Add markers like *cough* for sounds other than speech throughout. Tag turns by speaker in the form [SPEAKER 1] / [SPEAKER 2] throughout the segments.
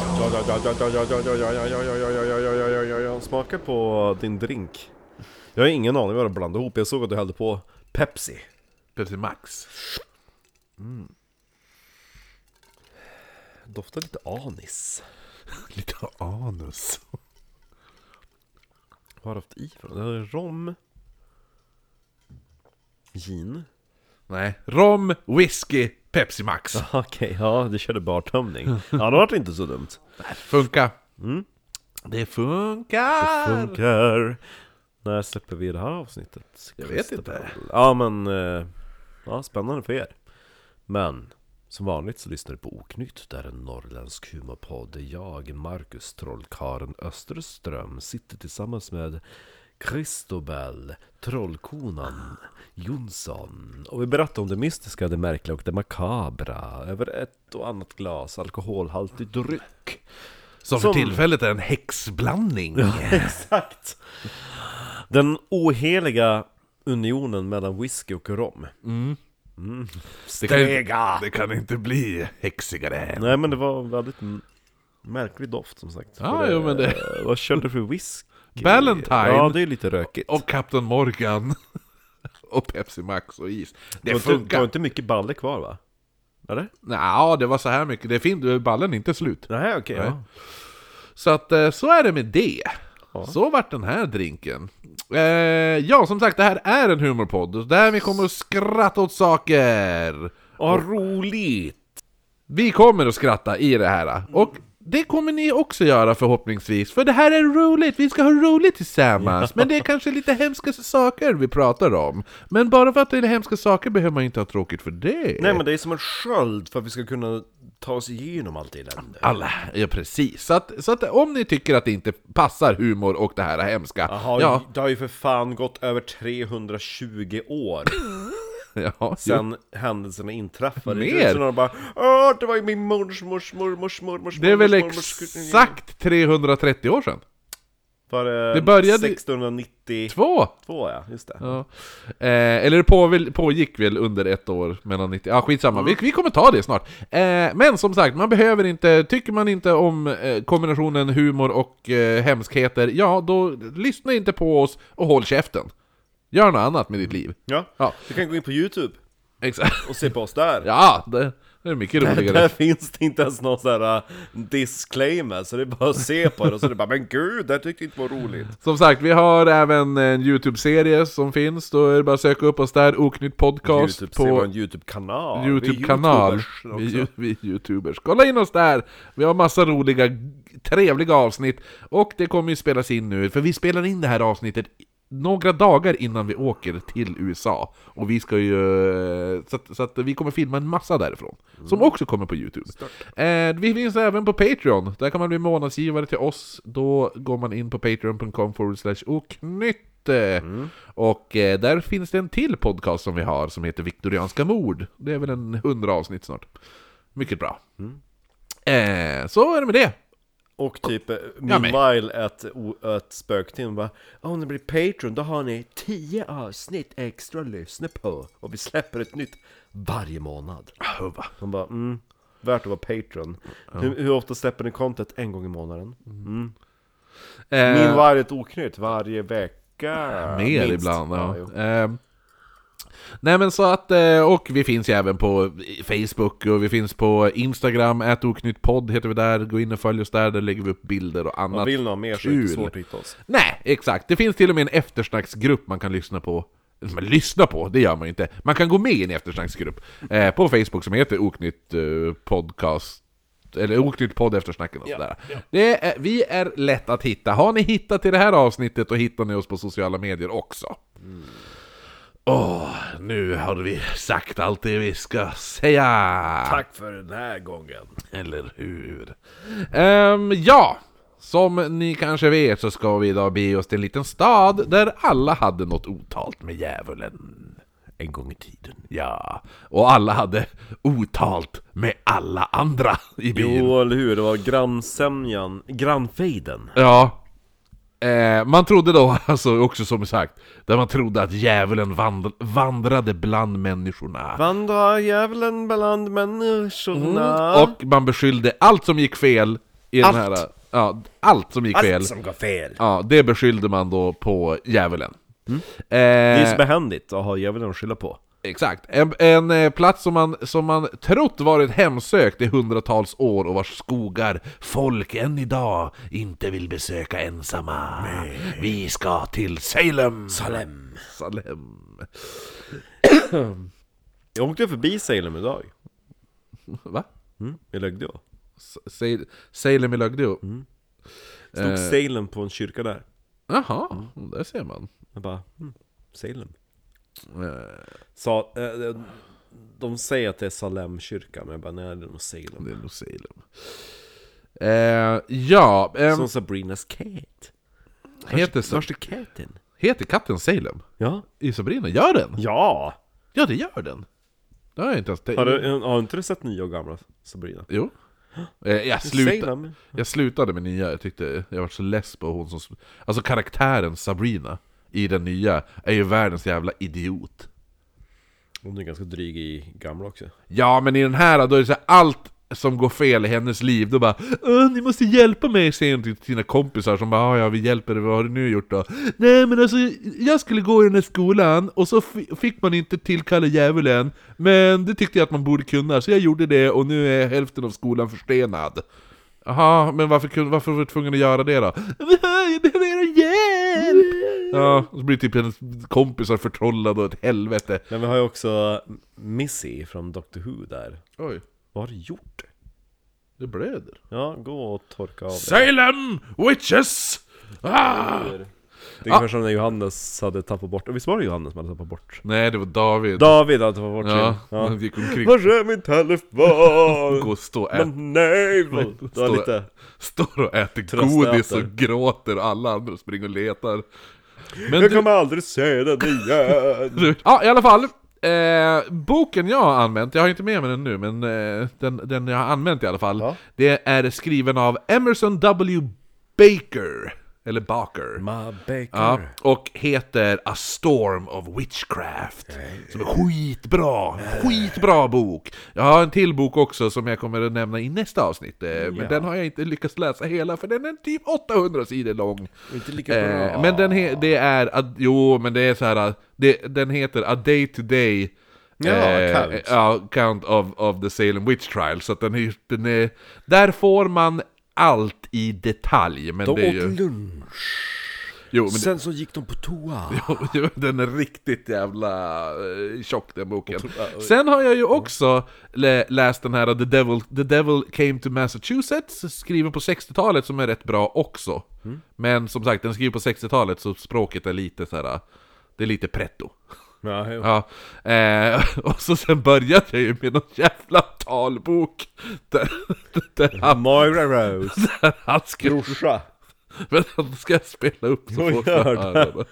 [SPEAKER 1] ja, ja, ja, ja, ja, ja, ja, ja, ja, ja, ja, ja, ja, ja, ja, ja. Smaka på din drink. Jag har ingen aning vad du blandade ihop. Jag såg att du hällde på Pepsi.
[SPEAKER 2] Pepsi Max.
[SPEAKER 1] Doftar lite anis.
[SPEAKER 2] *laughs* Lite anus.
[SPEAKER 1] Vad har du haft i för något? Det är Rom. Gin.
[SPEAKER 2] Nej, rom, whisky, Pepsi Max.
[SPEAKER 1] *laughs* Okej, ja du körde bartömning. Ja, det vart inte så dumt.
[SPEAKER 2] Funka.
[SPEAKER 1] Mm.
[SPEAKER 2] Det funkar!
[SPEAKER 1] Funkar. När släpper vi det här avsnittet?
[SPEAKER 2] Jag vet inte.
[SPEAKER 1] Ja men, eh, ja, spännande för er. Men, som vanligt så lyssnar du på Oknytt, där en norrländsk humorpodd där jag, Marcus Trollkaren Österström, sitter tillsammans med Christobel, Trollkonan, Jonsson. Och vi berättar om det mystiska, det märkliga och det makabra. Över ett och annat glas alkoholhaltig dryck.
[SPEAKER 2] Som för
[SPEAKER 1] Som-
[SPEAKER 2] tillfället är en häxblandning.
[SPEAKER 1] *laughs* Exakt! Den oheliga unionen mellan whisky och rom. Mm.
[SPEAKER 2] Det kan, inte, det kan inte bli häxigare än.
[SPEAKER 1] Nej men det var en väldigt m- märklig doft som sagt.
[SPEAKER 2] Ja,
[SPEAKER 1] För
[SPEAKER 2] jo, men det-
[SPEAKER 1] Vad körde du för whisky?
[SPEAKER 2] Ballantine.
[SPEAKER 1] Ja, det är lite rökigt.
[SPEAKER 2] Och Kapten Morgan. *laughs* Och Pepsi Max och is.
[SPEAKER 1] det
[SPEAKER 2] Det
[SPEAKER 1] var, inte, det
[SPEAKER 2] funkar!
[SPEAKER 1] var inte mycket balle kvar va? Eller?
[SPEAKER 2] Ja, det var så här mycket. Det är fint, ballen är inte slut.
[SPEAKER 1] Nej, okej.
[SPEAKER 2] Nej.
[SPEAKER 1] ja.
[SPEAKER 2] Så att eh, så är det med det. Så vart den här drinken. Eh, ja, som sagt, det här är en humorpodd. Där vi kommer att skratta åt saker.
[SPEAKER 1] Ja, roligt!
[SPEAKER 2] Vi kommer att skratta i det här.
[SPEAKER 1] Mm.
[SPEAKER 2] Och det kommer ni också göra förhoppningsvis. För det här är roligt. Vi ska ha roligt tillsammans. Men det är kanske lite hemska saker vi pratar om. Men bara för att det är hemska saker behöver man inte ha tråkigt för det.
[SPEAKER 1] Nej men det är som en sköld för att vi ska kunna ta oss igenom allt elände.
[SPEAKER 2] Alla, ja precis. Så att, så att om ni tycker att det inte passar humor och det här hemska,
[SPEAKER 1] Jaha,
[SPEAKER 2] ja,
[SPEAKER 1] det har ju för fan gått över 320 år
[SPEAKER 2] *laughs* ja,
[SPEAKER 1] sedan händelserna inträffade.
[SPEAKER 2] Mer.
[SPEAKER 1] Det är som när de bara Åh, det var ju min mormors mormors mormors
[SPEAKER 2] Det är väl
[SPEAKER 1] mormors-
[SPEAKER 2] exakt 330 år sedan?
[SPEAKER 1] Var det,
[SPEAKER 2] det började-
[SPEAKER 1] 1692
[SPEAKER 2] Två!
[SPEAKER 1] ja, just det.
[SPEAKER 2] Ja. Eh, eller det på, pågick väl under ett år mellan 90... Ja, skitsamma. Vi, vi kommer ta det snart. Eh, men som sagt, man behöver inte... Tycker man inte om eh, kombinationen humor och eh, hemskheter, ja, då lyssna inte på oss och håll käften. Gör något annat med ditt liv.
[SPEAKER 1] Ja.
[SPEAKER 2] Ja,
[SPEAKER 1] Du kan gå in på Youtube
[SPEAKER 2] exakt. *laughs*
[SPEAKER 1] och se på oss där.
[SPEAKER 2] Ja, det, *laughs* det är mycket
[SPEAKER 1] Där
[SPEAKER 2] roligare.
[SPEAKER 1] *laughs* finns det inte ens någon sån här uh, disclaimer, så det är bara att se på det och så är det bara 'Men gud, det här tyckte jag inte var roligt'
[SPEAKER 2] Som sagt, vi har även en YouTube-serie som finns, då är det bara att söka upp oss där, Oknytt Podcast
[SPEAKER 1] Youtube, se
[SPEAKER 2] på
[SPEAKER 1] typ vår Youtube-kanal, Vi är
[SPEAKER 2] Youtube-kanal.
[SPEAKER 1] Youtubers också.
[SPEAKER 2] Vi, ju- *laughs* vi är Youtubers. Kolla in oss där! Vi har massa roliga, g- trevliga avsnitt. Och det kommer ju spelas in nu, för vi spelar in det här avsnittet i- några dagar innan vi åker till USA. Och vi ska ju... eh, Så att, så att vi kommer filma en massa därifrån. Som också kommer på Youtube. Eh, vi finns även på Patreon. Där kan man bli månadsgivare till oss. Då går man in på patreon.com forward slash oknytt. Eh, Och eh, där finns det en till podcast som vi har som heter Viktorianska mord. Det är väl en hundra avsnitt snart. Mycket bra. Eh, så är det med det.
[SPEAKER 1] Och typ, eh,
[SPEAKER 2] men-
[SPEAKER 1] meanwhile, ett, o- ett spökteam bara Om ni blir Patreon, då har ni 10 avsnitt extra att lyssna på Och vi släpper ett nytt varje månad De bara, mm, värt att vara Patreon hur, hur ofta släpper ni content? En gång i månaden? Mm.
[SPEAKER 2] Eh,
[SPEAKER 1] Meanwhile, ett oknytt varje vecka
[SPEAKER 2] mer
[SPEAKER 1] minst.
[SPEAKER 2] ibland. Ja.
[SPEAKER 1] jo.
[SPEAKER 2] Eh, nej men så att, eh, och vi finns ju även på Facebook och vi finns på Instagram, podd heter vi där. Gå in och följ oss där, där lägger vi upp bilder och annat.
[SPEAKER 1] Och vill ni ha mer så är det inte
[SPEAKER 2] Kul.
[SPEAKER 1] svårt att hitta oss
[SPEAKER 2] Nej, exakt. Det finns till och med en eftersnacksgrupp man kan lyssna på. Men lyssna på, det gör man ju inte. Man kan gå med i en eftersnacksgrupp eh, på Facebook som heter Oknytt eh, Podcast. Eller Oknytt Podd Eftersnacken och sådär. Det är, vi är lätt att hitta. Har ni hittat till det här avsnittet och hittar ni oss på sociala medier också. Åh, nu har vi sagt allt det vi ska säga.
[SPEAKER 1] Tack för den här gången
[SPEAKER 2] Eller hur? Ehm, ja, som ni kanske vet så ska vi idag bege oss till en liten stad där alla hade något otalt med djävulen. En gång i tiden. Ja, och alla hade otalt med alla andra i byn.
[SPEAKER 1] Jo, eller hur? Det var grannsämjan, grannfejden
[SPEAKER 2] Ja. Eh, man trodde då, *laughs* alltså också som sagt, där man trodde att djävulen vandr- vandrade bland människorna.
[SPEAKER 1] Vandrar djävulen bland människorna Mm.
[SPEAKER 2] Och man beskyllde allt som gick fel i
[SPEAKER 1] Allt.
[SPEAKER 2] den här... Ja, allt som gick fel,
[SPEAKER 1] Allt som går fel!
[SPEAKER 2] ja, det beskyllde man då på djävulen.
[SPEAKER 1] Mm. Det är
[SPEAKER 2] Eh,
[SPEAKER 1] ju så behändigt att ha djävulen att skylla på.
[SPEAKER 2] Exakt. En, en eh, plats som man, som man trott varit hemsökt i hundratals år och vars skogar folk än idag inte vill besöka ensamma. Vi ska till Salem!
[SPEAKER 1] Salem.
[SPEAKER 2] Salem.
[SPEAKER 1] Jag åkte förbi Salem idag.
[SPEAKER 2] Va?
[SPEAKER 1] Mm, I Lögdeå.
[SPEAKER 2] S- Sa- Salem i Lögdeå?
[SPEAKER 1] Mm. Stod
[SPEAKER 2] Eh.
[SPEAKER 1] Salem på en kyrka där.
[SPEAKER 2] Jaha, där ser man.
[SPEAKER 1] Jag bara, mm, Salem.
[SPEAKER 2] Eh,
[SPEAKER 1] Sa, eh, de säger att det är Salemkyrkan, men jag bara, nej det är nog Salem.
[SPEAKER 2] Det är nog Salem. Eh, ja, ehm,
[SPEAKER 1] Som Sabrinas cat.
[SPEAKER 2] heter, sa-
[SPEAKER 1] Vars är katten?
[SPEAKER 2] heter katten Salem?
[SPEAKER 1] Ja.
[SPEAKER 2] I Sabrina, gör den?
[SPEAKER 1] Ja!
[SPEAKER 2] Ja, det gör den! Det har jag inte ens tänkt-
[SPEAKER 1] Har, du, eh, har inte du sett nya och gamla Sabrina? *gasps*
[SPEAKER 2] Jo. Eh, Jag, sluta,
[SPEAKER 1] Salem?
[SPEAKER 2] jag slutade med nya, jag tyckte jag var så less på hon som... Alltså karaktären Sabrina i den nya är ju världens jävla idiot.
[SPEAKER 1] Hon är ganska dryg i gamla också.
[SPEAKER 2] Ja, men i den här då är det så här, allt som går fel i hennes liv, då bara Åh, ni måste hjälpa mig, säger hon till sina kompisar som bara "Ah, ja, vi hjälper dig, vad har du nu gjort då? Nej men alltså, jag skulle gå i den här skolan, och så fi- fick man inte tillkalla djävulen, men det tyckte jag att man borde kunna, så jag gjorde det, och nu är hälften av skolan förstenad. Jaha, men varför, kunde, varför var du tvungen att göra det då? Jag behöver er hjälp! Ja, och så blir typ hennes kompisar förtrollade och ett helvete.
[SPEAKER 1] Men vi har ju också Missy från Doctor Who där.
[SPEAKER 2] Oj,
[SPEAKER 1] Vad har du gjort?
[SPEAKER 2] det blöder.
[SPEAKER 1] Ja, gå och torka av det.
[SPEAKER 2] Salem Witches! Ah!
[SPEAKER 1] Det är ungefär som när Johannes hade tappat bort, visst var det Johannes som hade tappat bort?
[SPEAKER 2] Nej, det var David.
[SPEAKER 1] David hade tappat bort
[SPEAKER 2] ja,
[SPEAKER 1] sin. Ja.
[SPEAKER 2] Han gick omkring
[SPEAKER 1] Var är min telefon?
[SPEAKER 2] och står och, ät,
[SPEAKER 1] Men nej! Det var
[SPEAKER 2] Står-
[SPEAKER 1] lite...
[SPEAKER 2] står och äter
[SPEAKER 1] Tröstäter.
[SPEAKER 2] godis och gråter och alla andra springer och letar. Men
[SPEAKER 1] Jag
[SPEAKER 2] du,
[SPEAKER 1] kommer aldrig se den igen!
[SPEAKER 2] *laughs* du, ja i alla fall. Eh, boken jag har använt, jag har inte med mig den nu, men eh, den, den jag har använt i alla fall.
[SPEAKER 1] Ja.
[SPEAKER 2] Det är skriven av Emerson W. Baker. Eller Baker.
[SPEAKER 1] Ma Baker.
[SPEAKER 2] Ja, och heter A Storm of Witchcraft. Som är skitbra! Skitbra bok! Jag har en till bok också som jag kommer att nämna i nästa avsnitt. eh, Men
[SPEAKER 1] Ja.
[SPEAKER 2] den har jag inte lyckats läsa hela för den är typ 800 sidor lång.
[SPEAKER 1] Inte lika bra.
[SPEAKER 2] Eh, men den he- det är... Ad- jo, men det är så här... att Det, den heter A Day to Day... eh,
[SPEAKER 1] Ja, count.
[SPEAKER 2] ja, count of, of the Salem Witch Trial. Så att den är, den är... Där får man allt i detalj. Men
[SPEAKER 1] De
[SPEAKER 2] det är
[SPEAKER 1] åt
[SPEAKER 2] ju,
[SPEAKER 1] lunch,
[SPEAKER 2] jo, men
[SPEAKER 1] sen så gick de på toa.
[SPEAKER 2] *laughs* Jo, den är riktigt jävla eh, tjock den boken.
[SPEAKER 1] Otro-
[SPEAKER 2] Sen har jag ju också lä- läst den här uh, The Devil, The Devil Came to Massachusetts, skriven på 60-talet som är rätt bra också. Men som sagt, den är skriven på 60-talet så språket är lite så här. uh, det är lite pretto.
[SPEAKER 1] Ja, jo.
[SPEAKER 2] Ja, eh, *laughs* och så sen började jag ju med någon jävla talbok där, *laughs* där, han,
[SPEAKER 1] Moira
[SPEAKER 2] *laughs*
[SPEAKER 1] Rose,
[SPEAKER 2] där han skrev...
[SPEAKER 1] brorsa.
[SPEAKER 2] *laughs* Vänta, nu ska jag spela upp så
[SPEAKER 1] Jo,
[SPEAKER 2] folk
[SPEAKER 1] gör
[SPEAKER 2] får höra.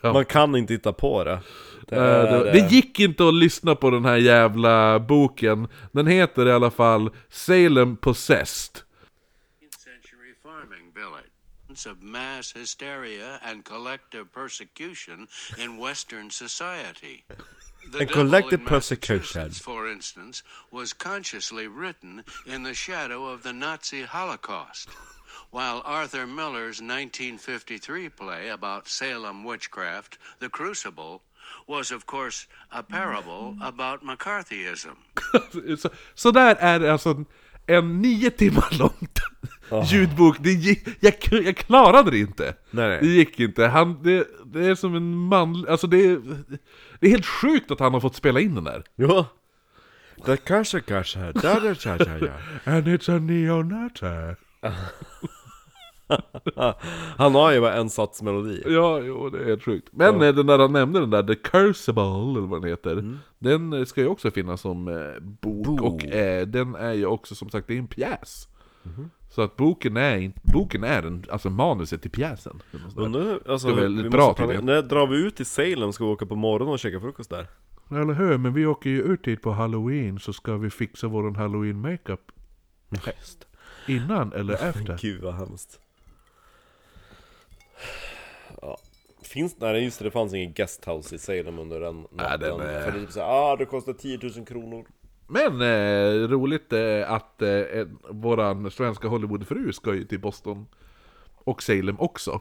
[SPEAKER 2] *laughs* Ja.
[SPEAKER 1] Man kan inte hitta på det. Det,
[SPEAKER 2] Eh,
[SPEAKER 1] är,
[SPEAKER 2] Det, det gick inte att lyssna på den här jävla boken. Den heter i alla fall Salem Possessed.
[SPEAKER 3] 19th century farming village of mass hysteria and collective persecution in Western society. The
[SPEAKER 1] And
[SPEAKER 3] Devil in
[SPEAKER 1] collective persecution.
[SPEAKER 3] Massachusetts, For instance, was consciously written in the shadow of the Nazi Holocaust. While Arthur Miller's 1953 play about Salem witchcraft, The Crucible, was, of course, a parable about McCarthyism.
[SPEAKER 2] Så, så där är det alltså en, en nio timmar lång ljudbok. Det gick, jag, k- jag klarade det inte.
[SPEAKER 1] Nej, nej.
[SPEAKER 2] Det gick inte. Han, det, det är som en man... Alltså det, är- det är helt sjukt att han har fått spela in den där.
[SPEAKER 1] Jo. Det kanske, kanske. Där, där, där, där, där.
[SPEAKER 2] And it's a neonazi.
[SPEAKER 1] Han har ju bara en sats melodi.
[SPEAKER 2] Ja, jo, det är helt sjukt. Men eh, den där han nämnde, den där The Crucible, eller vad den heter, den eh, ska ju också finnas som eh, bok, och eh, den är ju också som sagt, det är en pjäs. Så att boken är, inte- boken är en, alltså manuset till pjäsen. eller något sånt där.
[SPEAKER 1] Undrar, alltså,
[SPEAKER 2] Det var väldigt
[SPEAKER 1] vi
[SPEAKER 2] bra
[SPEAKER 1] måste planera-
[SPEAKER 2] tydligen.
[SPEAKER 1] När drar vi ut till Salem ska vi åka på morgonen och käka frukost där?
[SPEAKER 2] Eller hur, men vi åker ju ut dit på halloween så ska vi fixa våran halloween makeup
[SPEAKER 1] Just.
[SPEAKER 2] innan eller efter.
[SPEAKER 1] Gud vad hemskt. Ja. Finns, nej just det, det fanns ingen guesthouse i Salem under den
[SPEAKER 2] Nej, den är-
[SPEAKER 1] För det är typ såhär, ah det kostar 10 000 kronor
[SPEAKER 2] Men eh, roligt eh, att eh, en- våran svenska Hollywoodfru ska ju till Boston och Salem också.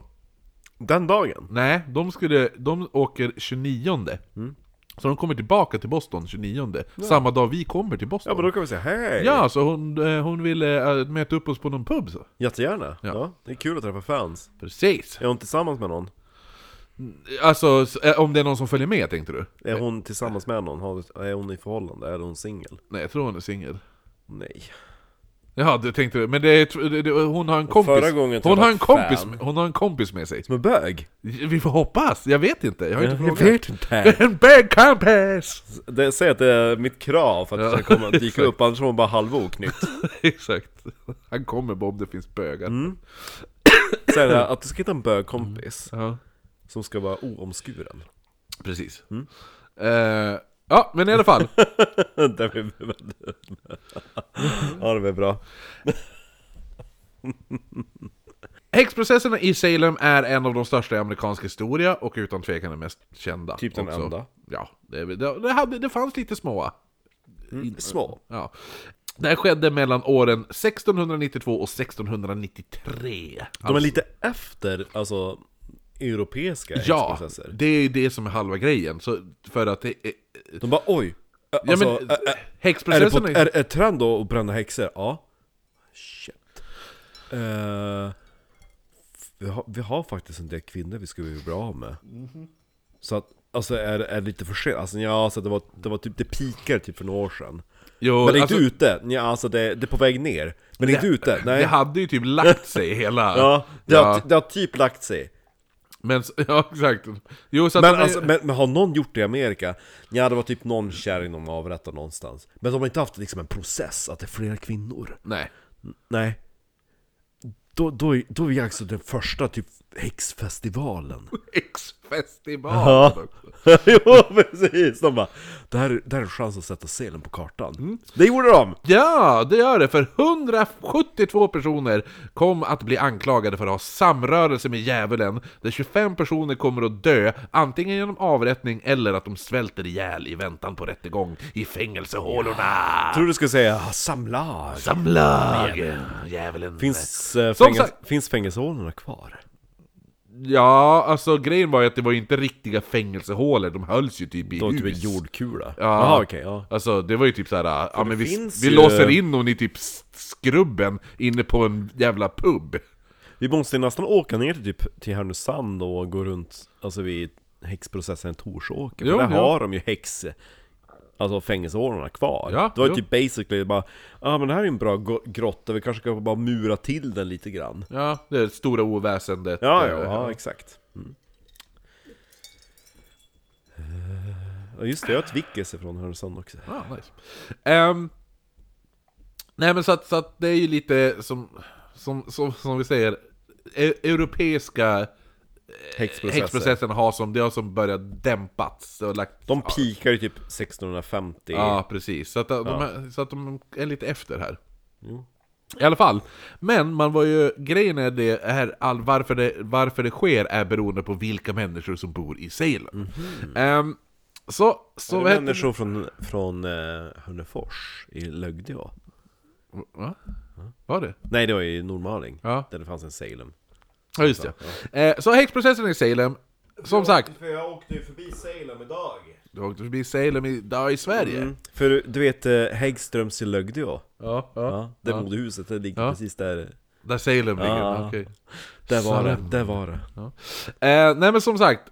[SPEAKER 1] Den dagen?
[SPEAKER 2] Nej, de, skulle, de åker 29
[SPEAKER 1] Mm.
[SPEAKER 2] Så de kommer tillbaka till Boston 29 Samma dag vi kommer till Boston.
[SPEAKER 1] Ja men då kan vi säga hej!
[SPEAKER 2] Ja, så hon, eh, hon ville eh, möta upp oss på någon pub så.
[SPEAKER 1] Jättegärna! Ja.
[SPEAKER 2] Ja.
[SPEAKER 1] Det är kul att träffa fans.
[SPEAKER 2] Precis!
[SPEAKER 1] Är hon tillsammans med någon?
[SPEAKER 2] Alltså, s- eh, om det är någon som följer med tänkte du?
[SPEAKER 1] Är hon tillsammans med någon? Har- Är hon i förhållande? Är hon singel?
[SPEAKER 2] Nej, jag tror hon är singel.
[SPEAKER 1] Nej.
[SPEAKER 2] Ja, du tänkte du. Men det är, tr- det- det- hon har en kompis.
[SPEAKER 1] förra gången
[SPEAKER 2] hon,
[SPEAKER 1] träffat
[SPEAKER 2] har en kompis
[SPEAKER 1] fan.
[SPEAKER 2] med, hon har en kompis med sig.
[SPEAKER 1] Som en bög?
[SPEAKER 2] Vi får hoppas, jag vet inte. Jag har inte frågat. *laughs*
[SPEAKER 1] inte.
[SPEAKER 2] En bad compass!
[SPEAKER 1] Det, säg att det är mitt krav för att det ska komma, dyka upp, annars är hon bara halvoknytt.
[SPEAKER 2] *laughs* Exakt. Han kommer bara om det finns bögar.
[SPEAKER 1] Mm. Säg det här, att du ska hitta en bögkompis
[SPEAKER 2] Ja,
[SPEAKER 1] som ska vara oomskuren. *laughs*
[SPEAKER 2] precis.
[SPEAKER 1] Mm.
[SPEAKER 2] Eh, ja, men i alla fall. *laughs*
[SPEAKER 1] det blir väldigt... ja, det blir bra.
[SPEAKER 2] Häxprocesserna i Salem är en av de största i amerikansk historia och utan tvekan den mest kända.
[SPEAKER 1] Typ den
[SPEAKER 2] också.
[SPEAKER 1] enda.
[SPEAKER 2] Ja, det, det, det, hade, det fanns lite småa.
[SPEAKER 1] Mm, små.
[SPEAKER 2] Ja. Det här skedde mellan åren 1692 och 1693.
[SPEAKER 1] De är lite efter, alltså, europeiska
[SPEAKER 2] Ja,
[SPEAKER 1] häxprocesser.
[SPEAKER 2] det är det som är halva grejen. Så för att det är,
[SPEAKER 1] De bara oj! Ä-
[SPEAKER 2] ja,
[SPEAKER 1] Alltså,
[SPEAKER 2] men,
[SPEAKER 1] ä- ä- är, det
[SPEAKER 2] häxprocesserna...
[SPEAKER 1] på, är, är trend då att bränna häxor? Ja. Shit. Eh, vi, har, vi har faktiskt en del kvinnor vi skulle bli bra av med. Så att, alltså är, är det lite för sent? Alltså ja, alltså, det, var, det var typ, det pikar typ för några år sedan.
[SPEAKER 2] jo,
[SPEAKER 1] Men det är
[SPEAKER 2] alltså,
[SPEAKER 1] inte ute? Ja, alltså det, det är på väg ner. Men det är inte ute? Nej.
[SPEAKER 2] Det hade ju typ lagt sig hela...
[SPEAKER 1] *laughs* ja, det,
[SPEAKER 2] ja.
[SPEAKER 1] Har, det har typ lagt sig.
[SPEAKER 2] Men, så- *laughs* ja, exakt. Jo, så att
[SPEAKER 1] Men,
[SPEAKER 2] de är-
[SPEAKER 1] alltså, men, men har någon gjort det i Amerika? Ja, det var typ någon kärring de avrättade någonstans. Men de har inte haft liksom en process, att det är flera kvinnor.
[SPEAKER 2] Nej.
[SPEAKER 1] Nej. Då, då, är- då är ju alltså den första typ häxfestivalen.
[SPEAKER 2] Häxfestival!
[SPEAKER 1] Ja. *laughs* jo, precis! De bara, det här, är- det här är en chans att sätta selen på kartan. Det gjorde de!
[SPEAKER 2] Ja, det gör det, för 172 personer kom att bli anklagade för att ha samrörelse med djävulen, där 25 personer kommer att dö, antingen genom avrättning eller att de svälter ihjäl i väntan på rättegång i fängelsehålorna!
[SPEAKER 1] Tror du skulle säga "Ah, samlag.
[SPEAKER 2] Samlag! Djävulen!
[SPEAKER 1] Finns, eh,
[SPEAKER 2] Som
[SPEAKER 1] fängels-
[SPEAKER 2] sagt-
[SPEAKER 1] finns fängelsehålorna kvar?
[SPEAKER 2] Ja, alltså grejen var ju att det var ju inte riktiga fängelsehålor, de hölls ju typ i
[SPEAKER 1] Det var typ en
[SPEAKER 2] hus.
[SPEAKER 1] jordkula. Jaha, okej, ja.
[SPEAKER 2] Alltså det var ju typ såhär, ja men vi,
[SPEAKER 1] finns
[SPEAKER 2] vi
[SPEAKER 1] ju-
[SPEAKER 2] låser in hon i typ s- skrubben inne på en jävla pub.
[SPEAKER 1] Vi måste ju nästan åka ner till, typ, till Härnösand och gå runt alltså vid häxprocessen i Torsåker.
[SPEAKER 2] Jo,
[SPEAKER 1] för där
[SPEAKER 2] jo.
[SPEAKER 1] har de ju häx... Alltså fängelsehålorna kvar.
[SPEAKER 2] Ja,
[SPEAKER 1] det var ju
[SPEAKER 2] jo.
[SPEAKER 1] typ basically bara Ja ah, men det här är ju en bra go- grotta, vi kanske kan bara mura till den lite grann.
[SPEAKER 2] Ja, det är det stora oväsendet.
[SPEAKER 1] Ja, ja,
[SPEAKER 2] Eh,
[SPEAKER 1] ja, exakt. Mm. Eh, Ja just det, jag har ett Vickes från Härnösand också.
[SPEAKER 2] Ah, nice. Ehm, nej men så att, så att det är ju lite som, som, som, som vi säger, e europeiska
[SPEAKER 1] Häxprocessen.
[SPEAKER 2] häxprocessen har som, det har som börjat dämpats. Och lagt,
[SPEAKER 1] De pikar ju typ 1650.
[SPEAKER 2] Ja, precis. Så att, de, här- så att de är lite efter här.
[SPEAKER 1] Jo.
[SPEAKER 2] I alla fall. Men man var ju, grejen är det här, all, varför, det, varför det sker är beroende på vilka människor som bor i Salem. Ehm, så, så
[SPEAKER 1] Så
[SPEAKER 2] vad heter
[SPEAKER 1] Mhm. människor från, från eh, Hörnefors i Lögde ja.
[SPEAKER 2] Va? Var det?
[SPEAKER 1] Nej det var ju Nordmaling,
[SPEAKER 2] Ja.
[SPEAKER 1] där det fanns en Salem
[SPEAKER 2] Ja, just det. Eh, så häxprocessen i Salem, som sagt,
[SPEAKER 1] För jag åkte ju förbi Salem idag
[SPEAKER 2] du åkte förbi Salem i, där i Sverige.
[SPEAKER 1] mm. För du vet eh, Häggströms i Lögdeå? Ja,
[SPEAKER 2] Ja, ja.
[SPEAKER 1] det modehuset, det ligger
[SPEAKER 2] Ja.
[SPEAKER 1] precis där
[SPEAKER 2] Där Salem ligger,
[SPEAKER 1] Ja.
[SPEAKER 2] okej.
[SPEAKER 1] Där var
[SPEAKER 2] Salem.
[SPEAKER 1] det, där var det
[SPEAKER 2] Ja. Eh, nej men som sagt,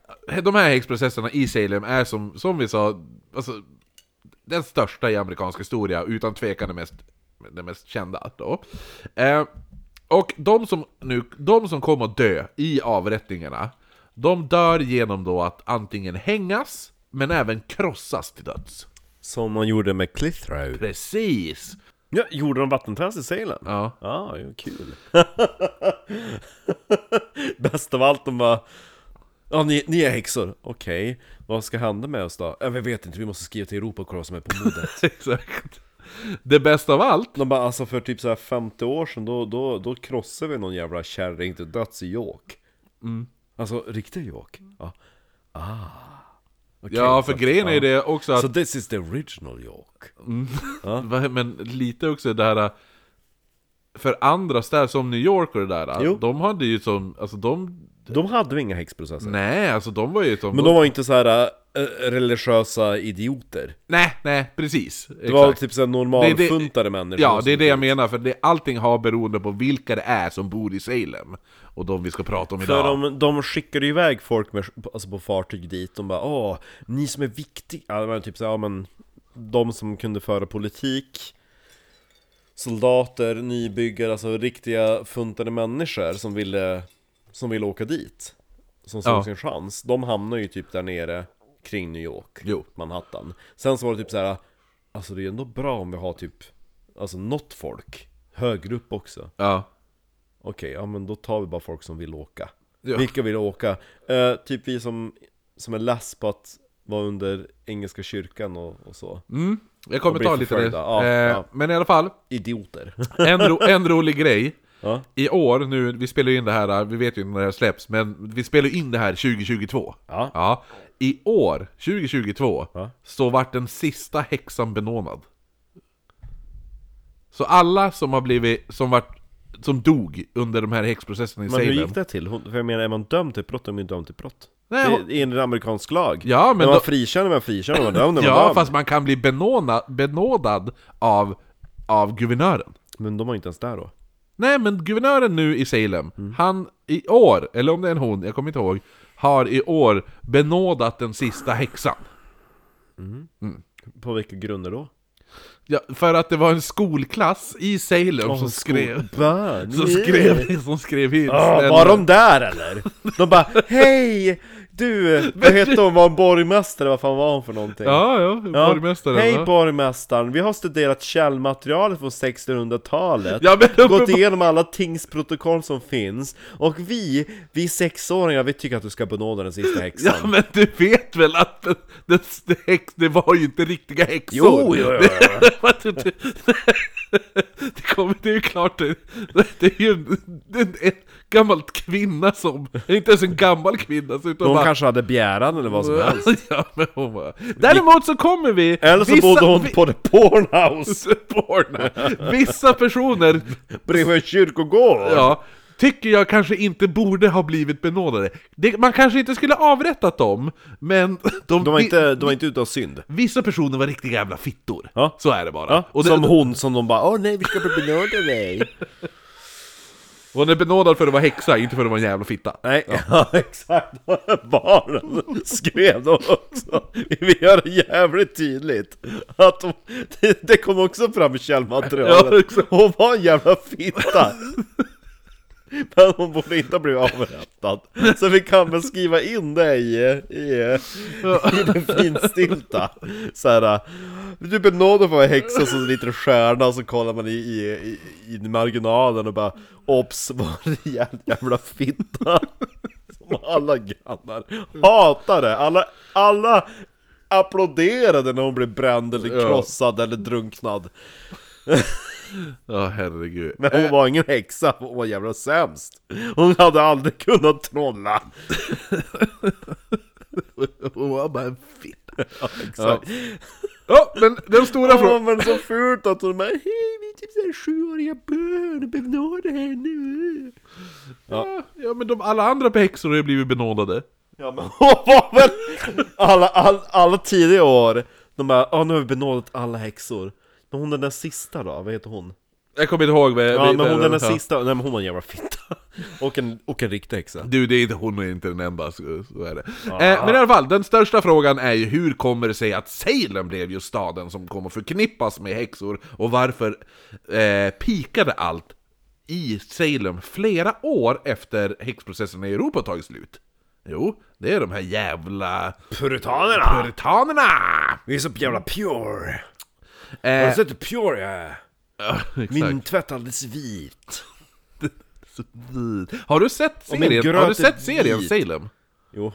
[SPEAKER 2] de här häxprocesserna i Salem är som, som vi sa, alltså, den största i amerikansk historia, utan tvekan den mest, den mest kända. Då. Eh, och de som, nu, de som kom att dö i avrättningarna, de dör genom då att antingen hängas, men även krossas till döds.
[SPEAKER 1] Som man gjorde med Clithrow
[SPEAKER 2] Precis!
[SPEAKER 1] Ja, gjorde de vattenträns i Salem?
[SPEAKER 2] Ja. *laughs*
[SPEAKER 1] Ja, det var kul *laughs* Bäst av allt, de bara Ja, ni, ni är häxor, okej Vad ska hända med oss då? Ja, vi vet inte, vi måste skriva till Europa och kolla vad som är på modet
[SPEAKER 2] Exakt. Det bästa av allt,
[SPEAKER 1] De bara alltså för typ så här 50 år sedan då, då, då krossade vi någon jävla kärring till döds i York. Alltså riktiga York. Ja. Ah. Okej,
[SPEAKER 2] Ja, för
[SPEAKER 1] så-
[SPEAKER 2] grejen är
[SPEAKER 1] ja.
[SPEAKER 2] ju det också att...
[SPEAKER 1] Så this is the original York.
[SPEAKER 2] *laughs* Va, Men lite också det här... För andra städer, som New York och det där,
[SPEAKER 1] Jo.
[SPEAKER 2] de hade ju som... Alltså de...
[SPEAKER 1] De hade ju inga häxprocesser.
[SPEAKER 2] Nej, alltså de var ju som...
[SPEAKER 1] Men de var ju inte så här eh, religiösa idioter.
[SPEAKER 2] Nej, nej, precis.
[SPEAKER 1] Det var typ såhär normalfuntade människor.
[SPEAKER 2] Ja, det är
[SPEAKER 1] som-
[SPEAKER 2] det jag menar, för det, allting har beroende på vilka det är som bor i Salem. Och de vi ska prata om
[SPEAKER 1] För
[SPEAKER 2] idag.
[SPEAKER 1] de, de skickade ju iväg folk med, alltså på fartyg dit, de bara åh, ni som är viktiga, ja, det var typ så här, ja men de som kunde föra politik, soldater, nybyggare, alltså riktiga funtade människor som ville, som ville åka dit, som såg
[SPEAKER 2] Ja.
[SPEAKER 1] sin chans, de hamnade ju typ där nere kring New York,
[SPEAKER 2] Jo.
[SPEAKER 1] Manhattan. Sen så var det typ så här, alltså det är ändå bra om vi har typ, alltså något folk, högre upp också.
[SPEAKER 2] Ja.
[SPEAKER 1] Okej, ja men då tar vi bara folk som vill åka.
[SPEAKER 2] Ja.
[SPEAKER 1] Vilka vill åka? Eh, typ vi som, som är less på att vara under engelska kyrkan och, och så.
[SPEAKER 2] Mm. Jag kommer
[SPEAKER 1] blir
[SPEAKER 2] ta lite det.
[SPEAKER 1] förföljda, ja,
[SPEAKER 2] eh,
[SPEAKER 1] ja.
[SPEAKER 2] Men i alla fall, *laughs*
[SPEAKER 1] Idioter.
[SPEAKER 2] en, ro, en rolig grej.
[SPEAKER 1] ja.
[SPEAKER 2] I år, nu, vi spelar ju in det här, vi vet ju när det här släpps, men vi spelar ju in det här 2022.
[SPEAKER 1] Ja.
[SPEAKER 2] I år, 2022,
[SPEAKER 1] Ja.
[SPEAKER 2] så vart den sista häxan benånad. Så alla som har blivit, som vart, som dog under de här häxprocesserna i
[SPEAKER 1] Men hur
[SPEAKER 2] Salem.
[SPEAKER 1] gick det till? Hon- För jag menar, är man dömd till ett brott, är man ju dömd till brott.
[SPEAKER 2] Nej,
[SPEAKER 1] Nej,
[SPEAKER 2] hon-
[SPEAKER 1] det är en amerikansk lag.
[SPEAKER 2] Ja, men
[SPEAKER 1] när man
[SPEAKER 2] då-
[SPEAKER 1] frikänner, man frikänner, man dömd, när
[SPEAKER 2] *laughs*
[SPEAKER 1] man
[SPEAKER 2] Ja,
[SPEAKER 1] dömd.
[SPEAKER 2] fast man kan bli benåna, benådad av, av guvernören.
[SPEAKER 1] Men de var ju inte ens där då.
[SPEAKER 2] Nej, men guvernören nu i Salem,
[SPEAKER 1] Mm.
[SPEAKER 2] han i år, eller om det är en hon, jag kommer inte ihåg, har i år benådat den sista häxan.
[SPEAKER 1] På vilka grunder då?
[SPEAKER 2] Ja, för att det var en skolklass i Salem som skrev... *laughs*
[SPEAKER 1] Barn.
[SPEAKER 2] Som skrev, som skrev hit.
[SPEAKER 1] Ah,
[SPEAKER 2] Den-
[SPEAKER 1] var de där eller?
[SPEAKER 2] *laughs*
[SPEAKER 1] De bara Hej! Du, vad hette hon? Var hon borgmästare? Vad fan var hon för någonting?
[SPEAKER 2] Ja, ja, borgmästaren.
[SPEAKER 1] Hej
[SPEAKER 2] va?
[SPEAKER 1] borgmästaren, vi har studerat källmaterialet från 1600-talet
[SPEAKER 2] Ja, men
[SPEAKER 1] Gått
[SPEAKER 2] uppenbar-
[SPEAKER 1] igenom alla tingsprotokoll som finns Och vi, vi sexåringar, vi tycker att du ska benåda
[SPEAKER 2] *laughs*
[SPEAKER 1] den sista häxan
[SPEAKER 2] Ja men du vet väl att det, det, det, häx, det var ju inte riktiga häxor!
[SPEAKER 1] Jo, jo,
[SPEAKER 2] *laughs*
[SPEAKER 1] jo, jo.
[SPEAKER 2] Vad tror du? det kommer, det är ju klart det, det är ju en, det är en, en gammal kvinna som, inte ens en gammal kvinna så utan
[SPEAKER 1] Hon
[SPEAKER 2] bara,
[SPEAKER 1] kanske hade begäran eller vad som helst
[SPEAKER 2] *laughs* ja, men hon bara, Däremot så kommer vi...
[SPEAKER 1] Eller så bodde hon på the
[SPEAKER 2] *laughs*
[SPEAKER 1] pornhouse
[SPEAKER 2] vissa, porna. vissa personer,
[SPEAKER 1] bredvid en kyrkogård
[SPEAKER 2] ja, tycker jag kanske inte borde ha blivit benådade. Det, man kanske inte skulle ha avrättat dem, men de,
[SPEAKER 1] De var
[SPEAKER 2] vi-
[SPEAKER 1] inte, de var inte ute av synd
[SPEAKER 2] Vissa personer var riktiga jävla fittor.
[SPEAKER 1] Ja.
[SPEAKER 2] Så är det bara.
[SPEAKER 1] ja,
[SPEAKER 2] och, det,
[SPEAKER 1] Som hon som de bara 'Åh nej, vi ska benåda
[SPEAKER 2] *laughs*
[SPEAKER 1] dig'
[SPEAKER 2] och hon är benådad för att vara häxa, inte för att vara en jävla fitta.
[SPEAKER 1] Nej, *laughs* ja, exakt. Barnen skrev de också. Vi vill göra det jävligt tydligt att de, det, det kom också fram i
[SPEAKER 2] Ja,
[SPEAKER 1] källmaterialet.
[SPEAKER 2] exakt.
[SPEAKER 1] hon var en jävla fitta. Men hon borde inte ha blivit avrättad. Så vi kan väl skriva in det i, i, i *laughs* det finstilta. äh, Såhär, du benådar för att vara häxa så en liten stjärna och så kollar man i, i, i, i marginalen och bara Ops, var det jävla, jävla fitta? *laughs* Som alla grannar hatade, alla, alla applåderade när hon blev bränd eller
[SPEAKER 2] Ja.
[SPEAKER 1] krossad eller drunknad
[SPEAKER 2] Ja, herregud.
[SPEAKER 1] Men hon var ingen häxa, hon var jävla sämst Hon hade aldrig kunnat trolla
[SPEAKER 2] Hon var bara en fitta.
[SPEAKER 1] Ja,
[SPEAKER 2] Ja, men den stora
[SPEAKER 1] ja
[SPEAKER 2] frågan...
[SPEAKER 1] men så fult att hon bara Hej vi är typ såhär sjuåriga barn, benåda henne
[SPEAKER 2] Ja. ja, men de, alla andra häxor har ju blivit benådade.
[SPEAKER 1] Ja men *laughs* hon var väl alla, alla, alla tidiga år De bara, ja nu har vi benådat alla häxor Men hon den där sista då, vad heter hon?
[SPEAKER 2] Jag kommer inte ihåg vad...
[SPEAKER 1] Ja
[SPEAKER 2] vad-
[SPEAKER 1] men hon
[SPEAKER 2] vad-
[SPEAKER 1] den där sista, nej men hon var en jävla fitta *laughs* Och en, och en riktig häxa
[SPEAKER 2] Du, det är inte hon och inte den enda, så, så är det. Eh, men i alla fall, den största frågan är ju hur kommer det sig att Salem blev just staden som kommer förknippas med häxor och varför eh, pikade allt i Salem flera år efter häxprocessen i Europa tagit slut? Jo, det är de här jävla
[SPEAKER 1] Puritanerna!
[SPEAKER 2] puritanerna!
[SPEAKER 1] Vi är så jävla pure! Har du
[SPEAKER 2] Eh,
[SPEAKER 1] sett hur pure jag är? *laughs* Min tvätt är alldeles vit
[SPEAKER 2] har du sett
[SPEAKER 1] Och min
[SPEAKER 2] serien, har du
[SPEAKER 1] gröt är
[SPEAKER 2] sett serien
[SPEAKER 1] vit.
[SPEAKER 2] Salem?
[SPEAKER 1] Jo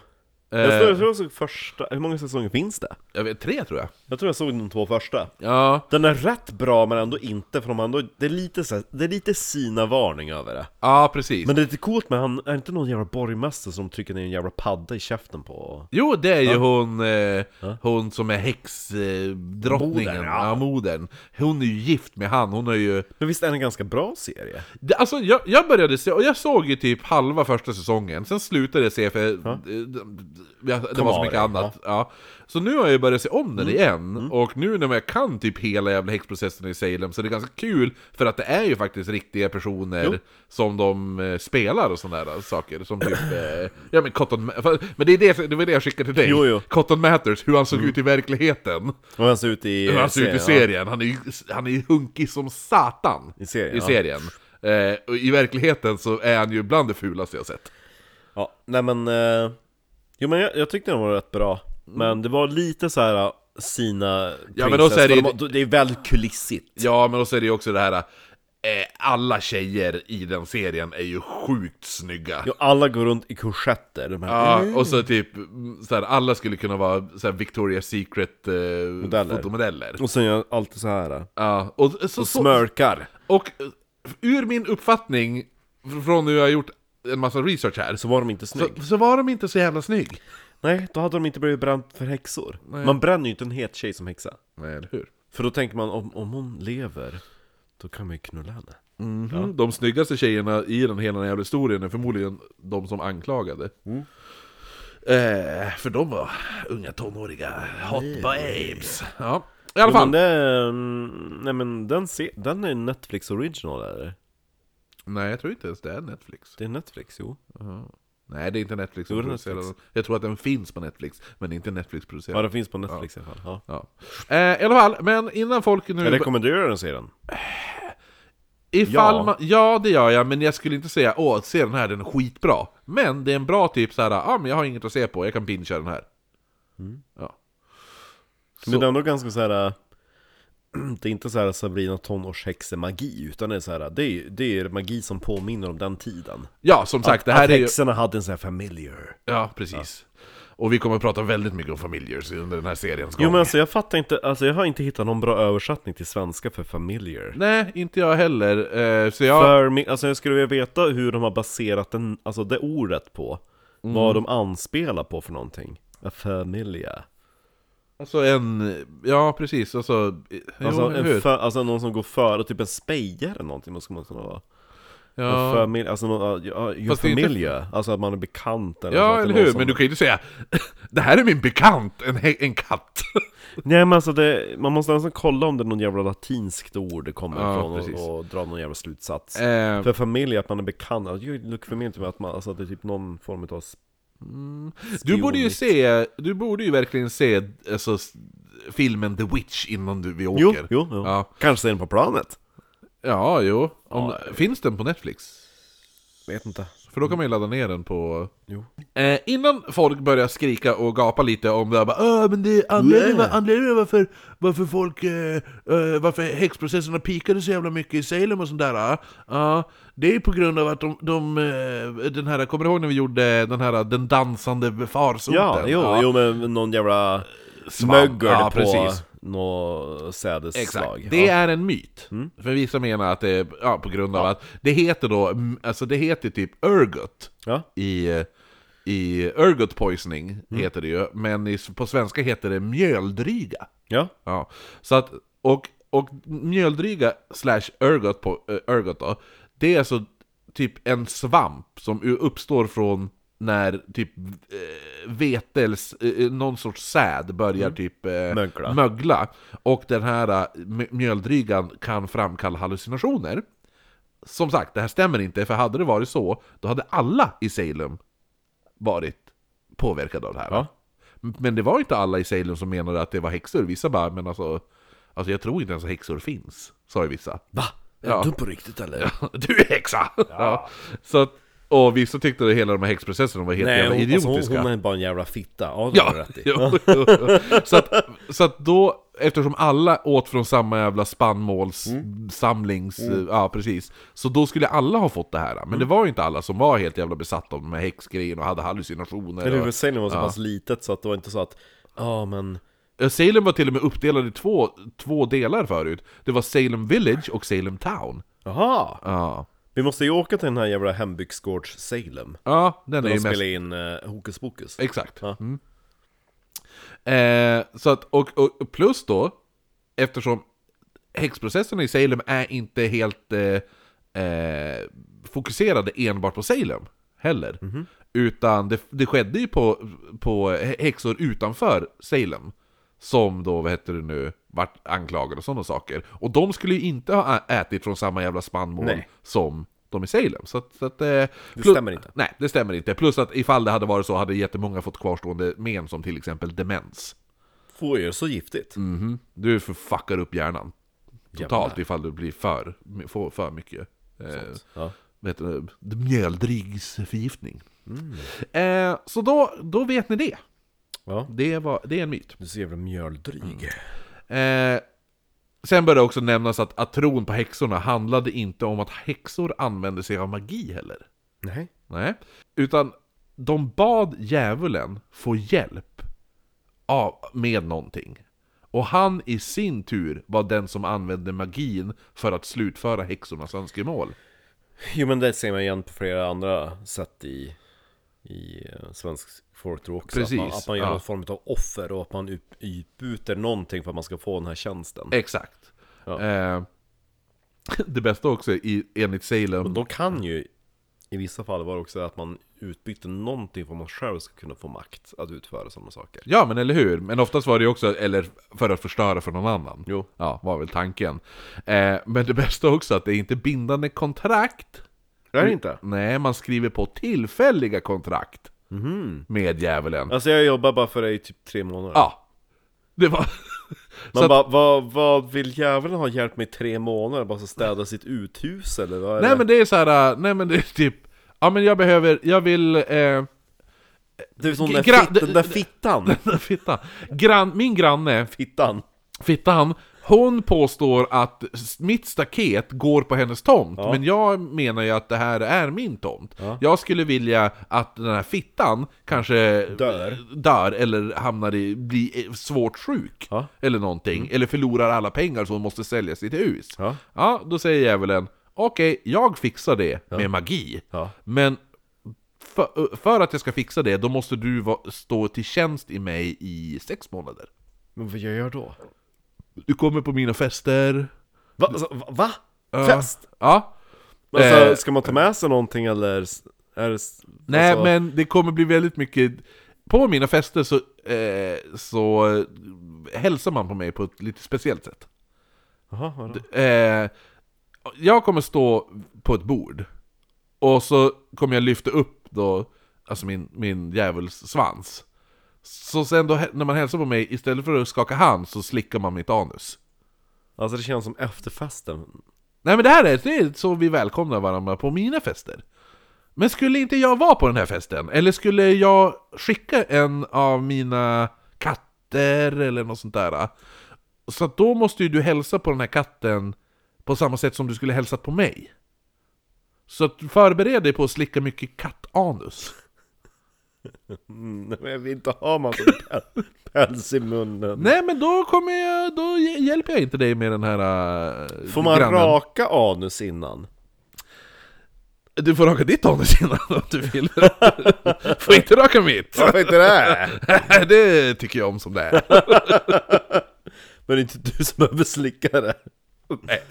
[SPEAKER 1] Jag tror jag,
[SPEAKER 2] Eh,
[SPEAKER 1] tror jag såg första, hur många säsonger finns det?
[SPEAKER 2] jag vet, tre tror jag.
[SPEAKER 1] Jag tror jag såg de två första
[SPEAKER 2] Ja,
[SPEAKER 1] Den är rätt bra men ändå inte för de har ändå, det är lite så här, det är lite sina varning över det
[SPEAKER 2] ja precis.
[SPEAKER 1] Men det är lite coolt med han, är inte någon jävla borgmästare som trycker ner en jävla padda i käften på?
[SPEAKER 2] Jo, det är ju hon, eh, hon som är häxdrottningen, eh, drottningen.
[SPEAKER 1] Modern, ja.
[SPEAKER 2] ja. modern. Hon är ju gift med han, hon är ju...
[SPEAKER 1] Men visst är det en ganska bra serie?
[SPEAKER 2] Det, alltså jag, jag började se, och jag såg ju typ halva första säsongen, sen slutade jag se för eh, det, det- det var så mycket
[SPEAKER 1] Kommare,
[SPEAKER 2] annat. Ja. Så nu har jag ju börjat se om
[SPEAKER 1] Mm.
[SPEAKER 2] den igen, och nu när jag kan typ hela jävla häxprocessen i Salem så det är ganska kul, för att det är ju faktiskt riktiga personer
[SPEAKER 1] Jo.
[SPEAKER 2] som de eh, spelar och sådana där saker. Som typ, eh, ja men Cotton Ma- fan, Men det, är det, det var det jag skickade till dig,
[SPEAKER 1] Jo, jo.
[SPEAKER 2] Cotton Matters, hur han såg ut i verkligheten.
[SPEAKER 1] Och han ser ut i
[SPEAKER 2] Hur han ser ut i
[SPEAKER 1] ja.
[SPEAKER 2] serien, han är ju han är ju hunkig som satan
[SPEAKER 1] I serien,
[SPEAKER 2] I,
[SPEAKER 1] ja.
[SPEAKER 2] serien. Eh, och I verkligheten så är han ju bland det fulaste jag sett
[SPEAKER 1] Ja, nej men... Eh, jo men jag, jag tyckte den var rätt bra. Men det var lite så här ah, sina
[SPEAKER 2] Ja, men då så är det ju-
[SPEAKER 1] prinsess- de- det är väldigt kulissigt.
[SPEAKER 2] Ja, men också är det ju också det här eh, Alla tjejer i den serien är ju sjukt snygga
[SPEAKER 1] Ja, alla går runt i korsetter. De här,
[SPEAKER 2] Ja, och så typ mm, så här, alla skulle kunna vara så här Victoria's Secret eh,
[SPEAKER 1] Modeller.
[SPEAKER 2] fotomodeller
[SPEAKER 1] Och sen gör jag alltid så här. ah,
[SPEAKER 2] Ja, och, så,
[SPEAKER 1] Och
[SPEAKER 2] så-
[SPEAKER 1] smörkar.
[SPEAKER 2] och eh, ur min uppfattning Från nu jag har gjort en massa research här
[SPEAKER 1] Så var de inte snygg.
[SPEAKER 2] så, så var de inte så jävla snygg
[SPEAKER 1] Nej, då hade de inte blivit bränt för häxor. Man bränner ju inte en het tjej som häxa.
[SPEAKER 2] Nej, eller hur?
[SPEAKER 1] För då tänker man om, om hon lever, då kan man ju knulla henne.
[SPEAKER 2] Mhm. De snyggaste tjejerna i den hela den jävla historien är förmodligen de som anklagade.
[SPEAKER 1] Mm.
[SPEAKER 2] Eh, för de var unga tonåriga hot babes. Ja. I alla
[SPEAKER 1] Jo, men
[SPEAKER 2] fall.
[SPEAKER 1] det, är, mm, nej men den, se, den är Netflix original eller?
[SPEAKER 2] Nej, jag tror inte ens det är Netflix.
[SPEAKER 1] Det är Netflix, jo.
[SPEAKER 2] Nej, det är inte Netflix som
[SPEAKER 1] Jo, det är
[SPEAKER 2] producerar
[SPEAKER 1] Netflix.
[SPEAKER 2] den. Jag tror att den finns på Netflix, men det är inte Netflix
[SPEAKER 1] Ja, Mm.
[SPEAKER 2] producerad.
[SPEAKER 1] den finns på Netflix i alla fall. Ja.
[SPEAKER 2] Ja. Eh, I alla fall, men innan folk nu...
[SPEAKER 1] Jag rekommenderar den serien.
[SPEAKER 2] Ifall
[SPEAKER 1] Ja.
[SPEAKER 2] ja. Man, ja, det gör jag, men jag skulle inte säga åh, se den här, den är skitbra. Men det är en bra typ så här, ah, men jag har inget att se på, jag kan bingea den här.
[SPEAKER 1] Mm.
[SPEAKER 2] Ja.
[SPEAKER 1] Men det är ändå ganska så här. äh, *clears throat* Det är inte så här Sabrina tonårshäxemagi, utan det är så här. Det är, det är magi som påminner om den tiden.
[SPEAKER 2] Ja, som sagt, det här
[SPEAKER 1] att
[SPEAKER 2] är ju...
[SPEAKER 1] häxorna hade en sån här familiar.
[SPEAKER 2] Ja, precis. Och vi kommer att prata väldigt mycket om familjer under den här seriens gång.
[SPEAKER 1] Jo men alltså jag fattar inte, alltså jag har inte hittat någon bra översättning till svenska för familjer.
[SPEAKER 2] Nej, inte jag heller. Eh, Så jag...
[SPEAKER 1] För min, alltså jag skulle vilja veta hur de har baserat den, alltså det ordet på.
[SPEAKER 2] Mm.
[SPEAKER 1] Vad de anspelar på för någonting. A familia.
[SPEAKER 2] Alltså en... Ja, precis. Alltså... eh,
[SPEAKER 1] Alltså,
[SPEAKER 2] jo,
[SPEAKER 1] en
[SPEAKER 2] hur?
[SPEAKER 1] för, alltså någon som går före, typ en spejare eller någonting måste man kunna vara. Ja.
[SPEAKER 2] Ja,
[SPEAKER 1] Familj, alltså någon, ja, your
[SPEAKER 2] Fast det är inte-
[SPEAKER 1] familj alltså att man är bekant eller så,
[SPEAKER 2] ja
[SPEAKER 1] alltså, att det
[SPEAKER 2] eller
[SPEAKER 1] är någon
[SPEAKER 2] hur?
[SPEAKER 1] som-
[SPEAKER 2] Men du kan ju inte säga *laughs* Det här är min bekant, en, hä- en katt.
[SPEAKER 1] Nej men alltså det, man måste nästan kolla om det är någon jävla latinskt ord det kommer
[SPEAKER 2] Ja,
[SPEAKER 1] ifrån
[SPEAKER 2] precis.
[SPEAKER 1] och, och dra någon jävla slutsats
[SPEAKER 2] Eh,
[SPEAKER 1] *laughs* För familj, att man är bekant, alltså, you look familiar to me, att man, alltså att det är typ någon form av s-
[SPEAKER 2] Mm. du borde ju
[SPEAKER 1] spionigt.
[SPEAKER 2] se... Du borde ju verkligen se alltså, s- filmen The Witch innan du, vi åker.
[SPEAKER 1] Jo, jo, jo.
[SPEAKER 2] Ja,
[SPEAKER 1] Kanske ser den på planet?
[SPEAKER 2] ja jo. Om,
[SPEAKER 1] Ja,
[SPEAKER 2] finns den på Netflix?
[SPEAKER 1] Vet inte
[SPEAKER 2] För då kan man ju ladda ner den på...
[SPEAKER 1] Jo.
[SPEAKER 2] Eh, innan folk börjar skrika och gapa lite om det här bara "Åh, men det är anledningen,
[SPEAKER 1] Yeah.
[SPEAKER 2] anledningen varför, varför folk... Eh, eh, varför häxprocesserna pikade så jävla mycket i Salem och sånt där. ah. Ja, det är ju på grund av att de... de eh, den här, kommer du ihåg när vi gjorde den här Den dansande farsoten?
[SPEAKER 1] Ja, jo,
[SPEAKER 2] Ja,
[SPEAKER 1] jo men någon jävla
[SPEAKER 2] Svamp.
[SPEAKER 1] mögel
[SPEAKER 2] Ja,
[SPEAKER 1] på
[SPEAKER 2] precis.
[SPEAKER 1] något
[SPEAKER 2] Exakt.
[SPEAKER 1] sädesslag
[SPEAKER 2] Det
[SPEAKER 1] ja. Mm.
[SPEAKER 2] är en myt. För vissa menar att det är ja, på grund av att det heter då, mm, alltså det heter typ Urgot.
[SPEAKER 1] Ja.
[SPEAKER 2] i, i Ergot Poisoning heter det ju, men i, på svenska heter det mjöldryga.
[SPEAKER 1] ja,
[SPEAKER 2] Ja. Så att, och, och mjöldryga slash ergot, po, eh, ergot då, det är alltså typ en svamp som u- uppstår från när typ eh, vete eller s- eh, eh, någon sorts säd börjar typ eh,
[SPEAKER 1] Mm. Mögla.
[SPEAKER 2] mögla. Och den här eh, mj- mjöldrygan kan framkalla hallucinationer. Som sagt, det här stämmer inte, för hade det varit så, då hade alla i Salem varit påverkade av det här.
[SPEAKER 1] Ja.
[SPEAKER 2] Men det var inte alla i Salem som menade att det var häxor. Vissa bara, men alltså, alltså jag tror inte ens att häxor finns, sa ju vissa. *laughs*
[SPEAKER 1] Va?
[SPEAKER 2] Ja.
[SPEAKER 1] Är du på riktigt eller?
[SPEAKER 2] Du är häxa! Ja. Så att, och vissa tyckte att hela de här häxprocesserna var helt
[SPEAKER 1] Nej,
[SPEAKER 2] jävla
[SPEAKER 1] hon, alltså,
[SPEAKER 2] idiotiska. *laughs*
[SPEAKER 1] hon, hon är bara en jävla fitta, ja det
[SPEAKER 2] Ja,
[SPEAKER 1] har *laughs* du rätt i
[SPEAKER 2] jo, jo, jo. så, att, så att då Eftersom alla åt från samma jävla spannmålssamlings...
[SPEAKER 1] Mm.
[SPEAKER 2] Ja, precis. Så då skulle alla ha fått det här. Men det var ju inte alla som var helt jävla besatta av de här häxgrejerna och hade hallucinationer.
[SPEAKER 1] Eller
[SPEAKER 2] och-
[SPEAKER 1] hur, Salem var så pass litet så att det var inte så att Ja men,
[SPEAKER 2] Ja, Eh, Salem var till och med uppdelad i två, två delar förut. Det var Salem Village och Salem Town.
[SPEAKER 1] jaha!
[SPEAKER 2] Ja,
[SPEAKER 1] Vi måste ju åka till den här jävla hembygdsgårds Salem
[SPEAKER 2] ja den
[SPEAKER 1] Där
[SPEAKER 2] är
[SPEAKER 1] de
[SPEAKER 2] ju mest...
[SPEAKER 1] spelar in eh, Hokus Pokus
[SPEAKER 2] Exakt.
[SPEAKER 1] Ja.
[SPEAKER 2] Mm. Eh, så att, och, och plus då, eftersom häxprocesserna i Salem är inte helt eh, eh, fokuserade enbart på Salem heller.
[SPEAKER 1] Mhm.
[SPEAKER 2] Utan det, det skedde ju på, på häxor utanför Salem. Som då, vad heter det nu, vart anklagade och sådana saker. Och de skulle ju inte ha ä- ätit från samma jävla spannmål
[SPEAKER 1] Nej.
[SPEAKER 2] som de i Salem. Så att, så att, eh, det
[SPEAKER 1] stämmer inte.
[SPEAKER 2] Nej, det stämmer inte. Plus att ifall det hade varit så hade jättemånga fått kvarstående men som till exempel demens.
[SPEAKER 1] Får ju så giftigt
[SPEAKER 2] Mm. Du för- fuckar upp hjärnan. Totalt
[SPEAKER 1] Jävlar.
[SPEAKER 2] ifall du blir för, får för mycket. Eh,
[SPEAKER 1] ja.
[SPEAKER 2] vad heter det? Mjöldrigsförgiftning. Eh, så då, då vet ni det.
[SPEAKER 1] ja,
[SPEAKER 2] Det, var, det är en myt.
[SPEAKER 1] du är så jävla mjöldryg
[SPEAKER 2] Eh, sen bör det också nämnas att, att tron på häxorna handlade inte om att häxor använde sig av magi heller.
[SPEAKER 1] Nej
[SPEAKER 2] Nej. Utan de bad djävulen få hjälp av, med någonting. Och han i sin tur var den som använde magin för att slutföra häxornas önskemål.
[SPEAKER 1] Jo men det ser man igen på flera andra sätt i, i eh, svensk folktro också att man,
[SPEAKER 2] Precis,
[SPEAKER 1] att man gör
[SPEAKER 2] ja.
[SPEAKER 1] någon form av offer och att man ut- utbyter någonting för att man ska få den här tjänsten
[SPEAKER 2] Exakt.
[SPEAKER 1] Ja.
[SPEAKER 2] Eh, *laughs* det bästa också i, enligt Salem...
[SPEAKER 1] De kan ju i vissa fall vara också att man utbytte någonting för att man själv ska kunna få makt att utföra sådana saker.
[SPEAKER 2] Ja, men eller hur? Men oftast var det ju också, eller för att förstöra för någon annan.
[SPEAKER 1] Jo.
[SPEAKER 2] Ja, var väl tanken. Eh, men det bästa också att det är inte bindande kontrakt.
[SPEAKER 1] Det är det inte?
[SPEAKER 2] Nej, man skriver på tillfälliga kontrakt med djävulen.
[SPEAKER 1] Alltså jag jobbar bara för dig i typ tre månader.
[SPEAKER 2] Ja, det var...
[SPEAKER 1] Man
[SPEAKER 2] så att,
[SPEAKER 1] bara, vad, vad vill djävulen ha hjälp med i tre månader? Bara så städa sitt uthus eller vad är
[SPEAKER 2] nej
[SPEAKER 1] det?
[SPEAKER 2] men det är så här, äh, nej men det är typ, ja men jag behöver, jag vill, eh, *clears throat*
[SPEAKER 1] Det är som den där,
[SPEAKER 2] Gra-
[SPEAKER 1] fit, den
[SPEAKER 2] *laughs*
[SPEAKER 1] där fittan!
[SPEAKER 2] fitta, Gran, min granne,
[SPEAKER 1] Fittan!
[SPEAKER 2] fittan, hon påstår att s- mitt staket går på hennes tomt, men jag menar ju att det här är min tomt. Jag skulle vilja att den här fittan kanske
[SPEAKER 1] Dör.
[SPEAKER 2] dör eller hamnar i, blir eh, svårt sjuk.
[SPEAKER 1] Ja. Mm.
[SPEAKER 2] Eller någonting, eller förlorar alla pengar så hon måste sälja sitt hus.
[SPEAKER 1] Ja.
[SPEAKER 2] Ja, då säger djävulen Okej, jag fixar det med magi.
[SPEAKER 1] Ja.
[SPEAKER 2] Men för, för att jag ska fixa det, då måste du va, stå till tjänst i mig i sex månader.
[SPEAKER 1] Men vad gör jag då?
[SPEAKER 2] Du kommer på mina fester.
[SPEAKER 1] Va? Alltså, va? va?
[SPEAKER 2] Ja.
[SPEAKER 1] Fest?
[SPEAKER 2] Ja.
[SPEAKER 1] Alltså,
[SPEAKER 2] Eh.
[SPEAKER 1] ska man ta med sig någonting eller? s- Är det, s-
[SPEAKER 2] Nej,
[SPEAKER 1] alltså,
[SPEAKER 2] men det kommer bli väldigt mycket... På mina fester så, eh, så eh, hälsar man på mig på ett lite speciellt sätt.
[SPEAKER 1] Jaha, vadå?
[SPEAKER 2] Eh, jag kommer stå på ett bord. Och så kommer jag lyfta upp då, alltså min, min djävulssvans. Så sen då, när man hälsar på mig, istället för att skaka hand så slickar man mitt anus.
[SPEAKER 1] Alltså det känns som efterfesten.
[SPEAKER 2] Nej men det här är, det är så vi välkomnar varandra på mina fester. Men skulle inte jag vara på den här festen? Eller skulle jag skicka en av mina katter eller något sånt där? Så att då måste ju du hälsa på den här katten på samma sätt som du skulle hälsat på mig. Så att förbered dig på att slicka mycket kattanus.
[SPEAKER 1] Mm, Nej, men jag vill inte ha massa päl- päls i munnen.
[SPEAKER 2] Nej men då kommer jag, då hj- hjälper jag inte dig med den här äh,
[SPEAKER 1] Får man
[SPEAKER 2] grannen.
[SPEAKER 1] raka anus innan?
[SPEAKER 2] Du får raka ditt anus innan om du vill. *laughs* får inte raka mitt.
[SPEAKER 1] Varför inte det?
[SPEAKER 2] *laughs* det tycker jag om som det är.
[SPEAKER 1] *laughs* Men det är inte du som behöver slicka det.
[SPEAKER 2] Nej,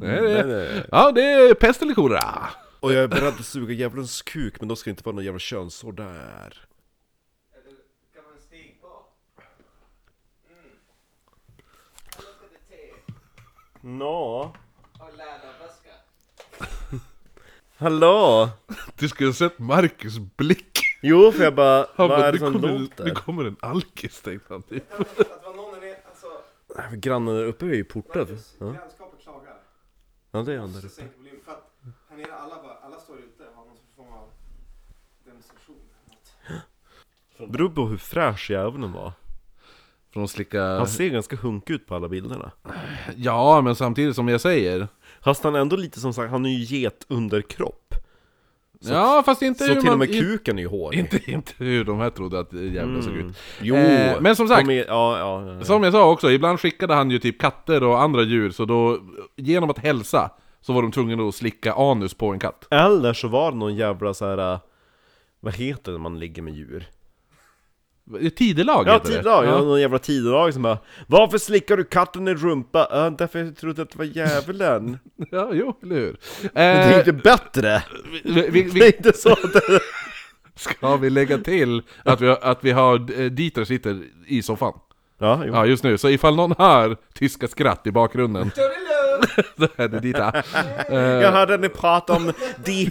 [SPEAKER 2] det-
[SPEAKER 1] nej.
[SPEAKER 2] Ja, det är pest eller kolera.
[SPEAKER 1] Och jag är beredd att suga djävulens kuk, men då ska det inte vara någon jävla könshår där.
[SPEAKER 4] Look at the tail.
[SPEAKER 1] Nå?
[SPEAKER 4] Oh, Lala Vasca.
[SPEAKER 1] Hallå?
[SPEAKER 2] Du skulle ha sett Marcus blick.
[SPEAKER 1] Jo, för jag bara,
[SPEAKER 2] Han
[SPEAKER 1] vad
[SPEAKER 2] bara,
[SPEAKER 1] är
[SPEAKER 2] nu,
[SPEAKER 1] det som
[SPEAKER 2] kommer,
[SPEAKER 1] låter?
[SPEAKER 2] nu kommer en alkis, tänkte han typ.
[SPEAKER 4] Att var någon är alltså,
[SPEAKER 1] Nej, för Äh, Grannen där uppe är ju portad. Ja,
[SPEAKER 4] grannskapet klagar.
[SPEAKER 1] ja det är han där
[SPEAKER 4] Så
[SPEAKER 1] uppe.
[SPEAKER 4] sänker volymen. För att här nere alla, bara, alla står ute och har någon form av demonstration. eller något.
[SPEAKER 1] Beror på hur fräsch djävulen var.
[SPEAKER 2] För de slickar...
[SPEAKER 1] Han ser ganska hunk ut på alla bilderna.
[SPEAKER 2] Ja, men samtidigt som jag säger.
[SPEAKER 1] Fast han är ändå lite som sagt, han är ju getunderkropp.
[SPEAKER 2] ja, fast inte
[SPEAKER 1] Så
[SPEAKER 2] hur
[SPEAKER 1] till
[SPEAKER 2] man...
[SPEAKER 1] och med kuken är ju
[SPEAKER 2] *laughs*
[SPEAKER 1] hårig.
[SPEAKER 2] Inte, inte hur de här trodde att jävlar såg ut.
[SPEAKER 1] Mm. Jo,
[SPEAKER 2] Eh, men som sagt-
[SPEAKER 1] de är, ja, ja, ja.
[SPEAKER 2] Som jag sa också, ibland skickade han ju typ katter och andra djur, så då... Genom att hälsa så var de tvungna att slicka anus på en katt.
[SPEAKER 1] Eller så var det någon jävla så här. äh, vad heter det när man ligger med djur?
[SPEAKER 2] Tidelag
[SPEAKER 1] Ja,
[SPEAKER 2] heter det.
[SPEAKER 1] tidelag, ja. någon jävla tidelag som bara Varför slickar du katten i rumpa? "Ja, därför jag trodde att det var djävulen
[SPEAKER 2] Ja, jo, eller hur?
[SPEAKER 1] *laughs* Det är
[SPEAKER 2] Eh,
[SPEAKER 1] inte bättre!
[SPEAKER 2] vi, vi,
[SPEAKER 1] Det
[SPEAKER 2] vi,
[SPEAKER 1] är inte så att det...
[SPEAKER 2] ska vi lägga till att vi har, att vi har eh, Dieter sitter i soffan?
[SPEAKER 1] *laughs* Ja, jo.
[SPEAKER 2] Ja, just nu. Så ifall någon hör tyska skratt i bakgrunden, *laughs* så är det
[SPEAKER 1] *laughs*
[SPEAKER 2] Dita.
[SPEAKER 1] Jag hörde ni prata om Die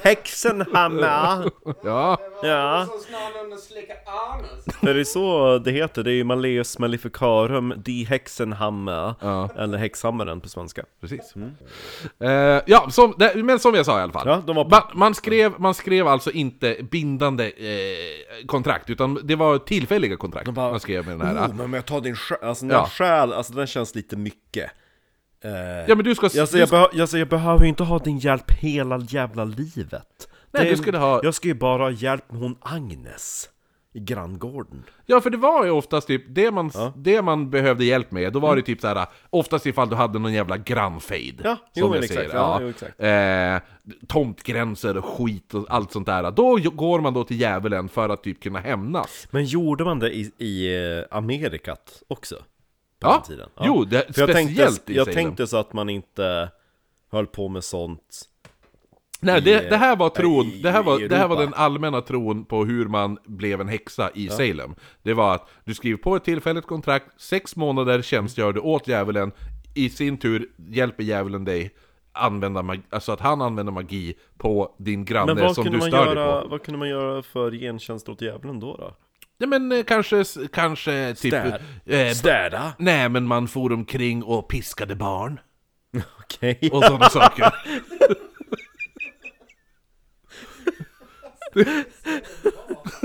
[SPEAKER 1] Hexenhammer
[SPEAKER 2] Ja,
[SPEAKER 1] *laughs* Ja,
[SPEAKER 4] Som snarare slickar anus.
[SPEAKER 1] för det är så det heter, det är ju Malleus Maleficarum Die Hexenhammer
[SPEAKER 2] Ja.
[SPEAKER 1] Eller Häxhammaren på svenska
[SPEAKER 2] precis. Eh, ja, som, det, men som jag sa i alla fall.
[SPEAKER 1] Ja, de var på-
[SPEAKER 2] man, man, skrev, man skrev alltså inte bindande eh, kontrakt, utan det var tillfälliga kontrakt man skrev med den här.
[SPEAKER 1] oh, men om jag tar din själ, alltså den
[SPEAKER 2] Ja.
[SPEAKER 1] här själ, alltså den känns lite mycket
[SPEAKER 2] ja, men du ska...
[SPEAKER 1] Alltså,
[SPEAKER 2] du
[SPEAKER 1] jag,
[SPEAKER 2] ska
[SPEAKER 1] behö- alltså, jag behöver ju inte ha din hjälp hela jävla livet.
[SPEAKER 2] Nej,
[SPEAKER 1] Det-
[SPEAKER 2] du skulle ha-
[SPEAKER 1] Jag ska ju bara ha hjälp med hon Agnes i granngården.
[SPEAKER 2] ja, för det var ju oftast typ det man, det man behövde hjälp med, då var det typ så här oftast ifall du hade någon jävla grannfejd.
[SPEAKER 1] Mm. Ja, jo, men exakt, ja, jo, exakt.
[SPEAKER 2] Eh, tomtgränser och skit och allt sånt där. Då j- går man då till djävulen för att typ kunna hämnas.
[SPEAKER 1] Men gjorde man det i, i eh, Amerikat också? På
[SPEAKER 2] Ja.
[SPEAKER 1] den tiden?
[SPEAKER 2] Jo, det-
[SPEAKER 1] För jag
[SPEAKER 2] speciellt
[SPEAKER 1] tänkte,
[SPEAKER 2] i
[SPEAKER 1] Jag
[SPEAKER 2] Salem.
[SPEAKER 1] tänkte så att man inte höll på med sånt.
[SPEAKER 2] Nej, det, det här var tron,
[SPEAKER 1] i-
[SPEAKER 2] det här var,
[SPEAKER 1] i
[SPEAKER 2] det här var
[SPEAKER 1] Europa.
[SPEAKER 2] den allmänna tron på hur man blev en häxa i Salem. Det var att du skriver på ett tillfälligt kontrakt, sex månader tjänstgör du åt djävulen, i sin tur hjälper djävulen dig använda magi, alltså att han använder magi på din
[SPEAKER 1] Men
[SPEAKER 2] granne
[SPEAKER 1] vad
[SPEAKER 2] som
[SPEAKER 1] kunde,
[SPEAKER 2] du
[SPEAKER 1] man
[SPEAKER 2] stör dig på.
[SPEAKER 1] göra, vad kunde man göra för gentjänst åt djävulen då? då?
[SPEAKER 2] Ja men eh, kanske, kanske typ...
[SPEAKER 1] Städ.
[SPEAKER 2] eh,
[SPEAKER 1] Städa?
[SPEAKER 2] Nej, men man for omkring och piskade barn
[SPEAKER 1] Okej. *laughs*
[SPEAKER 2] och sådana saker.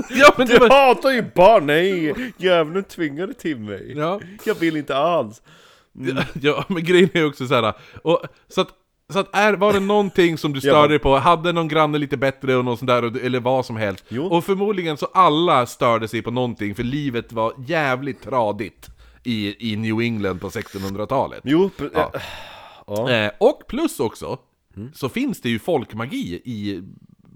[SPEAKER 2] ja, men det
[SPEAKER 1] Du
[SPEAKER 2] var...
[SPEAKER 1] hatar ju barn! Nej! Djävulen tvingade till mig.
[SPEAKER 2] Ja.
[SPEAKER 1] Jag vill inte alls.
[SPEAKER 2] ja, men grejen är ju också så här. Och, så att, så att är, var det någonting som du
[SPEAKER 1] Ja.
[SPEAKER 2] störde dig på? Hade någon granne lite bättre och något sånt där, och du- eller vad som helst?
[SPEAKER 1] Jo.
[SPEAKER 2] Och förmodligen så alla störde sig på någonting, för livet var jävligt tradigt i, i New England på 1600-talet.
[SPEAKER 1] Jo, pre-
[SPEAKER 2] Ja.
[SPEAKER 1] Ja. Mm.
[SPEAKER 2] Eh, och plus också, så finns det ju folkmagi i,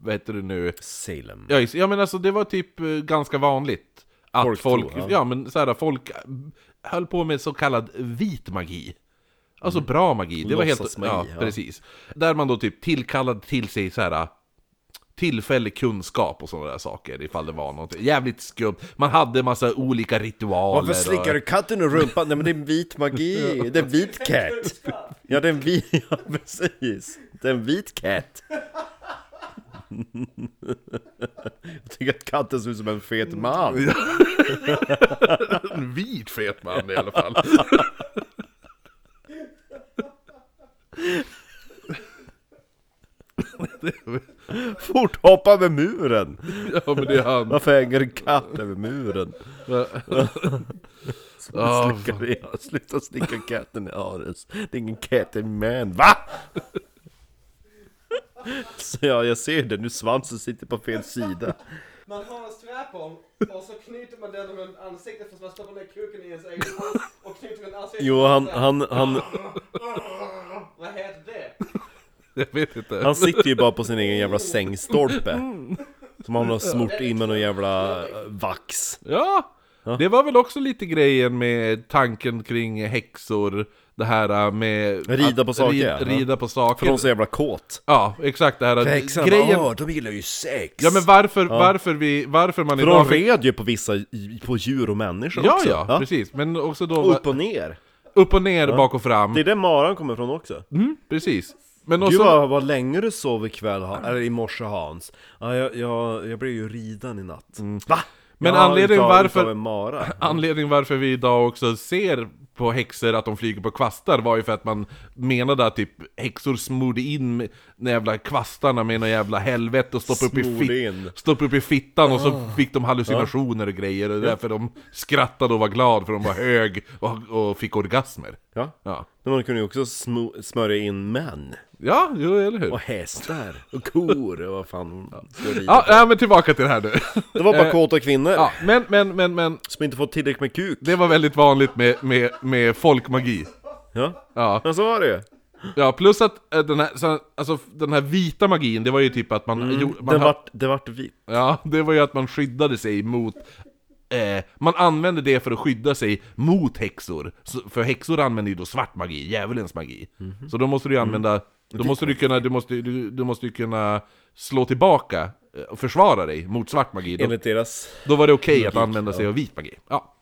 [SPEAKER 2] vad heter det nu?
[SPEAKER 1] Salem.
[SPEAKER 2] Ja, is- ja men alltså det var typ eh, ganska vanligt att folk,
[SPEAKER 1] Folktro,
[SPEAKER 2] ja.
[SPEAKER 1] ja.
[SPEAKER 2] men så här, folk eh, höll på med så kallad vit magi. Alltså bra magi, det var helt...
[SPEAKER 1] Låtsasmagi,
[SPEAKER 2] Ja,
[SPEAKER 1] ja.
[SPEAKER 2] precis. Där man då typ tillkallade till sig så här tillfällig kunskap och sådana där saker ifall det var något jävligt skumt. Man hade massa olika ritualer.
[SPEAKER 1] Varför slickar du katten i rumpan? Nej men det är en
[SPEAKER 2] *laughs*
[SPEAKER 1] vit magi, det är en vit cat! Ja det är en vit, *laughs* ja precis! Det är en vit cat! *laughs* Jag tycker att katten ser ut som en fet man!
[SPEAKER 2] och... En vit fet man i alla fall.
[SPEAKER 1] Fort hoppa över muren!
[SPEAKER 2] *laughs* ja men det är han.
[SPEAKER 1] Varför hänger en katt över muren?
[SPEAKER 2] Ja,
[SPEAKER 1] Slickar i, sluta slicka katten i anus! Det är ingen cat, det är en man, VA? Så ja, jag ser det nu, svansen sitter på fel sida
[SPEAKER 4] Man har en strap om och så knyter man den runt ansiktet fast man stoppar ner kuken i ens egen hals och knyter runt ansiktet.
[SPEAKER 1] Jo, han, han, han,
[SPEAKER 4] Vad heter det?
[SPEAKER 2] jag vet inte.
[SPEAKER 1] Han sitter ju bara på sin egen jävla sängstolpe Som han har smort in med någon jävla eh, vax
[SPEAKER 2] Ja, det var väl också lite grejen med tanken kring häxor. Det här äh, med...
[SPEAKER 1] Rida
[SPEAKER 2] att
[SPEAKER 1] på saker,
[SPEAKER 2] rid-
[SPEAKER 1] ja.
[SPEAKER 2] Rida på
[SPEAKER 1] För
[SPEAKER 2] saker.
[SPEAKER 1] de är så jävla kåt
[SPEAKER 2] Ja, exakt det här. att
[SPEAKER 1] Häxan,
[SPEAKER 2] grejen...
[SPEAKER 1] åh, de gillar ju sex!
[SPEAKER 2] Ja men varför, varför vi, varför man
[SPEAKER 1] För de
[SPEAKER 2] fick-
[SPEAKER 1] red ju på vissa, i- på djur och människor
[SPEAKER 2] Ja,
[SPEAKER 1] också
[SPEAKER 2] ja, precis. Men också då...
[SPEAKER 1] Upp
[SPEAKER 2] Upp och,
[SPEAKER 1] och ner
[SPEAKER 2] upp och ner, bak och fram.
[SPEAKER 1] Det är där maran kommer ifrån också
[SPEAKER 2] Mm, precis. Men också...
[SPEAKER 1] Gud vad, vad länge du sov ikväll, Han- eller i morse Hans ja, jag, jag, jag blev ju riden i natt Va?
[SPEAKER 2] Men
[SPEAKER 1] Ja,
[SPEAKER 2] anledningen
[SPEAKER 1] utav,
[SPEAKER 2] varför-
[SPEAKER 1] Utav en mara
[SPEAKER 2] Anledningen varför vi idag också ser på häxor att de flyger på kvastar var ju för att man menade att typ häxor smorde in med de jävla kvastarna med något jävla helvete och stoppade upp i,
[SPEAKER 1] Smorde
[SPEAKER 2] fit-
[SPEAKER 1] in. Ah.
[SPEAKER 2] stoppade upp i fittan och så fick de hallucinationer och grejer och det är därför de skrattade och var glad för de var hög och, och fick orgasmer.
[SPEAKER 1] Ja.
[SPEAKER 2] Ja,
[SPEAKER 1] Men man kunde ju också smo- smörja in män.
[SPEAKER 2] ja jo, eller hur?
[SPEAKER 1] Och hästar. Och kor. Och vad fan hon
[SPEAKER 2] Ja, nej, men tillbaka till det här nu. *laughs*
[SPEAKER 1] Det var bara
[SPEAKER 2] Eh,
[SPEAKER 1] kåta kvinnor.
[SPEAKER 2] Ja, men, men, men, men,
[SPEAKER 1] Som inte fått tillräckligt med kuk.
[SPEAKER 2] det var väldigt vanligt med, med, med folkmagi.
[SPEAKER 1] Ja.
[SPEAKER 2] Ja.
[SPEAKER 1] Men så var det ju.
[SPEAKER 2] Ja, plus att eh, den här, så- alltså, den här vita magin, det var ju typ att man... jo, man
[SPEAKER 1] Det
[SPEAKER 2] ha-
[SPEAKER 1] vart, det vart vit.
[SPEAKER 2] Ja, det var ju att man skyddade sig mot... Eh, man använde det för att skydda sig mot häxor. Så, för häxor använder ju då svart magi, djävulens magi. Så då måste du ju använda... Då måste du kunna, du måste, du, du måste ju kunna slå tillbaka eh, och försvara dig mot svart magi. Då,
[SPEAKER 1] Enligt deras...
[SPEAKER 2] då var det okej att använda sig av vit magi. Ja.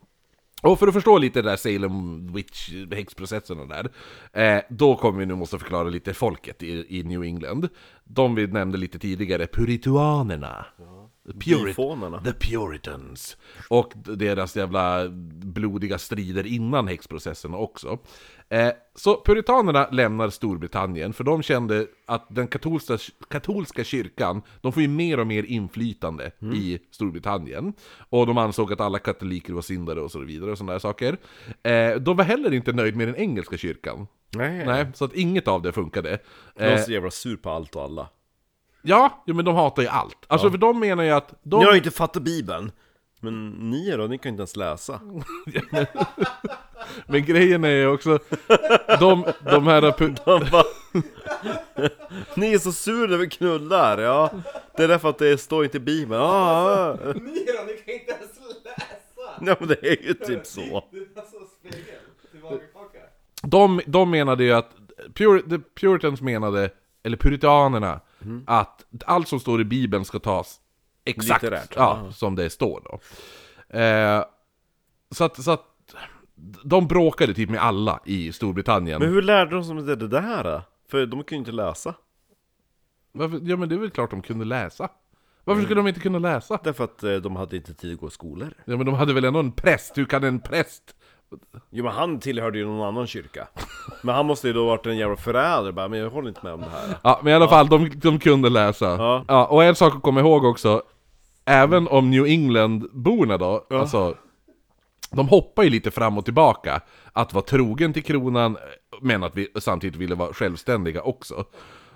[SPEAKER 2] Och för att förstå lite det där Salem Witch, häxprocessen och där, eh, då kommer vi nu måste förklara lite folket i, i New England. De vi nämnde lite tidigare, puritanerna. The Purit-
[SPEAKER 1] Byfånarna.
[SPEAKER 2] The Puritans. Och d- deras jävla blodiga strider innan häxprocessen också. Eh, så puritanerna lämnar Storbritannien, för de kände att den katolska, katolska kyrkan, de får ju mer och mer inflytande i Storbritannien. Och de ansåg att alla katoliker var syndare och så vidare och sådana där saker. Eh, de var heller inte nöjd med den engelska kyrkan.
[SPEAKER 1] Nej.
[SPEAKER 2] Nej, så att inget av det funkade.
[SPEAKER 1] De var
[SPEAKER 2] Eh,
[SPEAKER 1] så jävla sur på allt och alla.
[SPEAKER 2] ja, jo, men de hatar ju allt. Alltså för de menar ju att... De...
[SPEAKER 1] Ni har ju inte fattat Bibeln. Men ni då, ni kan ju inte ens läsa.
[SPEAKER 2] Men grejen är ju också, de, de här... pu-
[SPEAKER 1] Man bara, ni är så sur när vi knullar, ja. Det är därför att det står inte i Bibeln. Ah, ah.
[SPEAKER 4] Ni då, ni kan inte ens läsa!
[SPEAKER 1] ja, men det är ju typ så.
[SPEAKER 4] Det är alltså spegel, tillbaka tillbaka.
[SPEAKER 2] De, de menade ju att, Pur, the Puritans menade, eller Puritanerna,
[SPEAKER 1] Mm.
[SPEAKER 2] att allt som står i Bibeln ska tas exakt
[SPEAKER 1] Litterärt,
[SPEAKER 2] ja, som det står då. Eh, så att, så att de bråkade typ med alla i Storbritannien.
[SPEAKER 1] Men hur lärde de sig det det där? då? För de kunde ju inte läsa.
[SPEAKER 2] Varför, ja men det är väl klart de kunde läsa.
[SPEAKER 1] Mm.
[SPEAKER 2] Varför skulle de inte kunna läsa?
[SPEAKER 1] Därför att eh, de hade inte tid att gå i skolor.
[SPEAKER 2] Ja men de hade väl ändå en präst, hur kan en präst
[SPEAKER 1] Jo men han tillhörde ju någon annan kyrka. Men han måste ju då varit en jävla förrädare bara, men jag håller inte med om det här.
[SPEAKER 2] Ja, men i alla fall, de, de kunde läsa. Ja.
[SPEAKER 1] Ja.
[SPEAKER 2] och en sak att komma ihåg också, även om New England-borna då, alltså, de hoppar ju lite fram och tillbaka, att vara trogen till kronan, men att vi samtidigt ville vara självständiga också.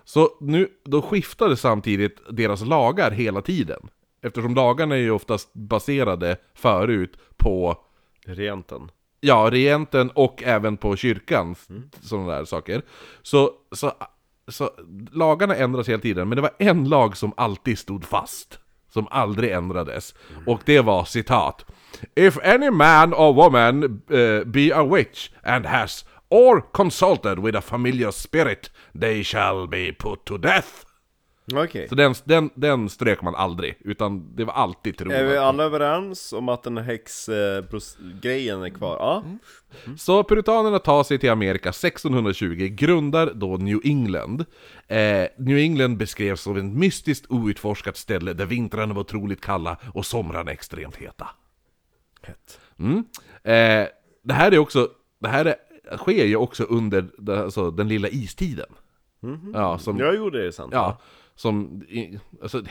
[SPEAKER 2] Så nu, då skiftade samtidigt deras lagar hela tiden. Eftersom lagarna är ju oftast baserade förut på
[SPEAKER 1] Regenten.
[SPEAKER 2] Ja, regenten och även på kyrkan,
[SPEAKER 1] Mm.
[SPEAKER 2] sådana där saker. Så, så, så lagarna ändras hela tiden, men det var en lag som alltid stod fast. Som aldrig ändrades.
[SPEAKER 1] Mm.
[SPEAKER 2] Och det var citat. If any man or woman eh, be a witch and has or consulted with a familiar spirit, they shall be put to death.
[SPEAKER 1] Okej.
[SPEAKER 2] Så den, den, den strök man aldrig, utan det var alltid
[SPEAKER 1] Är vi
[SPEAKER 2] troligt.
[SPEAKER 1] alla överens om att den här häxgrejen är kvar? Ja.
[SPEAKER 2] Så puritanerna tar sig till Amerika 1620, grundar då New England. Eh, New England beskrevs som ett mystiskt outforskat ställe där vintrarna var otroligt kalla och somrarna extremt heta.
[SPEAKER 1] Hett.
[SPEAKER 2] Mm. Eh, det här är också, det här är, sker ju också under det- alltså, den lilla istiden.
[SPEAKER 1] Mm-hmm.
[SPEAKER 2] Ja, som,
[SPEAKER 1] Jag gjorde det sant.
[SPEAKER 2] ja, som, i- alltså, det,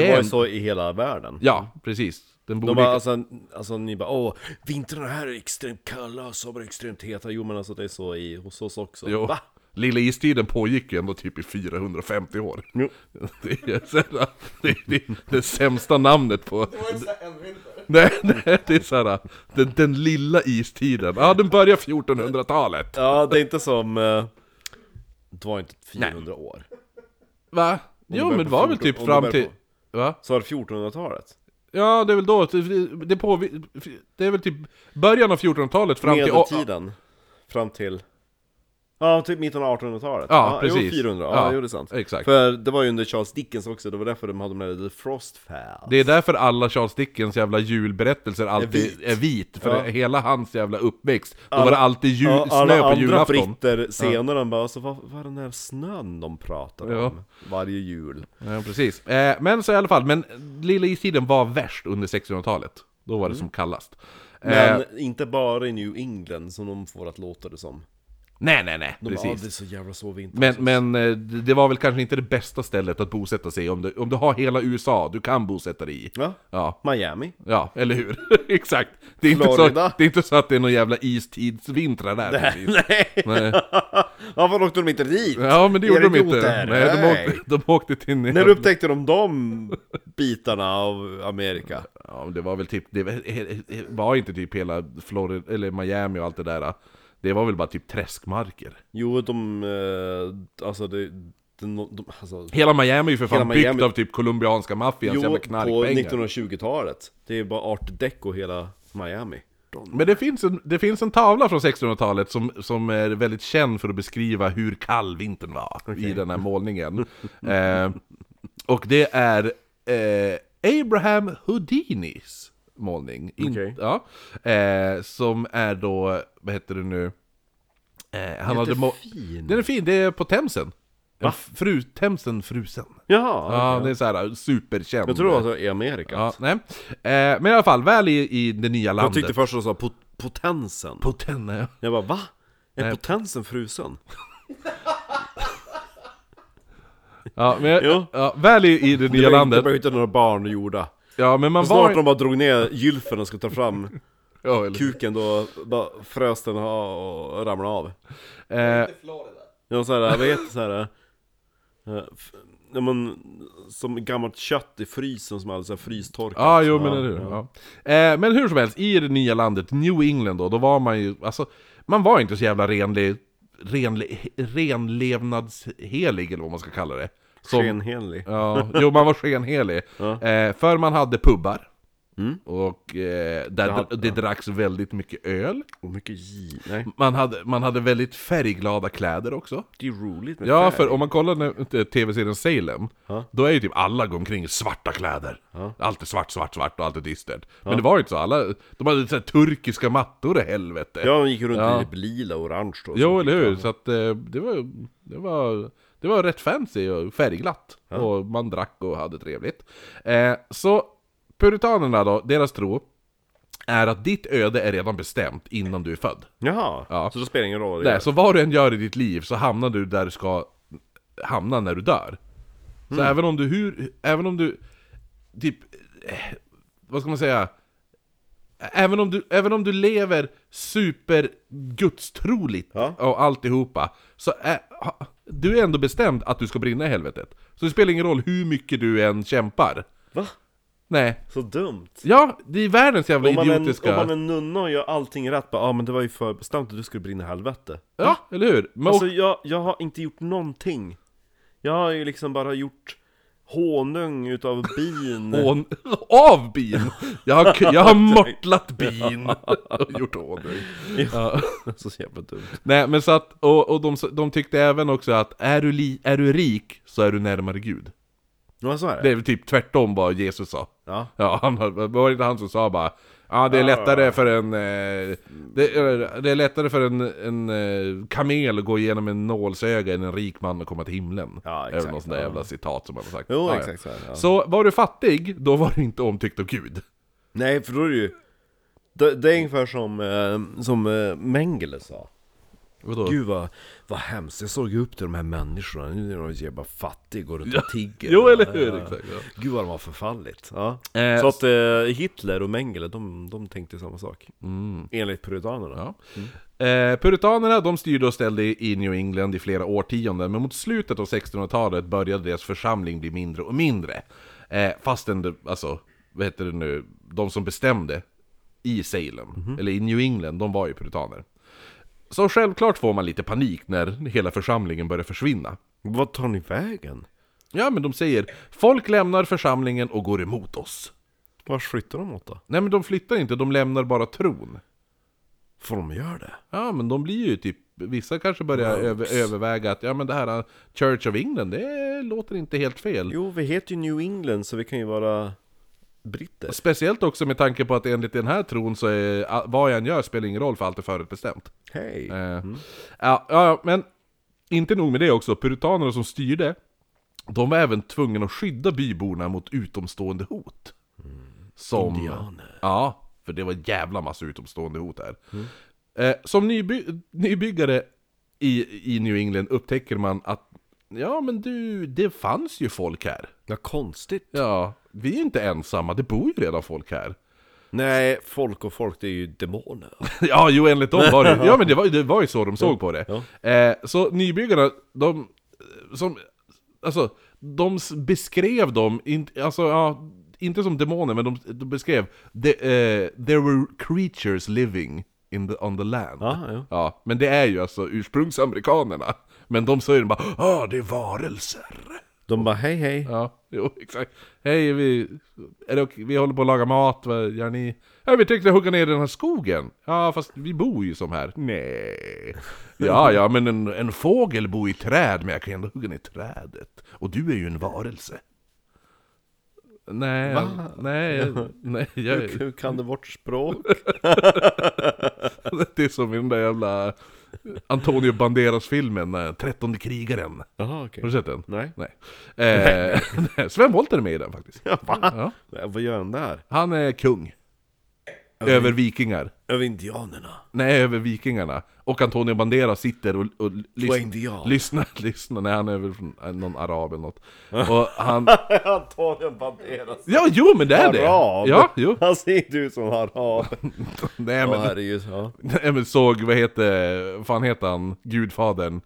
[SPEAKER 2] det
[SPEAKER 1] var
[SPEAKER 2] är
[SPEAKER 1] ju
[SPEAKER 2] en,
[SPEAKER 1] så i hela världen.
[SPEAKER 2] ja, precis. Den
[SPEAKER 1] De
[SPEAKER 2] borde,
[SPEAKER 1] bara, alltså, alltså ni bara åh, vintrarna här är extremt kalla, sommar är extremt heta. Jo men alltså det är så i, hos oss också.
[SPEAKER 2] jo,
[SPEAKER 1] Va?
[SPEAKER 2] Lilla istiden pågick ju ändå typ i 450 år.
[SPEAKER 1] Jo.
[SPEAKER 2] *laughs* Det är, såhär, det, är, det, är det sämsta namnet på...
[SPEAKER 4] Det var inte såhär en vinter.
[SPEAKER 2] Nej, nej, det är såhär, den, den lilla istiden. Ja, den börjar 1400-talet.
[SPEAKER 1] Ja, det är inte som... eh, Det var inte 400 år.
[SPEAKER 2] Va? Jo, men det var väl typ
[SPEAKER 1] Om du
[SPEAKER 2] fram
[SPEAKER 1] börjar
[SPEAKER 2] till... Va?
[SPEAKER 1] Så var det 1400-talet?
[SPEAKER 2] Ja, det är väl då, det, det, på, det är väl typ början av 1400-talet fram till...
[SPEAKER 1] Medeltiden? Fram till... Ja, typ mitten av 1800-talet.
[SPEAKER 2] Ja,
[SPEAKER 1] Jo,
[SPEAKER 2] precis.
[SPEAKER 1] 400, ja,
[SPEAKER 2] Ja,
[SPEAKER 1] jo, det är sant.
[SPEAKER 2] exakt.
[SPEAKER 1] För det var ju under Charles Dickens också, det var därför de hade de där The Frost Fair.
[SPEAKER 2] Det är därför alla Charles Dickens jävla julberättelser alltid är
[SPEAKER 1] vit.
[SPEAKER 2] vit, för
[SPEAKER 1] Ja.
[SPEAKER 2] det- hela hans jävla uppväxt, då var det alltid jul,
[SPEAKER 1] Ja,
[SPEAKER 2] snö
[SPEAKER 1] alla
[SPEAKER 2] på
[SPEAKER 1] andra
[SPEAKER 2] julafton.
[SPEAKER 1] britter senare, de bara alltså, vad, vad är den där snön de pratar
[SPEAKER 2] Ja.
[SPEAKER 1] om? Varje jul.
[SPEAKER 2] Ja, precis. Eh, men så i alla fall, men Lilla Istiden var värst under 1600-talet. Då var det som kallast.
[SPEAKER 1] Mm. Men
[SPEAKER 2] Eh,
[SPEAKER 1] inte bara i New England som de får att låta det som.
[SPEAKER 2] nej, nej, nej,
[SPEAKER 1] De bara, ah,
[SPEAKER 2] precis.
[SPEAKER 1] det är så jävla så vi inte
[SPEAKER 2] Men,
[SPEAKER 1] har det."
[SPEAKER 2] men eh, det det var väl kanske inte det bästa stället att bosätta sig i. om du, om du har hela USA du kan bosätta dig i.
[SPEAKER 1] Ja,
[SPEAKER 2] Ja,
[SPEAKER 1] Miami.
[SPEAKER 2] ja eller hur? *laughs* Exakt! Det är, inte så,
[SPEAKER 1] Florida.
[SPEAKER 2] det är inte så att det är någon jävla istidsvintrar där precis.
[SPEAKER 1] *laughs* Nej!
[SPEAKER 2] Nej.
[SPEAKER 1] Varför åkte de inte dit?
[SPEAKER 2] Ja, men det gjorde
[SPEAKER 1] Erik
[SPEAKER 2] de inte.
[SPEAKER 1] Roth här.
[SPEAKER 2] Nej, de åkte, de åkte till...
[SPEAKER 1] När upptäckte de de bitarna av Amerika?
[SPEAKER 2] Ja, men det var väl typ, det var- var inte typ hela Florida, eller Miami och allt det där. Det var väl bara typ träskmarker.
[SPEAKER 1] Jo, de... Eh, alltså, det, de, de, alltså
[SPEAKER 2] Hela Miami är ju för fan
[SPEAKER 1] Hela Miami-
[SPEAKER 2] byggt av typ colombianska maffians
[SPEAKER 1] Jo,
[SPEAKER 2] jävla
[SPEAKER 1] på
[SPEAKER 2] knarkpengar.
[SPEAKER 1] 1920-talet. Det är bara art deco hela Miami.
[SPEAKER 2] Men det finns, en, det finns en tavla från 1600-talet som, som är väldigt känd för att beskriva hur kall vintern var i den här målningen. *laughs* eh, och det är eh, Abraham Houdinis målning. In,
[SPEAKER 1] Okej.
[SPEAKER 2] ja, eh, som är då, vad heter det nu? Eh, han hade må-
[SPEAKER 1] Jättefin.
[SPEAKER 2] Den är fin, det är på Themsen. En Fru, Themsen frusen.
[SPEAKER 1] Jaha,
[SPEAKER 2] Ja,
[SPEAKER 1] okej.
[SPEAKER 2] det är så här äh, superkänd.
[SPEAKER 1] Jag tror det var så i Amerika.
[SPEAKER 2] Ja, nej. Eh, men i alla fall, väl i, i det nya
[SPEAKER 1] Jag
[SPEAKER 2] landet.
[SPEAKER 1] tyckte först de sa pot- potensen.
[SPEAKER 2] Potenna, ja.
[SPEAKER 1] Jag bara va? Är
[SPEAKER 2] Nej. *laughs*
[SPEAKER 1] potensen frusen?
[SPEAKER 2] Ja, men jag,
[SPEAKER 1] Jo.
[SPEAKER 2] ja, väl i, i det nya landet.
[SPEAKER 1] Det var inte några barn gjorda.
[SPEAKER 2] Ja, men man var...
[SPEAKER 1] Snart de bara drog ner gylfen och skulle ta fram *laughs*
[SPEAKER 2] ja, eller,
[SPEAKER 1] kuken då bara frös den och och ramlade av.
[SPEAKER 2] eh,
[SPEAKER 4] Inte Florida.
[SPEAKER 1] Det var så här, vad heter det så här? eh, f- Ja, men, som gammalt kött i frysen som hade så här frystorkat.
[SPEAKER 2] ja, Ah, jo, men eller hur. Ja. Eh, men hur som helst, i det nya landet, New England då, då var man ju, alltså, man var inte så jävla renlig, renlig, renlevnadshelig, eller vad man ska kalla det. Som,
[SPEAKER 1] Skenhelig.
[SPEAKER 2] ja, jo, man var skenhelig.
[SPEAKER 1] *laughs* Ja.
[SPEAKER 2] Eh, för man hade pubbar.
[SPEAKER 1] Mm.
[SPEAKER 2] Och eh, där
[SPEAKER 1] Ja,
[SPEAKER 2] det dracks väldigt mycket öl.
[SPEAKER 1] Och mycket gi... Nej.
[SPEAKER 2] Man hade, man hade väldigt färgglada kläder också.
[SPEAKER 1] Det är ju roligt med
[SPEAKER 2] Ja,
[SPEAKER 1] färg.
[SPEAKER 2] för om man kollar när- eh, tv-serien Salem,
[SPEAKER 1] Ja.
[SPEAKER 2] då är ju typ alla går omkring i svarta kläder.
[SPEAKER 1] Ja.
[SPEAKER 2] Allt är svart, svart, svart och allt är dystert. Men det var ju inte så, alla, de hade så här turkiska mattor i helvete.
[SPEAKER 1] Ja, de gick runt
[SPEAKER 2] Ja.
[SPEAKER 1] i typ lila och orange då.
[SPEAKER 2] jo, eller hur? Så att eh, det var, det var, det var rätt fancy och färgglatt. Och man drack och hade trevligt. Eh, så puritanerna då, deras tro, är att ditt öde är redan bestämt innan du är född.
[SPEAKER 1] Jaha,
[SPEAKER 2] Ja.
[SPEAKER 1] så då spelar det ingen roll.
[SPEAKER 2] Nej, så vad du än gör i ditt liv så hamnar du där du ska hamna när du dör. Så
[SPEAKER 1] Mm.
[SPEAKER 2] även om du hur, även om du, typ, eh, vad ska man säga? Även om du, även om du lever supergudstrorligt
[SPEAKER 1] Ja.
[SPEAKER 2] och alltihopa, så är, ha- du är ändå bestämd att du ska brinna i helvetet. Så det spelar ingen roll hur mycket du än kämpar.
[SPEAKER 1] Va?
[SPEAKER 2] Nej.
[SPEAKER 1] Så dumt.
[SPEAKER 2] Ja, det är världens jävla
[SPEAKER 1] Om man, är,
[SPEAKER 2] idiotiska...
[SPEAKER 1] om man är nunna och gör allting rätt, bara ah, men det var ju förbestämt att du skulle brinna i helvete.
[SPEAKER 2] Ja, eller hur? Men,
[SPEAKER 1] Alltså jag, jag har inte gjort någonting. Jag har ju liksom bara gjort honung utav *laughs* bin.
[SPEAKER 2] Hån av bin! Jag har, jag
[SPEAKER 1] *laughs*
[SPEAKER 2] har mortlat bin och gjort honung.
[SPEAKER 1] så jävla dumt.
[SPEAKER 2] Nej men så att, och, och de, de tyckte även också att är du, li, är du rik så är du närmare Gud.
[SPEAKER 1] Ja, så är det.
[SPEAKER 2] Det är väl typ tvärtom vad Jesus sa.
[SPEAKER 1] Ja.
[SPEAKER 2] Ja, han, har- var det inte han som sa bara Ja, det är lättare för en... eh, Det är, det är lättare för en, en eh, kamel att gå igenom en nålsöga än en rik man att komma till himlen.
[SPEAKER 1] Ja,
[SPEAKER 2] Är det
[SPEAKER 1] exakt,
[SPEAKER 2] något sånt där
[SPEAKER 1] ja.
[SPEAKER 2] jävla citat som han har sagt.
[SPEAKER 1] Jo,
[SPEAKER 2] Ja, ja.
[SPEAKER 1] exakt så är det. Ja.
[SPEAKER 2] Så var du fattig, då var du inte omtyckt av Gud.
[SPEAKER 1] Nej, för då är det ju... Det, det är ungefär som, eh, som eh, Mengele sa.
[SPEAKER 2] Vadå?
[SPEAKER 1] Gud vad, vad hemskt, jag såg ju upp till de här människorna, nu är de så jävla fattiga, går runt och tigger
[SPEAKER 2] Jo, eller hur? Exakt, ja.
[SPEAKER 1] Gud vad de har förfallit ja.
[SPEAKER 2] Eh,
[SPEAKER 1] Så att eh, Hitler och Mengele, de, de tänkte samma sak Enligt puritanerna
[SPEAKER 2] Mm. Ja. Eh, puritanerna de styrde och ställde i New England i flera årtionden, men mot slutet av 1600-talet började deras församling bli mindre och mindre. Eh, fastän, det, alltså, vad heter det nu, de som bestämde i Salem, eller i New England, de var ju puritaner. Så självklart får man lite panik när hela församlingen börjar försvinna.
[SPEAKER 1] Vad tar ni vägen?
[SPEAKER 2] Ja, men de säger folk lämnar församlingen och går emot oss.
[SPEAKER 1] Vart flyttar de åt då?
[SPEAKER 2] Nej, men de flyttar inte, de lämnar bara tron.
[SPEAKER 1] Får de göra det?
[SPEAKER 2] Ja, men de blir ju typ... Vissa kanske börjar över, överväga att ja, men det här uh, Church of England, det låter inte helt fel.
[SPEAKER 1] Jo, vi heter ju New England så vi kan ju vara britter
[SPEAKER 2] Speciellt också med tanke på att enligt den här tron så är a- vad jag än gör spelar ingen roll för allt är förutbestämt.
[SPEAKER 1] Hej!
[SPEAKER 2] Eh, ja, ja, men inte nog med det också. Puritanerna som styrde, de var även tvungna att skydda byborna mot utomstående hot. Som,
[SPEAKER 1] Indianer.
[SPEAKER 2] Ja, för det var en jävla massa utomstående hot här. Eh, som nyby- nybyggare i, i New England upptäcker man att Ja men du, det fanns ju folk här.
[SPEAKER 1] Ja, konstigt.
[SPEAKER 2] Ja, vi är ju inte ensamma, det bor ju redan folk här.
[SPEAKER 1] Nej, folk och folk, det är
[SPEAKER 2] *laughs*
[SPEAKER 1] ju demoner.
[SPEAKER 2] Ja, jo enligt dem var
[SPEAKER 1] *laughs*
[SPEAKER 2] det Ja men det var, ju- det var ju så de såg på det.
[SPEAKER 1] Ja.
[SPEAKER 2] Eh, så nybyggarna, de... Som, alltså, de s- beskrev dem, in, alltså ja, inte som demoner, men de, de beskrev the, eh, There were creatures living in the, on the land.
[SPEAKER 1] Ja, Ah, ja.
[SPEAKER 2] Ja, men det är ju alltså ursprungsamerikanerna. Men de säger bara ah det är varelser.
[SPEAKER 1] De bara hej hej.
[SPEAKER 2] Ja, *laughs* jo exakt. Hej, vi, är det okej? vi håller på att laga mat, vad gör ni? Ja, vi tänkte hugga ner den här skogen. Ja, fast vi bor ju som här. Nej. Ja, ja, men en, en fågel bor i träd, men jag kan ändå hugga ner trädet. Och du är ju en varelse. Nej, nej,
[SPEAKER 1] *laughs*
[SPEAKER 2] nej. Jag,
[SPEAKER 1] Hur, hur kan det vårt språk?
[SPEAKER 2] *laughs* det är som i den där jävla Antonio Banderas-filmen, eh, Trettonde krigaren.
[SPEAKER 1] Jaha,
[SPEAKER 2] Har du sett den?
[SPEAKER 1] Nej.
[SPEAKER 2] Nej. Eh, *laughs* Sven Wollter är med i den faktiskt.
[SPEAKER 1] Va?
[SPEAKER 2] Ja.
[SPEAKER 1] Ja. Vad gör han där?
[SPEAKER 2] Han är kung. Över vikingar.
[SPEAKER 1] Över *laughs* indianerna.
[SPEAKER 2] Nej, över vikingarna. Och Antonio Banderas sitter och, och lys-
[SPEAKER 1] indian.
[SPEAKER 2] lyssnar, *laughs* lyssnar. Nej, han är väl från eh, någon arab eller
[SPEAKER 1] *laughs*
[SPEAKER 2] något. Och han...
[SPEAKER 1] Antonio Banderas.
[SPEAKER 2] Ja, jo men det är det!
[SPEAKER 1] Arab!
[SPEAKER 2] Ja, jo. *laughs*
[SPEAKER 1] Han ser inte ut som arab.
[SPEAKER 2] Nej
[SPEAKER 1] *laughs* Ja,
[SPEAKER 2] men,
[SPEAKER 1] herregud. *laughs* Ja.
[SPEAKER 2] *laughs* nej, men såg, vad heter, vad fan heter han, gudfadern?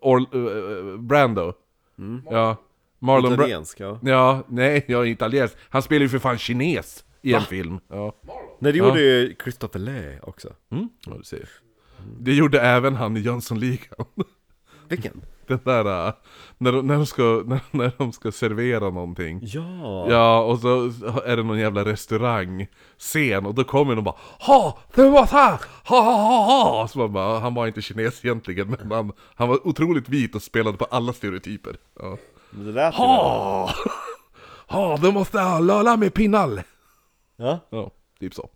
[SPEAKER 2] Or, eh, Brando?
[SPEAKER 1] Mm.
[SPEAKER 2] Ja. Marlon Brando.
[SPEAKER 1] Italiensk, ja.
[SPEAKER 2] Ja, nej, jag är italiensk. Han spelar ju för fan kines i en film. Ja.
[SPEAKER 1] Nej, det gjorde ju Christopher Lee också.
[SPEAKER 2] Mm. ja, du ser. Det gjorde även han i Jönssonligan. *laughs*
[SPEAKER 1] Vilken?
[SPEAKER 2] Den där, äh, när de, när de, ska, *laughs* när, när de ska servera någonting.
[SPEAKER 1] Ja.
[SPEAKER 2] Ja, och så är det någon jävla restaurangscen och då kommer de bara Ha! Det var så här! Ha ha ha ha! Så man bara, han var inte kines egentligen men han, han var otroligt vit och spelade på alla stereotyper. Ja.
[SPEAKER 1] Men Det lät ju bra.
[SPEAKER 2] Ha! *laughs* Ha! Det måste ha lala med pinnal!
[SPEAKER 1] ja.
[SPEAKER 2] Ja, typ så.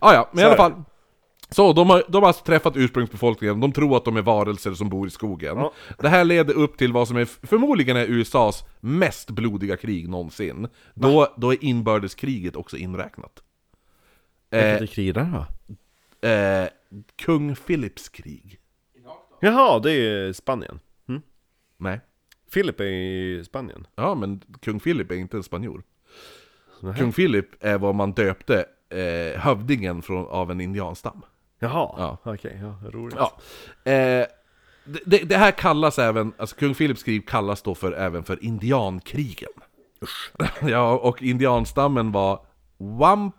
[SPEAKER 2] Ah, ja, men i
[SPEAKER 1] Så
[SPEAKER 2] alla
[SPEAKER 1] är det.
[SPEAKER 2] fall. Så, de har, de har alltså träffat ursprungsbefolkningen, de tror att de är varelser som bor i skogen.
[SPEAKER 1] Ja.
[SPEAKER 2] Det här leder upp till vad som är, förmodligen är USAs mest blodiga krig någonsin. Då, då är inbördeskriget också inräknat. Eh,
[SPEAKER 1] Vilket krig där då?
[SPEAKER 2] eh, Kung Philips krig.
[SPEAKER 1] Jaha, det är Spanien. Mm.
[SPEAKER 2] Nej.
[SPEAKER 1] Filip är i Spanien.
[SPEAKER 2] Ja, men kung Philip är inte en spanjor.
[SPEAKER 1] Nähä.
[SPEAKER 2] Kung Philip är vad man döpte eh, hövdingen från, av en indianstam.
[SPEAKER 1] Jaha,
[SPEAKER 2] Ja.
[SPEAKER 1] okej, ja, roligt.
[SPEAKER 2] Ja. Eh, det, det, det här kallas även, alltså kung Philips krig kallas då för även för indiankrigen. *laughs* ja, och indianstammen var Wamp...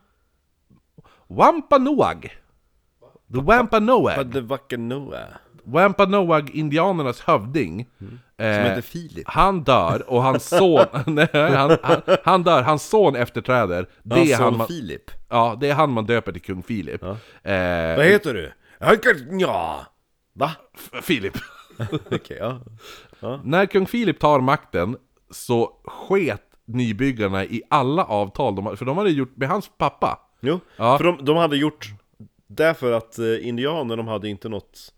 [SPEAKER 2] Wampanoag. The Wampanoag.
[SPEAKER 1] Hade vacker
[SPEAKER 2] Eh.
[SPEAKER 1] Noah.
[SPEAKER 2] Wampanoag-indianernas hövding. eh,
[SPEAKER 1] Mm. Som heter Filip.
[SPEAKER 2] Han dör och hans son... *laughs* nej, han, han, han dör, hans son efterträder. Det är han, man,
[SPEAKER 1] Alltså, Filip.
[SPEAKER 2] ja, det är han man döper till kung Philip. Eh,
[SPEAKER 1] Vad heter du? Hackert- Ja. Va?
[SPEAKER 2] F- Philip.
[SPEAKER 1] Okej, ja.
[SPEAKER 2] När kung Filip tar makten så sket nybyggarna i alla avtal de hade, för de hade gjort med hans pappa.
[SPEAKER 1] Jo,
[SPEAKER 2] Ja.
[SPEAKER 1] för de, de hade gjort... Därför att eh, indianer, de hade inte något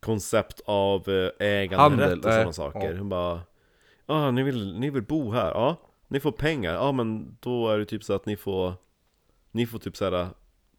[SPEAKER 1] koncept av eh, äganderätt
[SPEAKER 2] Handel,
[SPEAKER 1] och sådana
[SPEAKER 2] nej.
[SPEAKER 1] saker.
[SPEAKER 2] Ja.
[SPEAKER 1] De bara... Ah, ni vill, ni vill bo här? Ja. Ni får pengar? Ja, men då är det typ så att ni får... Ni får typ såhär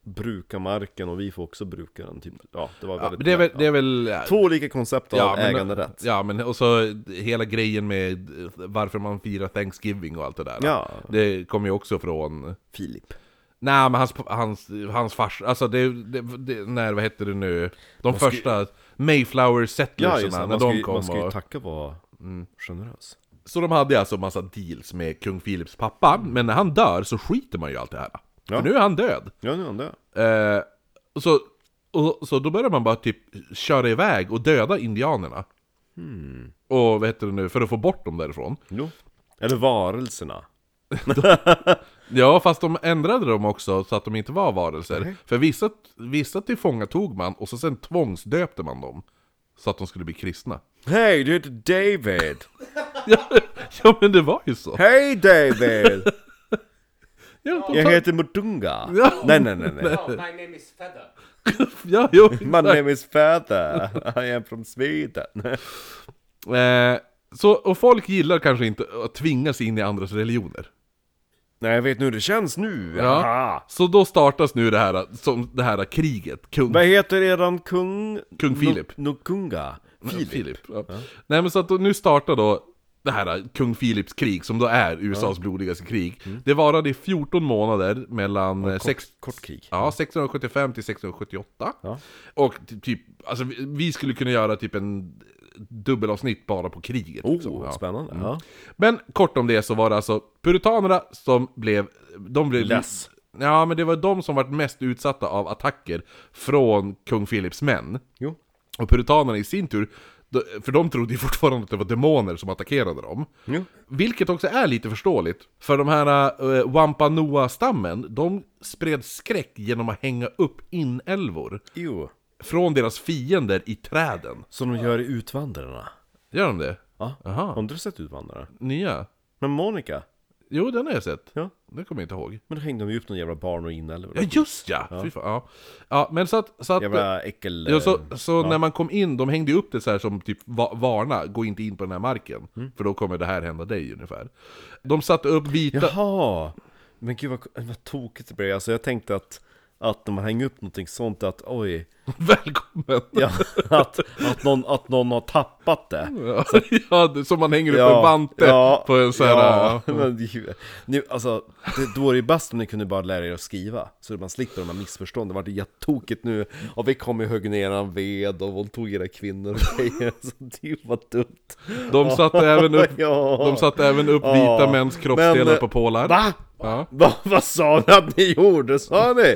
[SPEAKER 1] bruka marken och vi får också bruka den. Typ. Ja, det var
[SPEAKER 2] Ja,
[SPEAKER 1] väldigt...
[SPEAKER 2] men det är väl...
[SPEAKER 1] ja.
[SPEAKER 2] Det är väl ja.
[SPEAKER 1] Två olika koncept av
[SPEAKER 2] Ja, men-
[SPEAKER 1] äganderätt.
[SPEAKER 2] Ja, men och så hela grejen med varför man firar Thanksgiving och allt det där.
[SPEAKER 1] Ja.
[SPEAKER 2] Det kommer ju också från...
[SPEAKER 1] Filip.
[SPEAKER 2] Nej, men hans, hans, hans fars... Alltså det, det, det... När, vad hette det nu? De
[SPEAKER 1] ska ju-
[SPEAKER 2] första Mayflower
[SPEAKER 1] Ja,
[SPEAKER 2] settlerserna,
[SPEAKER 1] just det.
[SPEAKER 2] när
[SPEAKER 1] Man ska,
[SPEAKER 2] de Mm,
[SPEAKER 1] ju,
[SPEAKER 2] kom
[SPEAKER 1] man ska ju
[SPEAKER 2] och...
[SPEAKER 1] tacka vara generös.
[SPEAKER 2] Så de hade alltså massa deals med kung Philips pappa, men när han dör så skiter man ju i allt det här.
[SPEAKER 1] Mm. Ja.
[SPEAKER 2] För nu är han död.
[SPEAKER 1] Ja, nu är han död.
[SPEAKER 2] Eh, så, och, så då börjar man bara typ köra iväg och döda indianerna.
[SPEAKER 1] Hmm.
[SPEAKER 2] Och vad heter det nu, för att få bort dem därifrån.
[SPEAKER 1] Jo. Eller varelserna.
[SPEAKER 2] Ja, fast de ändrade dem också så att de inte var varelser. För vissa, vissa tillfångatog man och så sen tvångsdöpte man dem. Så att de skulle bli kristna. *laughs*
[SPEAKER 1] Hej, du heter David!
[SPEAKER 2] Ja, ja men det var ju så.
[SPEAKER 1] Hej David!
[SPEAKER 2] Ja, de
[SPEAKER 1] Jag
[SPEAKER 2] tar-
[SPEAKER 1] heter Mutunga.
[SPEAKER 2] Ja.
[SPEAKER 1] Nej, nej, nej, nej.
[SPEAKER 4] Oh, my name is Feather.
[SPEAKER 2] ja, jo,
[SPEAKER 1] My name is Feather. I am from Sweden.
[SPEAKER 2] Eh, så, och folk gillar kanske inte att tvingas in i andras religioner.
[SPEAKER 1] Nej, jag vet nu hur det känns nu.
[SPEAKER 2] Ja.
[SPEAKER 1] Aha.
[SPEAKER 2] Så då startas nu det här, som det här kriget, kung
[SPEAKER 1] Vad heter eran kung?
[SPEAKER 2] Kung Filip.
[SPEAKER 1] Nu, kunga. Filip.
[SPEAKER 2] Filip. ja. Nej men så att då, nu startar då det här kung Philips krig, som då är USAs blodigaste krig. Det varade i 14 månader mellan... eh, sex,
[SPEAKER 1] Mm. Kort krig.
[SPEAKER 2] ja, 1675 till 1678.
[SPEAKER 1] Ja.
[SPEAKER 2] Och ty- typ, alltså vi, vi skulle kunna göra typ en dubbelavsnitt bara på kriget. liksom.
[SPEAKER 1] Oh,
[SPEAKER 2] Ja.
[SPEAKER 1] spännande. Ja.
[SPEAKER 2] Men kort om det så var det alltså puritanerna som blev... De blev
[SPEAKER 1] Less.
[SPEAKER 2] Ja, men det var de som var mest utsatta av attacker från kung Philips män.
[SPEAKER 1] Jo.
[SPEAKER 2] Och puritanerna i sin tur, då- för de trodde ju fortfarande att det var demoner som attackerade dem.
[SPEAKER 1] Jo.
[SPEAKER 2] Vilket också är lite förståeligt, för de här uh, Wampanoa-stammen, de spred skräck genom att hänga upp inälvor
[SPEAKER 1] Jo.
[SPEAKER 2] från deras fiender i träden.
[SPEAKER 1] Som de gör i Utvandrarna.
[SPEAKER 2] Gör de det?
[SPEAKER 1] Ja. Har
[SPEAKER 2] Aha,
[SPEAKER 1] inte du sett Utvandrarna?
[SPEAKER 2] nya?
[SPEAKER 1] Men Monica,
[SPEAKER 2] Jo, den har jag sett.
[SPEAKER 1] Ja.
[SPEAKER 2] Det kommer jag inte ihåg.
[SPEAKER 1] men då hängde de ju upp några jävla barn och inälvor.
[SPEAKER 2] Ja, just ja! Ja, Fy fan, ja. ja men så att... Så att
[SPEAKER 1] Jävla eh, äckel...
[SPEAKER 2] Ja, så så när man kom in, de hängde ju upp det så här som typ va- varna, gå inte in på den här marken,
[SPEAKER 1] Mm.
[SPEAKER 2] för då kommer det här hända dig ungefär. De satte upp vita... *laughs*
[SPEAKER 1] Jaha! Men gud vad, vad tokigt det blev. Alltså jag tänkte att, att när man hänger upp någonting sånt att oj, *laughs*
[SPEAKER 2] Välkommen!
[SPEAKER 1] ja, att, att, någon, att någon har tappat det.
[SPEAKER 2] Ja, *laughs* ja, det- som man hänger upp en vante på en så här...
[SPEAKER 1] ja,
[SPEAKER 2] Ja.
[SPEAKER 1] *laughs* men ju- nu, alltså, det, då var det ju bäst om ni kunde bara lära er att skriva, så att man slipper de här missförstånden. Det vart ju jättetokigt nu, och vi kom och högg ner en ved och våldtog era kvinnor och grejer, *laughs* så det var dumt.
[SPEAKER 2] De satte även upp,
[SPEAKER 1] Ja.
[SPEAKER 2] de satte även upp
[SPEAKER 1] Ja.
[SPEAKER 2] vita mäns kroppsdelar
[SPEAKER 1] Men, eh,
[SPEAKER 2] på pålar.
[SPEAKER 1] Va?
[SPEAKER 2] Ja.
[SPEAKER 1] Va? Vad sa ni att ni gjorde? Sa ni?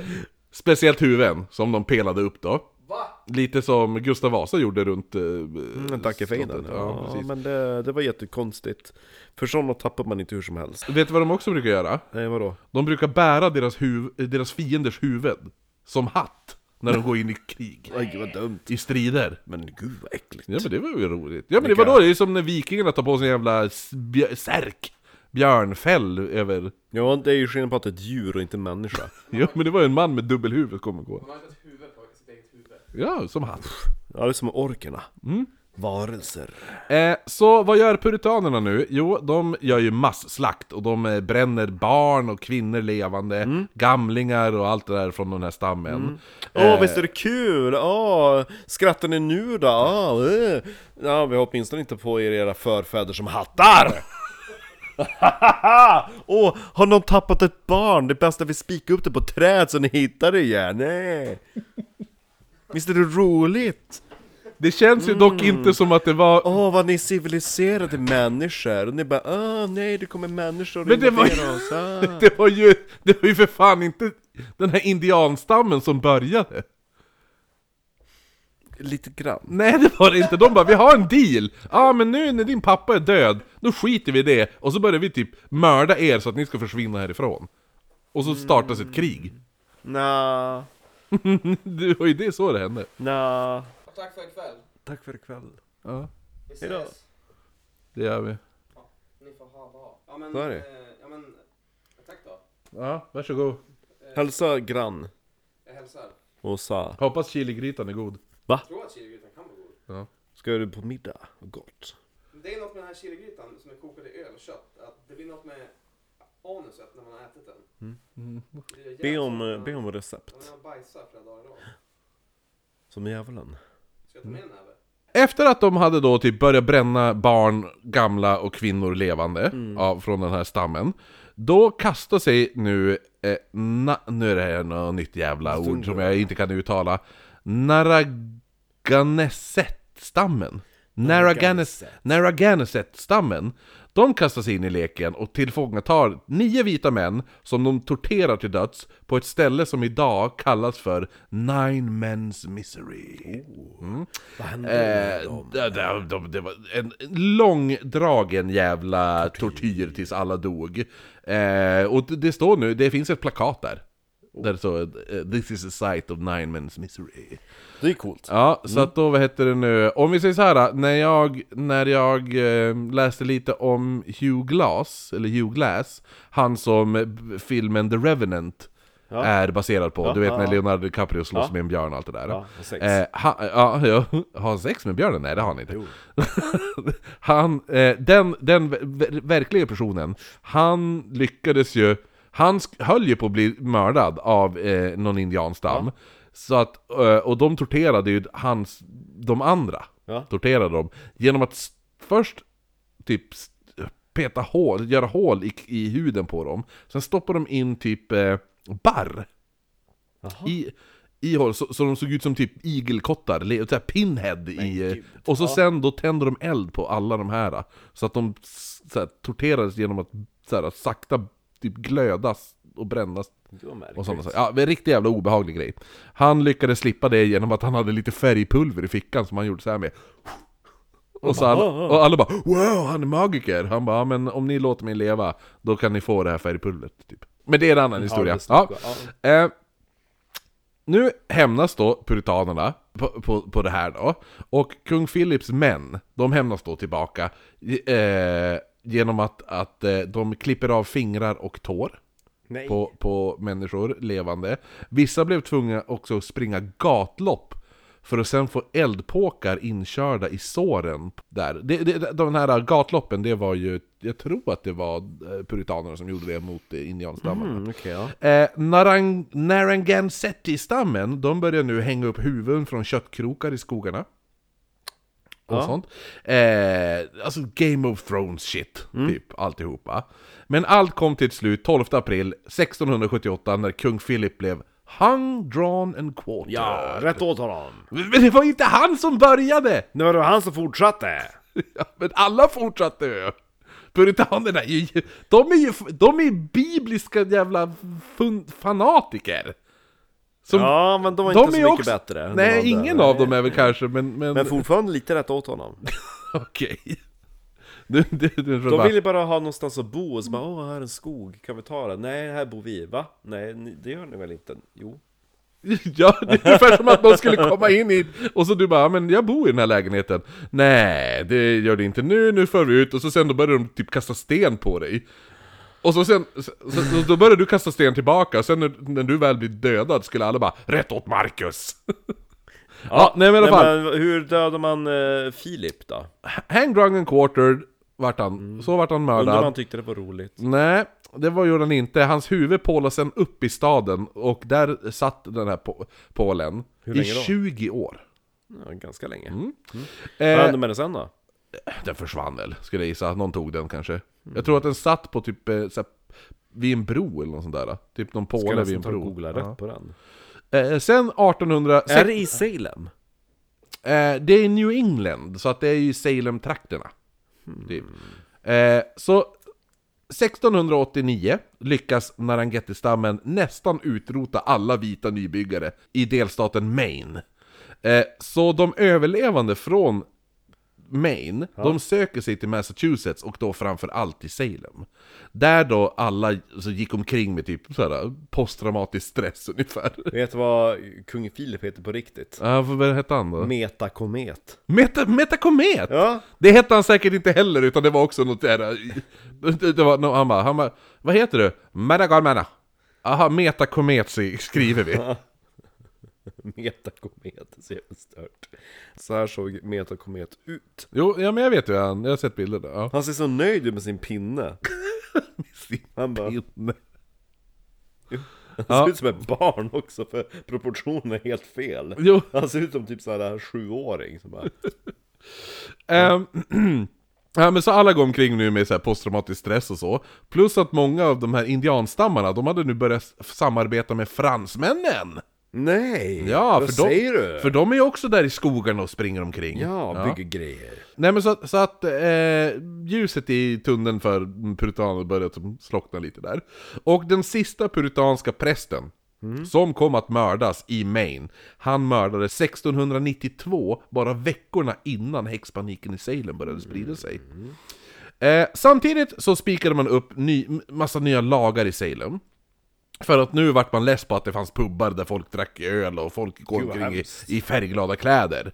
[SPEAKER 2] Speciellt huvuden, som de pelade upp då.
[SPEAKER 4] Va?
[SPEAKER 2] Lite som Gustav Vasa gjorde runt... Eh,
[SPEAKER 1] Men Mm, tack för
[SPEAKER 2] slottet.
[SPEAKER 1] innan.
[SPEAKER 2] Ja,
[SPEAKER 1] Ja,
[SPEAKER 2] precis.
[SPEAKER 1] men det, det var jättekonstigt. För sådana tappar man inte hur som helst.
[SPEAKER 2] Vet du vad de också brukar göra?
[SPEAKER 1] Nej, vadå?
[SPEAKER 2] De brukar bära deras, huv- deras fienders huvud som hatt när de går in i
[SPEAKER 4] *laughs*
[SPEAKER 2] krig,
[SPEAKER 1] Oj, vad dumt.
[SPEAKER 2] i strider.
[SPEAKER 1] Men gud vad äckligt.
[SPEAKER 2] Ja men det var ju roligt. Ja men det var då, det är som när vikingarna tar på sig en jävla s- bjö- särk, björnfäll över...
[SPEAKER 1] Ja, det är ju skillnad på att det är ett djur och inte en människa.
[SPEAKER 2] Ja men det var ju en man med dubbelhuvud kommer gå.
[SPEAKER 4] Man har inte ett huvud på sitt eget huvud.
[SPEAKER 2] Ja, som hatt.
[SPEAKER 1] Ja, det är som orkerna.
[SPEAKER 2] Mm.
[SPEAKER 1] Varelser.
[SPEAKER 2] Eh, så vad gör puritanerna nu? Jo, de gör ju masslakt och de eh, bränner barn och kvinnor levande,
[SPEAKER 4] Mm.
[SPEAKER 2] gamlingar och allt det där från den här stammen.
[SPEAKER 1] Åh,
[SPEAKER 2] Eh.
[SPEAKER 1] visst är det kul! Åh, skrattar ni nu då? Åh, eh. Ja, vi har åtminstone inte på er era förfäder som hattar! *laughs* Åh, har någon tappat ett barn? Det är bäst att vi spikar upp det på träd så ni hittar det igen. Nej. Visst är det roligt?
[SPEAKER 2] Det känns ju dock
[SPEAKER 4] Mm.
[SPEAKER 2] inte som att det var
[SPEAKER 1] Åh, vad ni är civiliserade människor! Och ni bara åh nej, det kommer människor och
[SPEAKER 2] Men det var ju-
[SPEAKER 1] invadera oss! Ah.
[SPEAKER 2] Det var ju, det var ju för fan inte den här indianstammen som började.
[SPEAKER 1] Lite grann.
[SPEAKER 2] Nej det var det inte, de bara 'Vi har en deal! Ja ah, men nu när din pappa är död, då skiter vi i det och så börjar vi typ mörda er så att ni ska försvinna härifrån. Och så startas ett krig.
[SPEAKER 1] Nja,
[SPEAKER 2] Det var ju det så det hände.
[SPEAKER 1] nja.
[SPEAKER 4] Och tack för ikväll.
[SPEAKER 1] Tack för ikväll.
[SPEAKER 2] Ja,
[SPEAKER 4] Vi ses.
[SPEAKER 1] Hejdå.
[SPEAKER 2] det gör vi.
[SPEAKER 4] Ni får ha bra. Ja men,
[SPEAKER 1] Så är det.
[SPEAKER 4] eh, ja men, tack då.
[SPEAKER 2] Ja, varsågod.
[SPEAKER 1] Hälsa grann
[SPEAKER 4] Jag hälsar. Jag
[SPEAKER 1] och sa
[SPEAKER 2] Hoppas chiligrytan är god.
[SPEAKER 4] tror att chiligrytan kan vara god.
[SPEAKER 1] Ska du på middag? Gott.
[SPEAKER 4] Det är något med den här chiligrytan som är kokad i öl och kött. Att det blir något med anuset när man har ätit den. Det gör
[SPEAKER 1] Be om, eh,
[SPEAKER 4] jävligt-
[SPEAKER 1] be om
[SPEAKER 4] Ja, men
[SPEAKER 1] recept.
[SPEAKER 4] Jag bajsar flera dagar i rad.
[SPEAKER 1] Som djävulen.
[SPEAKER 4] Ska jag ta med en näve?
[SPEAKER 2] Efter att de hade då typ börjat bränna barn, gamla och kvinnor levande ja, från den här stammen Då kastar sig nu, eh, na, nu är det här något nytt jävla ord som jag inte kan uttala Narragansett-stammen Narraganes- Narragansett-stammen De kastar sig in i leken och tillfångatar nio vita män som de torterar till döds på ett ställe som idag kallas för Nine Men's Misery
[SPEAKER 1] Oh,
[SPEAKER 2] Mm.
[SPEAKER 1] Vad händer med
[SPEAKER 2] Eh,
[SPEAKER 1] dem?
[SPEAKER 2] det, det, de, det var en långdragen jävla tortyr tills alla dog. Eh, och det, det står nu, det finns ett plakat där.
[SPEAKER 1] Oh.
[SPEAKER 2] Där det står eh, 'This is the site of nine men's misery'
[SPEAKER 1] Det är coolt. Mm.
[SPEAKER 2] Ja, så att då, vad heter det nu? Om vi säger så här, när jag, när jag eh, läste lite om Hugh Glass, eller Hugh Glass, han som eh, b- filmen The Revenant
[SPEAKER 1] Ja.
[SPEAKER 2] är baserad på, du vet
[SPEAKER 1] ja,
[SPEAKER 2] när
[SPEAKER 1] ja.
[SPEAKER 2] Leonardo DiCaprio slåss
[SPEAKER 1] Ja.
[SPEAKER 2] med en björn och allt det där.
[SPEAKER 1] Ja, och sex.
[SPEAKER 2] Eh, han, ja, ja, har han sex med björnen? Nej, det har han *laughs* inte. han, eh, den den ver- ver- verkliga personen, han lyckades ju Han sk- höll ju på att bli mördad av eh, någon indianstam. Så att, eh, och de torterade ju hans, de andra.
[SPEAKER 1] Ja.
[SPEAKER 2] Torterade dem. Genom att s- först typ s- peta hål, göra hål i, i huden på dem. Sen stoppar de in typ eh, barr i, i hål, så, så de såg ut som typ igelkottar, le- så här pinhead i...
[SPEAKER 1] gud.
[SPEAKER 2] Och så sen då tände de eld på alla de här. Så att de s- så här, torterades genom att så här, sakta typ glödas och brännas.
[SPEAKER 1] Det var märkligt.
[SPEAKER 2] Och sådana saker. Ja, en riktigt jävla obehaglig grej. Han lyckades slippa det genom att han hade lite färgpulver i fickan som han gjorde så här med. Och, så alla, och alla bara ”Wow, han är magiker!” Han bara ja, men om ni låter mig leva, då kan ni få det här färgpulvret” typ. Men det är en annan historia.
[SPEAKER 1] det
[SPEAKER 2] Ja.
[SPEAKER 1] står-
[SPEAKER 2] Eh, nu hämnas då puritanerna på, på, på det här då. Och kung Philips män, de hämnas då tillbaka eh, genom att, att eh, de klipper av fingrar och tår
[SPEAKER 1] Nej.
[SPEAKER 2] på, på människor levande. Vissa blev tvungna också att springa gatlopp för att sen få eldpåkar inkörda i såren där. Det, det, de här gatloppen, det var ju, jag tror att det var eh, puritanerna som gjorde det mot eh, indianstammarna.
[SPEAKER 1] Mm, okej, ja.
[SPEAKER 2] Eh, Narang- Narragansett-stammen, de börjar nu hänga upp huvuden från köttkrokar i skogarna. Och
[SPEAKER 1] Ja.
[SPEAKER 2] sånt. Eh, alltså Game of Thrones shit,
[SPEAKER 1] Mm.
[SPEAKER 2] typ alltihopa. Men allt kom till ett slut 12 april 1678 när kung Philip blev hung, drawn and quartered.
[SPEAKER 1] ja, rätt åt honom.
[SPEAKER 2] Men det var ju inte han som började! *laughs*
[SPEAKER 1] Nu var det han som fortsatte.
[SPEAKER 2] Ja, men alla fortsatte ju! Puritanerna är ju, de är ju, de är bibliska jävla fun, fanatiker! Som,
[SPEAKER 1] Ja, men de var
[SPEAKER 2] de
[SPEAKER 1] inte
[SPEAKER 2] är
[SPEAKER 1] så mycket
[SPEAKER 2] också,
[SPEAKER 1] bättre.
[SPEAKER 2] Nej,
[SPEAKER 1] De var
[SPEAKER 2] ingen
[SPEAKER 1] där.
[SPEAKER 2] av dem är väl kanske, men... men,
[SPEAKER 1] Men fortfarande lite rätt
[SPEAKER 2] *laughs*
[SPEAKER 1] åt honom.
[SPEAKER 2] Okej. *laughs* Du, du, du,
[SPEAKER 1] De
[SPEAKER 2] bara,
[SPEAKER 1] ville bara ha någonstans att bo och så bara Åh, här är en skog, kan vi ta den? Nej, här bor vi, va? Nej, ni- det gör ni väl inte? Jo
[SPEAKER 2] *laughs* Ja, det är ungefär som att någon skulle komma in hit och så du bara, "Ja, men jag bor i den här lägenheten. Nej, det gör det inte nu, nu för vi ut och så sen då börjar de typ kasta sten på dig. Och så sen, så, så, så, då börjar du kasta sten tillbaka, och sen när, när du väl blir dödad skulle alla bara ”Rätt åt Marcus!” *laughs* Ja, nej men i alla fall.
[SPEAKER 1] men hur dödar man eh, Filip då?
[SPEAKER 2] Hang drunk and quartered vart han,
[SPEAKER 1] Mm.
[SPEAKER 2] så vart han mördad.
[SPEAKER 1] Undrar om han tyckte det var roligt
[SPEAKER 2] Nej, det var gjorde han inte. Hans huvud pålade sen upp i staden och där satt den här på- pålen i
[SPEAKER 1] länge då?
[SPEAKER 2] 20 år.
[SPEAKER 1] ja, Ganska länge
[SPEAKER 2] Eh,
[SPEAKER 1] Vad hände med den sen då?
[SPEAKER 2] Den försvann väl, skulle jag gissa. Någon tog den kanske. Jag tror att den satt på typ eh, såhär, vid en bro eller något sånt där. Typ någon
[SPEAKER 1] Ska
[SPEAKER 2] påle vid en
[SPEAKER 1] nästan ta
[SPEAKER 2] bro.
[SPEAKER 1] och googla
[SPEAKER 2] Ja.
[SPEAKER 1] rätt på den
[SPEAKER 2] Eh, sen 1800...
[SPEAKER 1] Är det i Salem?
[SPEAKER 2] Eh, det är New England, så att det är ju Salem-trakterna. Typ. Eh, så 1689 lyckas Narangeti-stammen nästan utrota alla vita nybyggare i delstaten Maine. Eh, så de överlevande från Maine, de söker sig till Massachusetts och då framförallt till Salem. Där då alla så gick omkring med typ såhär, posttraumatisk stress ungefär. *laughs*
[SPEAKER 1] Vet du vad kung Filip heter på riktigt?
[SPEAKER 2] Ja, vad hette han då?
[SPEAKER 1] Metakomet
[SPEAKER 2] Meta, metakomet!
[SPEAKER 1] Ja,
[SPEAKER 2] Det hette han säkert inte heller, utan det var också något där... eh, Det det var, no, han bara, han bara, vad heter du? Madagalmana. Aha, metakomet si- skriver vi.
[SPEAKER 1] *laughs* Metakomet, så jävla stört Så här såg Metakomet ut
[SPEAKER 2] Jo, ja men jag vet ju han, jag har sett bilder där. Ja.
[SPEAKER 1] Han ser så nöjd ut med sin pinne Han bara Han
[SPEAKER 2] Ja.
[SPEAKER 1] ser ut som ett barn också för proportionerna är helt fel
[SPEAKER 2] Jo.
[SPEAKER 1] Han ser ut som typ såhär sjuåring som bara
[SPEAKER 2] Ehm, *clears throat* Ja men så alla går omkring nu med så här posttraumatisk stress och så Plus att många av de här indianstammarna, de hade nu börjat s- samarbeta med fransmännen!
[SPEAKER 1] Nej!
[SPEAKER 2] Ja,
[SPEAKER 1] vad
[SPEAKER 2] för de,
[SPEAKER 1] säger du?
[SPEAKER 2] för de är ju också där i skogarna och springer omkring
[SPEAKER 1] Ja, bygger grejer
[SPEAKER 2] Nej men så, så att eh, ljuset i tunneln för puritaner började som slockna lite där. Och den sista puritanska prästen
[SPEAKER 1] Mm.
[SPEAKER 2] som kom att mördas i Maine, han mördades 1692, bara veckorna innan häxpaniken i Salem började sprida sig.
[SPEAKER 1] Mm.
[SPEAKER 2] Eh, samtidigt så spikade man upp ny, massa nya lagar i Salem. För att nu vart man less på att det fanns pubbar där folk drack öl och folk går
[SPEAKER 1] Gud, vad
[SPEAKER 2] omkring i,
[SPEAKER 1] hemskt.
[SPEAKER 2] i färgglada kläder.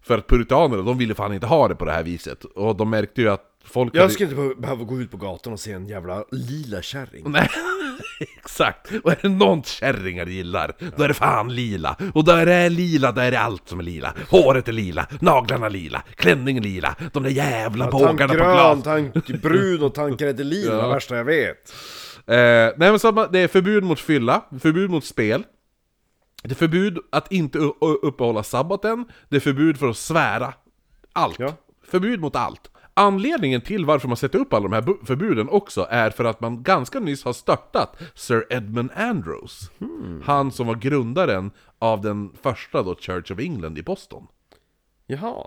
[SPEAKER 2] För att puritanerna, de ville fan inte ha det på det här viset. Och de märkte ju att folk
[SPEAKER 1] Jag skulle inte behöva gå ut på gatan och se en jävla lila kärring
[SPEAKER 2] *laughs* Nej, exakt! Och är det något kärringar gillar, då är det fan lila! Och där är lila, där är det allt som är lila! Håret är lila, naglarna lila, klänningen lila, de där jävla bågarna på glas!
[SPEAKER 1] tank brun och tanken heter lila, värsta jag vet
[SPEAKER 2] Eh, nej men så att man, det är förbud mot fylla, förbud mot spel. Det är förbud att inte u- u- uppehålla sabbaten, det är förbud för att svära. Allt.
[SPEAKER 1] Ja.
[SPEAKER 2] Förbud mot allt. Anledningen till varför man sätter upp alla de här bu- förbuden också är för att man ganska nyss har störtat Sir Edmund Andros.
[SPEAKER 1] Hmm.
[SPEAKER 2] Han som var grundaren av den första då Church of England i Boston.
[SPEAKER 1] Jaha.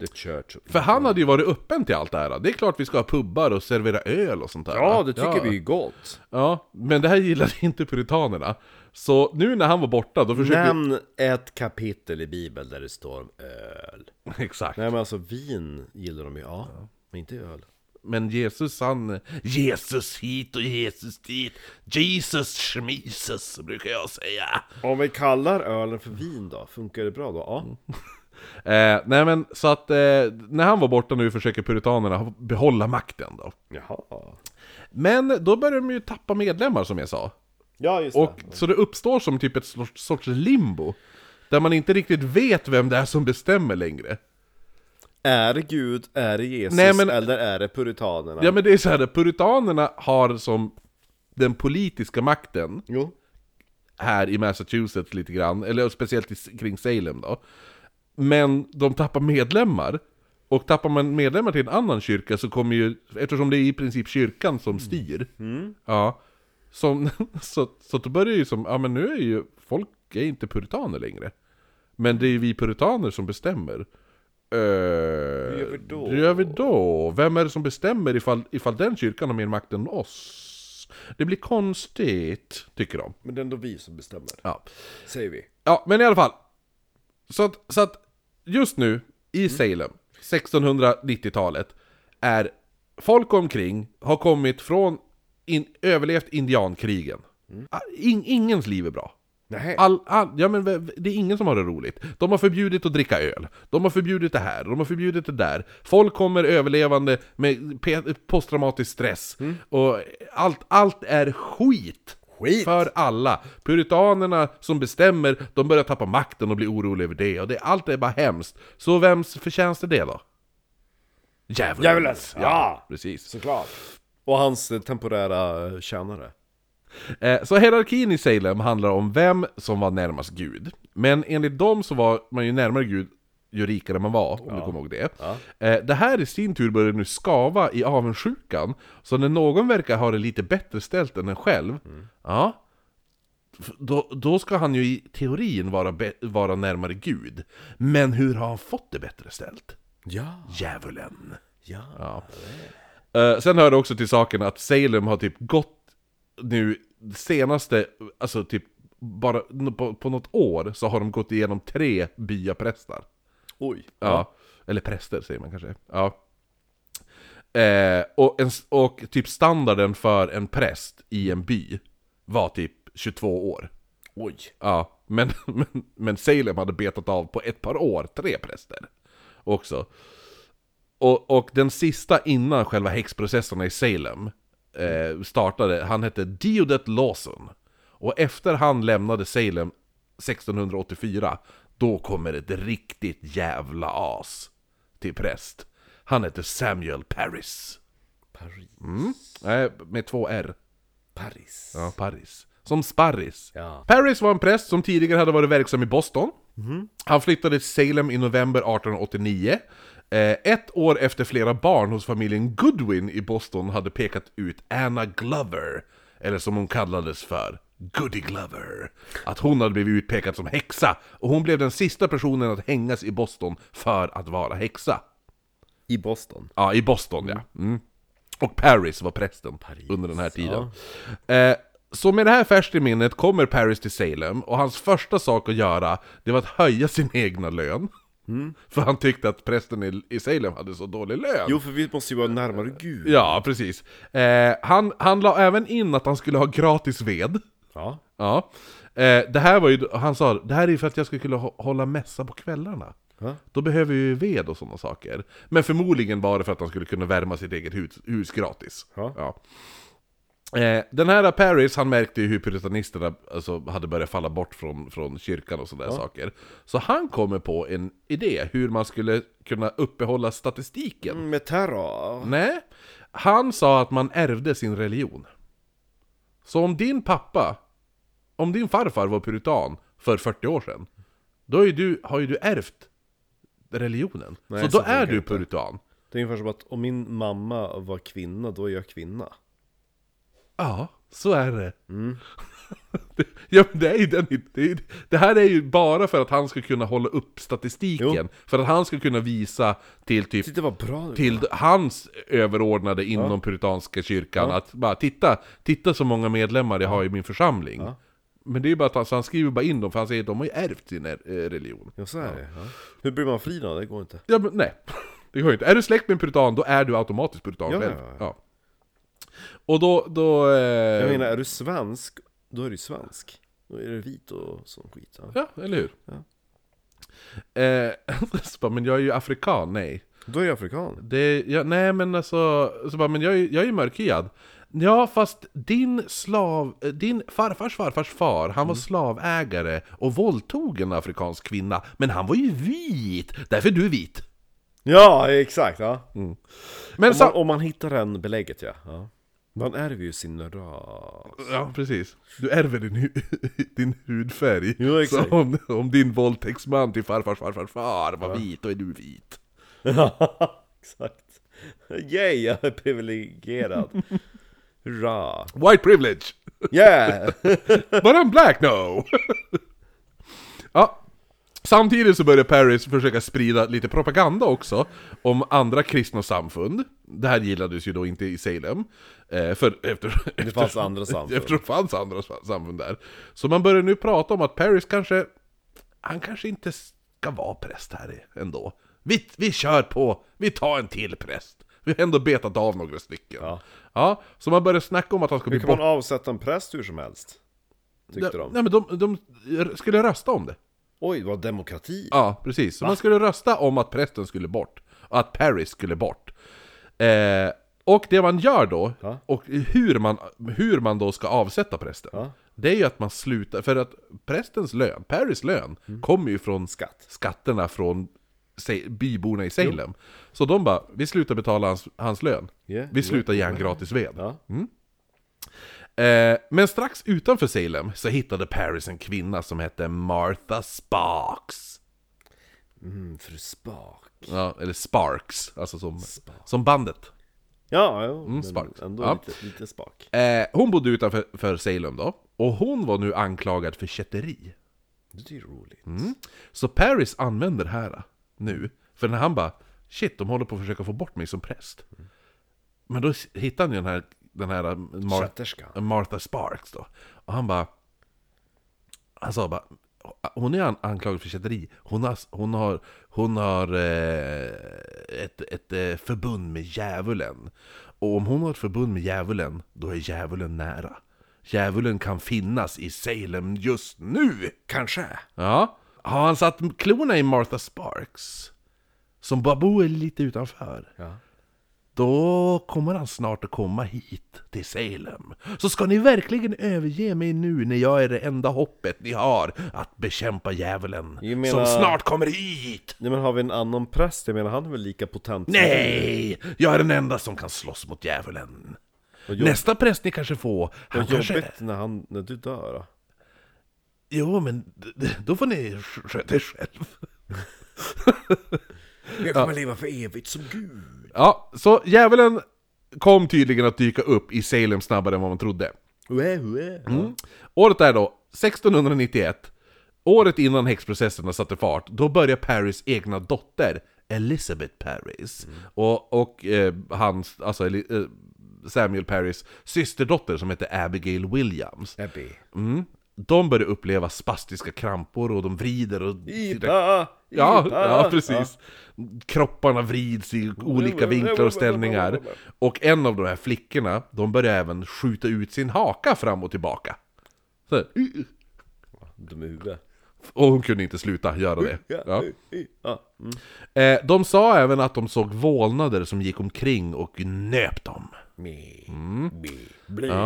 [SPEAKER 1] The Church of
[SPEAKER 2] För han hade ju varit öppen till allt det här. Det är klart vi ska ha pubbar och servera öl och sånt där.
[SPEAKER 1] Ja, det tycker vi är gott.
[SPEAKER 2] Ja, men det här gillade *laughs* inte puritanerna. Så nu när han var borta, då försökte...
[SPEAKER 1] Nämn ett kapitel i Bibeln där det står om öl.
[SPEAKER 2] *laughs* Exakt.
[SPEAKER 1] Nej men alltså vin gillar de ju, ja. Men inte öl.
[SPEAKER 2] Men Jesus han... Jesus hit och Jesus dit. Jesus schmisus, brukar jag säga.
[SPEAKER 1] Om vi kallar ölen för vin då, funkar det bra då? Ja.
[SPEAKER 2] Eh, nej men, så att eh, när han var borta nu försöker puritanerna behålla makten då.
[SPEAKER 1] Jaha.
[SPEAKER 2] Men då börjar de ju tappa medlemmar som jag sa.
[SPEAKER 1] Ja just
[SPEAKER 2] Och
[SPEAKER 1] det.
[SPEAKER 2] så det uppstår som typ ett sorts, sorts limbo. Där man inte riktigt vet vem det är som bestämmer längre.
[SPEAKER 1] Är det Gud, är det Jesus
[SPEAKER 2] Nej, men-
[SPEAKER 1] eller är det puritanerna?
[SPEAKER 2] Ja men det är så här, puritanerna har som den politiska makten
[SPEAKER 1] Jo.
[SPEAKER 2] här i Massachusetts lite grann, eller speciellt i, kring Salem då. Men de tappar medlemmar. Och tappar man medlemmar till en annan kyrka så kommer ju, eftersom det är i princip kyrkan som styr,
[SPEAKER 1] Mm.
[SPEAKER 2] ja, som, så, *laughs* så då börjar ju som, ja men nu är ju, folk är inte puritaner längre. Men det är ju vi puritaner som bestämmer. Eh, Hur
[SPEAKER 1] gör vi då?
[SPEAKER 2] Hur gör vi då? Vem är det som bestämmer ifall, ifall den kyrkan har mer makt än oss? Det blir konstigt, tycker de.
[SPEAKER 1] Men det är ändå vi som bestämmer,
[SPEAKER 2] Ja.
[SPEAKER 1] säger vi.
[SPEAKER 2] Ja, men i alla fall. Så att, så att just nu i Salem, 1690-talet, är folk omkring har kommit från, in, överlevt indiankrigen. Ah, In, ingens liv är bra.
[SPEAKER 1] Nej.
[SPEAKER 2] All, all, ja, men v- v- det är ingen som har det roligt. De har förbjudit att dricka öl. De har förbjudit det här, de har förbjudit det där. Folk kommer överlevande med pe- posttraumatisk stress. Och allt, allt är skit.
[SPEAKER 1] Skit.
[SPEAKER 2] För alla. Puritanerna som bestämmer, de börjar tappa makten och blir oroliga över det. Och det, allt är bara hemskt. Så vems förtjänst är det då? Djävulens!
[SPEAKER 1] Djävulens, ja.
[SPEAKER 2] Precis.
[SPEAKER 1] Såklart. Och hans eh, temporära eh, tjänare.
[SPEAKER 2] Eh, Så hierarkin i Salem handlar om vem som var närmast Gud. Men enligt dem så var man ju närmare Gud ju rikare man var, om du kommer ihåg det. Eh, Det här i sin tur börjar nu skava i avundsjukan. Så när någon verkar ha det lite bättre ställt än en själv, ja, f- då, då ska han ju i teorin vara, be- vara närmare Gud. Men hur har han fått det bättre ställt?
[SPEAKER 1] Ja.
[SPEAKER 2] Djävulen.
[SPEAKER 1] Ja.
[SPEAKER 2] Eh, sen hör det också till saken att Salem har typ gått nu senaste, alltså typ bara n- på, på något år så har de gått igenom tre byaprästar.
[SPEAKER 1] Oj.
[SPEAKER 2] Ja. Eller präster säger man kanske. Ja. Eh, och, en, s- och typ standarden för en präst i en by var typ 22 år.
[SPEAKER 1] Oj.
[SPEAKER 2] Ja, men, *laughs* men, men Salem hade betat av på ett par år tre präster också. Och, och den sista innan själva häxprocesserna i Salem eh, startade, han hette Deodat Lawson. Och efter han lämnade Salem 1684, då kommer ett riktigt jävla as till präst. Han heter Samuel Paris. Mm.
[SPEAKER 1] Paris.
[SPEAKER 2] Nej, med två R.
[SPEAKER 1] Paris.
[SPEAKER 2] Ja, Paris. Som Sparris.
[SPEAKER 1] Ja.
[SPEAKER 2] Paris var en präst som tidigare hade varit verksam i Boston. Han flyttade till Salem i november 1889. Eh, ett år efter flera barn hos familjen Goodwin i Boston hade pekat ut Anna Glover, eller som hon kallades för, Goody Glover. Att hon hade blivit utpekad som häxa, och hon blev den sista personen att hängas i Boston för att vara häxa.
[SPEAKER 1] I Boston.
[SPEAKER 2] Ja, i Boston ja. Mm. Och Paris var prästen under den här tiden. Eh, så med det här färskt i minnet kommer Paris till Salem och hans första sak att göra det var att höja sin egna lön. För han tyckte att prästen i, i Salem hade så dålig lön.
[SPEAKER 1] Jo, för vi måste ju vara närmare Gud.
[SPEAKER 2] Ja, precis. Eh, han, han la även in att han skulle ha gratis ved.
[SPEAKER 1] Ja.
[SPEAKER 2] Ja. Eh, det här var ju, han sa, det här är ju för att jag ska kunna hå- hålla mässa på kvällarna.
[SPEAKER 1] Ja.
[SPEAKER 2] Då behöver vi ju ved och sådana saker. Men förmodligen var det för att han skulle kunna värma sitt eget hus, hus gratis.
[SPEAKER 1] Ja.
[SPEAKER 2] Eh, den här Paris, han märkte ju hur puritanisterna alltså, hade börjat falla bort från, från kyrkan och sådana saker. Så han kommer på en idé hur man skulle kunna uppehålla statistiken.
[SPEAKER 1] Med terror.
[SPEAKER 2] Nej, han sa att man ärvde sin religion. Så om din pappa, om din farfar var puritan för 40 år sedan, då är ju du, har ju du ärvt religionen.
[SPEAKER 1] Nej,
[SPEAKER 2] så
[SPEAKER 1] så
[SPEAKER 2] då är
[SPEAKER 1] funkar det
[SPEAKER 2] du
[SPEAKER 1] inte.
[SPEAKER 2] puritan.
[SPEAKER 1] Det är ungefär som att om min mamma var kvinna, då är jag kvinna.
[SPEAKER 2] Ja, så är det.
[SPEAKER 1] Mm.
[SPEAKER 2] *laughs* Det- ja, men det, är ju den, det, är- det här är ju bara för att han ska kunna hålla upp statistiken.
[SPEAKER 1] Jo.
[SPEAKER 2] För att han ska kunna visa till typ
[SPEAKER 1] Titta vad bra du
[SPEAKER 2] till hans överordnade inom puritanska kyrkan att bara titta, titta så många medlemmar jag har i min församling. Men det är ju bara att han, så han skriver bara in dem för han säger att de har ju ärvt sin eh, religion.
[SPEAKER 1] Ja, så är det. Ja. Hur blir man fri då? Det går inte.
[SPEAKER 2] Ja men nej, *laughs* det går ju inte. Är du släkt med en puritan då är du automatiskt puritan
[SPEAKER 1] Ja,
[SPEAKER 2] själv.
[SPEAKER 1] ja, ja.
[SPEAKER 2] Ja. Och då, då... Eh,
[SPEAKER 1] Jag menar, är du svensk, då är du svensk. Då är du vit och sån skit. Ja.
[SPEAKER 2] Ja, eller hur? Eh, *laughs* så bara, men jag är ju afrikan, nej.
[SPEAKER 1] Då är jag afrikan.
[SPEAKER 2] Det, ja, nej men alltså, så bara, men jag, är- jag är ju mörkhyad. Ja fast din slav, eh, din farfars farfars far, han
[SPEAKER 1] Mm.
[SPEAKER 2] var slavägare och våldtog en afrikansk kvinna. Men han var ju vit, därför är du vit.
[SPEAKER 1] Ja, exakt. Ja. Mm.
[SPEAKER 2] Men
[SPEAKER 1] Om, man,
[SPEAKER 2] så,
[SPEAKER 1] om man hittar den belägget ja. ja. Man ärver ju sin
[SPEAKER 2] *laughs*
[SPEAKER 1] ras.
[SPEAKER 2] ja precis, du ärver din, hu- *laughs* din hudfärg.
[SPEAKER 1] Jo, exakt.
[SPEAKER 2] Så om, om din våldtäktsman till farfars farfars far var vit, då är du vit.
[SPEAKER 1] Ja, exakt. Yay, jag
[SPEAKER 2] *laughs*
[SPEAKER 1] är privilegierad. Hurra.
[SPEAKER 2] White privilege!
[SPEAKER 1] Yeah!
[SPEAKER 2] But I'm black no! *laughs* ja. Samtidigt så börjar Paris försöka sprida lite propaganda också om andra kristna samfund. Det här gillades ju då inte i Salem. eh, För efter,
[SPEAKER 1] Det fanns andra samfund.
[SPEAKER 2] eftersom det fanns andra sa- samfund där. Så man börjar nu prata om att Paris kanske... Han kanske inte ska vara präst här i- ändå. Vi, vi kör på, vi tar en till präst. Vi har ändå betat av några stycken.
[SPEAKER 1] Ja.
[SPEAKER 2] ja så man börjar snacka om att han ska
[SPEAKER 1] Hur
[SPEAKER 2] bli
[SPEAKER 1] kan man avsätta en präst hur som helst? Tyckte de.
[SPEAKER 2] Nej men de, de skulle rösta om det.
[SPEAKER 1] Oj, vad demokrati.
[SPEAKER 2] Ja, precis. Så man skulle rösta om att prästen skulle bort. Och att Paris skulle bort. Eh, och det man gör då,
[SPEAKER 1] Ja.
[SPEAKER 2] och hur man, hur man då ska avsätta prästen.
[SPEAKER 1] Ja.
[SPEAKER 2] Det är ju att man slutar, för att prästens lön, Paris lön,
[SPEAKER 1] Mm.
[SPEAKER 2] kommer ju från
[SPEAKER 1] Skatt.
[SPEAKER 2] skatterna från se, byborna i Salem. Så de bara, vi slutar betala hans, hans lön.
[SPEAKER 1] Yeah,
[SPEAKER 2] vi
[SPEAKER 1] yeah,
[SPEAKER 2] slutar ge han gratis ved. Mm.
[SPEAKER 1] Ja.
[SPEAKER 2] Eh, men strax utanför Salem så hittade Paris en kvinna som hette Martha Sparks.
[SPEAKER 1] Mm, fru Spak.
[SPEAKER 2] Ja, eller Sparks, alltså som, som bandet.
[SPEAKER 1] Ja, jo, men
[SPEAKER 2] spark.
[SPEAKER 1] ändå
[SPEAKER 2] Mm, Ja.
[SPEAKER 1] lite, lite spak.
[SPEAKER 2] Eh, hon bodde utanför för Salem då, och hon var nu anklagad för kätteri.
[SPEAKER 1] Det är ju roligt.
[SPEAKER 2] Mm, Så Paris använder det här nu, för när han bara Shit, de håller på att försöka få bort mig som präst. Men då s- hittar han ju den här, den här Mar-
[SPEAKER 1] Sköterskan.
[SPEAKER 2] Martha Sparks då. Och han bara Han sa bara Hon är an- anklagad för kätteri. Hon har, hon har, hon har eh, ett, ett eh, förbund med djävulen. Och om hon har ett förbund med djävulen, då är djävulen nära. Djävulen kan finnas i Salem just nu!
[SPEAKER 1] Kanske.
[SPEAKER 2] Ja. Har han satt klorna i Martha Sparks? Som bara bor lite utanför.
[SPEAKER 1] Ja.
[SPEAKER 2] Då kommer han snart att komma hit till Salem. Så ska ni verkligen överge mig nu när jag är det enda hoppet ni har att bekämpa djävulen
[SPEAKER 1] Jag menar-
[SPEAKER 2] som snart kommer hit?
[SPEAKER 1] Nej men har vi en annan präst? Jag menar han är väl lika potent som
[SPEAKER 2] Nej! Jag är den enda som kan slåss mot djävulen.
[SPEAKER 1] Vad jobb-
[SPEAKER 2] Nästa präst ni kanske får, han
[SPEAKER 1] Vad
[SPEAKER 2] kanske...
[SPEAKER 1] jobbigt när, han, när du dör då.
[SPEAKER 2] Jo, men d- d- då får ni sk- sköta er själv.
[SPEAKER 1] Jag kommer leva för evigt som Gud.
[SPEAKER 2] Ja, så djävulen kom tydligen att dyka upp i Salem snabbare än vad man trodde.
[SPEAKER 1] Ue, ue. Mm.
[SPEAKER 2] Året är då 1691. Året innan häxprocesserna satte fart, då börjar Paris egna dotter, Elizabeth Paris. Och, och eh, hans, alltså Eli- eh, Samuel Paris systerdotter som heter Abigail Williams.
[SPEAKER 1] Ebbe.
[SPEAKER 2] Mm. De börjar uppleva spastiska krampor och de vrider och... typ
[SPEAKER 1] Ipa!
[SPEAKER 2] *laughs* Ja,
[SPEAKER 1] Ipa!
[SPEAKER 2] ja precis. Kropparna vrids i olika vinklar och ställningar. Och en av de här flickorna, de börjar även skjuta ut sin haka fram och tillbaka. Så, här, "Uh."
[SPEAKER 1] Dum i huvudet.
[SPEAKER 2] och hon kunde inte sluta göra det. Ja.
[SPEAKER 1] Ja. Mm.
[SPEAKER 2] Eh, De sa även att de såg vålnader som gick omkring och nöp dem.
[SPEAKER 1] Me. Me. Bli.
[SPEAKER 2] Mm.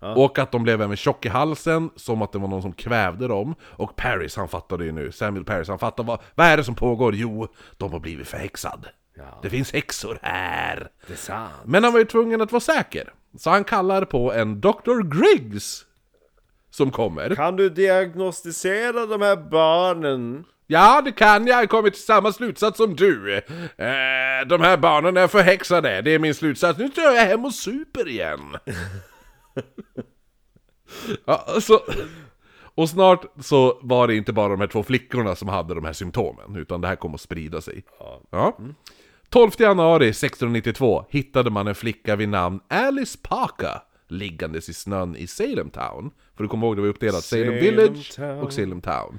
[SPEAKER 2] Ja. Och att de blev även tjock i halsen, som att det var någon som kvävde dem. Och Paris han fattade ju nu, Samuel Paris han fattar vad, vad är det som pågår? Jo, de har blivit förhäxad.
[SPEAKER 1] Ja.
[SPEAKER 2] Det finns häxor här!
[SPEAKER 1] Det är sant.
[SPEAKER 2] Men han var ju tvungen att vara säker. Så han kallar på en Dr. Griggs som kommer.
[SPEAKER 1] Kan du diagnostisera de här barnen?
[SPEAKER 2] Ja, det kan jag. Jag har kommit till samma slutsats som du. Eh, de här barnen är förhäxade. Det är min slutsats. Nu drar jag hem och super igen. ja, så... Och snart så var det inte bara de här två flickorna som hade de här symptomen, utan det här kom att sprida sig. Ja. 12 januari 1692 hittade man en flicka vid namn Alice Parker liggandes i snön i Salem Town. För du kommer ihåg, det var uppdelat Salem
[SPEAKER 1] Salem
[SPEAKER 2] Village
[SPEAKER 1] Town.
[SPEAKER 2] och Salem Town.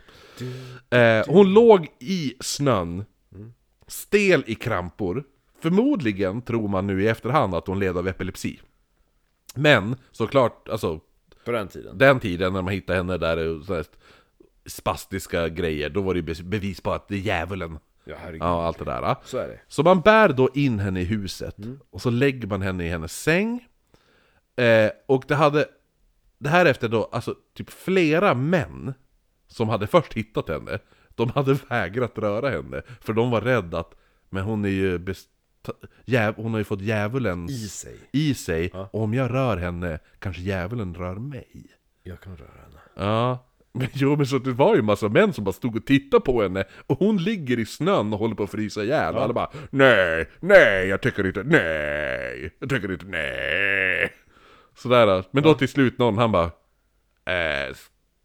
[SPEAKER 2] Eh, hon låg i snön, stel i krampor. Förmodligen tror man nu i efterhand att hon led av epilepsi. Men såklart, alltså
[SPEAKER 1] På den tiden.
[SPEAKER 2] den tiden när man hittade henne där och sådär spastiska grejer, då var det ju be- bevis på att det är djävulen.
[SPEAKER 1] Ja, herregud.
[SPEAKER 2] Ja, allt det där.
[SPEAKER 1] Så är det. Mm.
[SPEAKER 2] Så man bär då in henne i huset, och så lägger man henne i hennes säng. Eh, och det hade, det här efter då, alltså typ flera män som hade först hittat henne, de hade vägrat röra henne, för de var rädda att, men hon är ju best- Djäv, hon har ju fått djävulens
[SPEAKER 1] I sig.
[SPEAKER 2] i sig, och om jag rör henne kanske djävulen rör mig.
[SPEAKER 1] Jag kan röra henne.
[SPEAKER 2] Ja. Men jo men så det var ju massa män som bara stod och tittade på henne och hon ligger i snön och håller på att frysa ihjäl och alla bara Nej, nej, jag tycker inte, nej, jag tycker inte, nej Sådär, men då till slut någon han bara äh,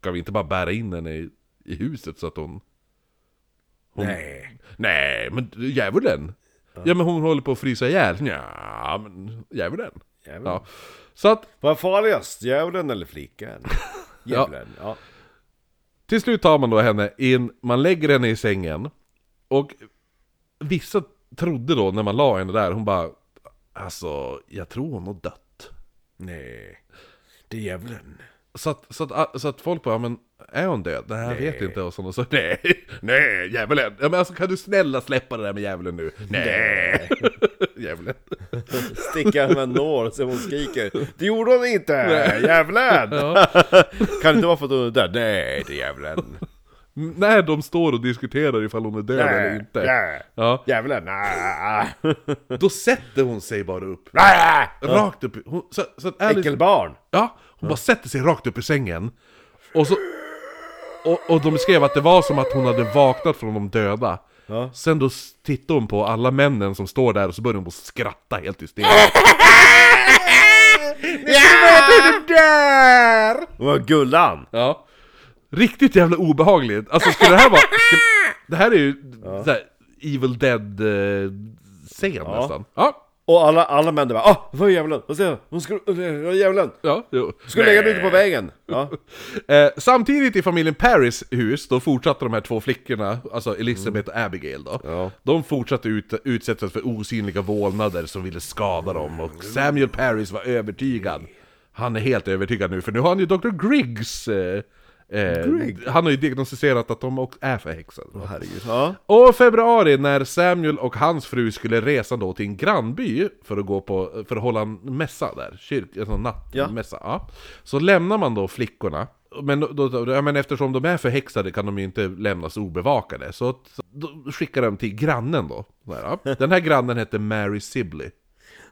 [SPEAKER 2] Ska vi inte bara bära in henne i, i huset så att hon
[SPEAKER 1] Nej.
[SPEAKER 2] Nej, men djävulen! Ja. ja men hon håller på att frysa ihjäl, ja men djävulen
[SPEAKER 1] Djävulen.
[SPEAKER 2] Ja, så att
[SPEAKER 1] Vad är farligast? Djävulen eller *laughs* flickan? Djävulen, ja.
[SPEAKER 2] Till slut tar man då henne in, man lägger henne i sängen Och vissa trodde då när man la henne där, hon bara Alltså, jag tror hon har dött
[SPEAKER 1] Nej. Det är djävulen.
[SPEAKER 2] Så att, så att, så att folk bara, "Ja, men är hon död? Nej, jag vet inte och sådana så Nej, nej, djävulen! Ja, men alltså kan du snälla släppa det där med djävulen nu? Nej! *laughs* djävulen
[SPEAKER 1] Sticka med en nål så hon skriker. Det gjorde hon inte! Djävulen! *laughs* kan det inte vara för att hon är död? Nej, det är djävulen.
[SPEAKER 2] Mm, Nej, de står och diskuterar ifall hon är död eller inte
[SPEAKER 1] Nej.
[SPEAKER 2] Ja,
[SPEAKER 1] Djävulen! Nej.
[SPEAKER 2] då sätter hon sig bara upp
[SPEAKER 1] Nej.
[SPEAKER 2] Rakt upp, i- hon, så, så att Alice
[SPEAKER 1] Äckelbarn!
[SPEAKER 2] Ja, hon bara sätter sig rakt upp i sängen. Och så... Och, och de skrev att det var som att hon hade vaknat från de döda.
[SPEAKER 1] Ja.
[SPEAKER 2] Sen då s- tittar hon på alla männen som står där och så börjar hon bara skratta helt hysteriskt.
[SPEAKER 1] Hon var Gullan!
[SPEAKER 2] Ja. Riktigt jävla obehagligt. Alltså skulle det här vara... Skulle, det här är ju så här, Evil Dead-scen nästan. Ja.
[SPEAKER 1] Och alla, alla män där bara ah, vad är djävulen? Vad säger jag? Hon skulle... det var Djävulen!
[SPEAKER 2] Ja, jo.
[SPEAKER 1] Skulle lägga den ute på vägen! Ja.
[SPEAKER 2] Eh, samtidigt i familjen Paris hus, då fortsatte de här två flickorna, alltså Elizabeth och Abigail då.
[SPEAKER 1] Ja.
[SPEAKER 2] De fortsatte ut, utsättas för osynliga vålnader som ville skada dem och Samuel Paris var övertygad. Han är helt övertygad nu, för nu har han ju Dr. Griggs... Eh, eh, Han har ju diagnostiserat att de också är förhäxade.
[SPEAKER 1] Herregud. Ja.
[SPEAKER 2] Och februari när Samuel och hans fru skulle resa då till en grannby för att, gå på, för att hålla en mässa där, kyrk, alltså
[SPEAKER 1] Ja.
[SPEAKER 2] nattmässa. Ja. Så lämnar man då flickorna, men, då, då, ja, men eftersom de är förhäxade kan de ju inte lämnas obevakade. Så att- då skickar de till grannen då. Där,
[SPEAKER 1] *laughs*
[SPEAKER 2] ja. Den här grannen hette Mary Sibley.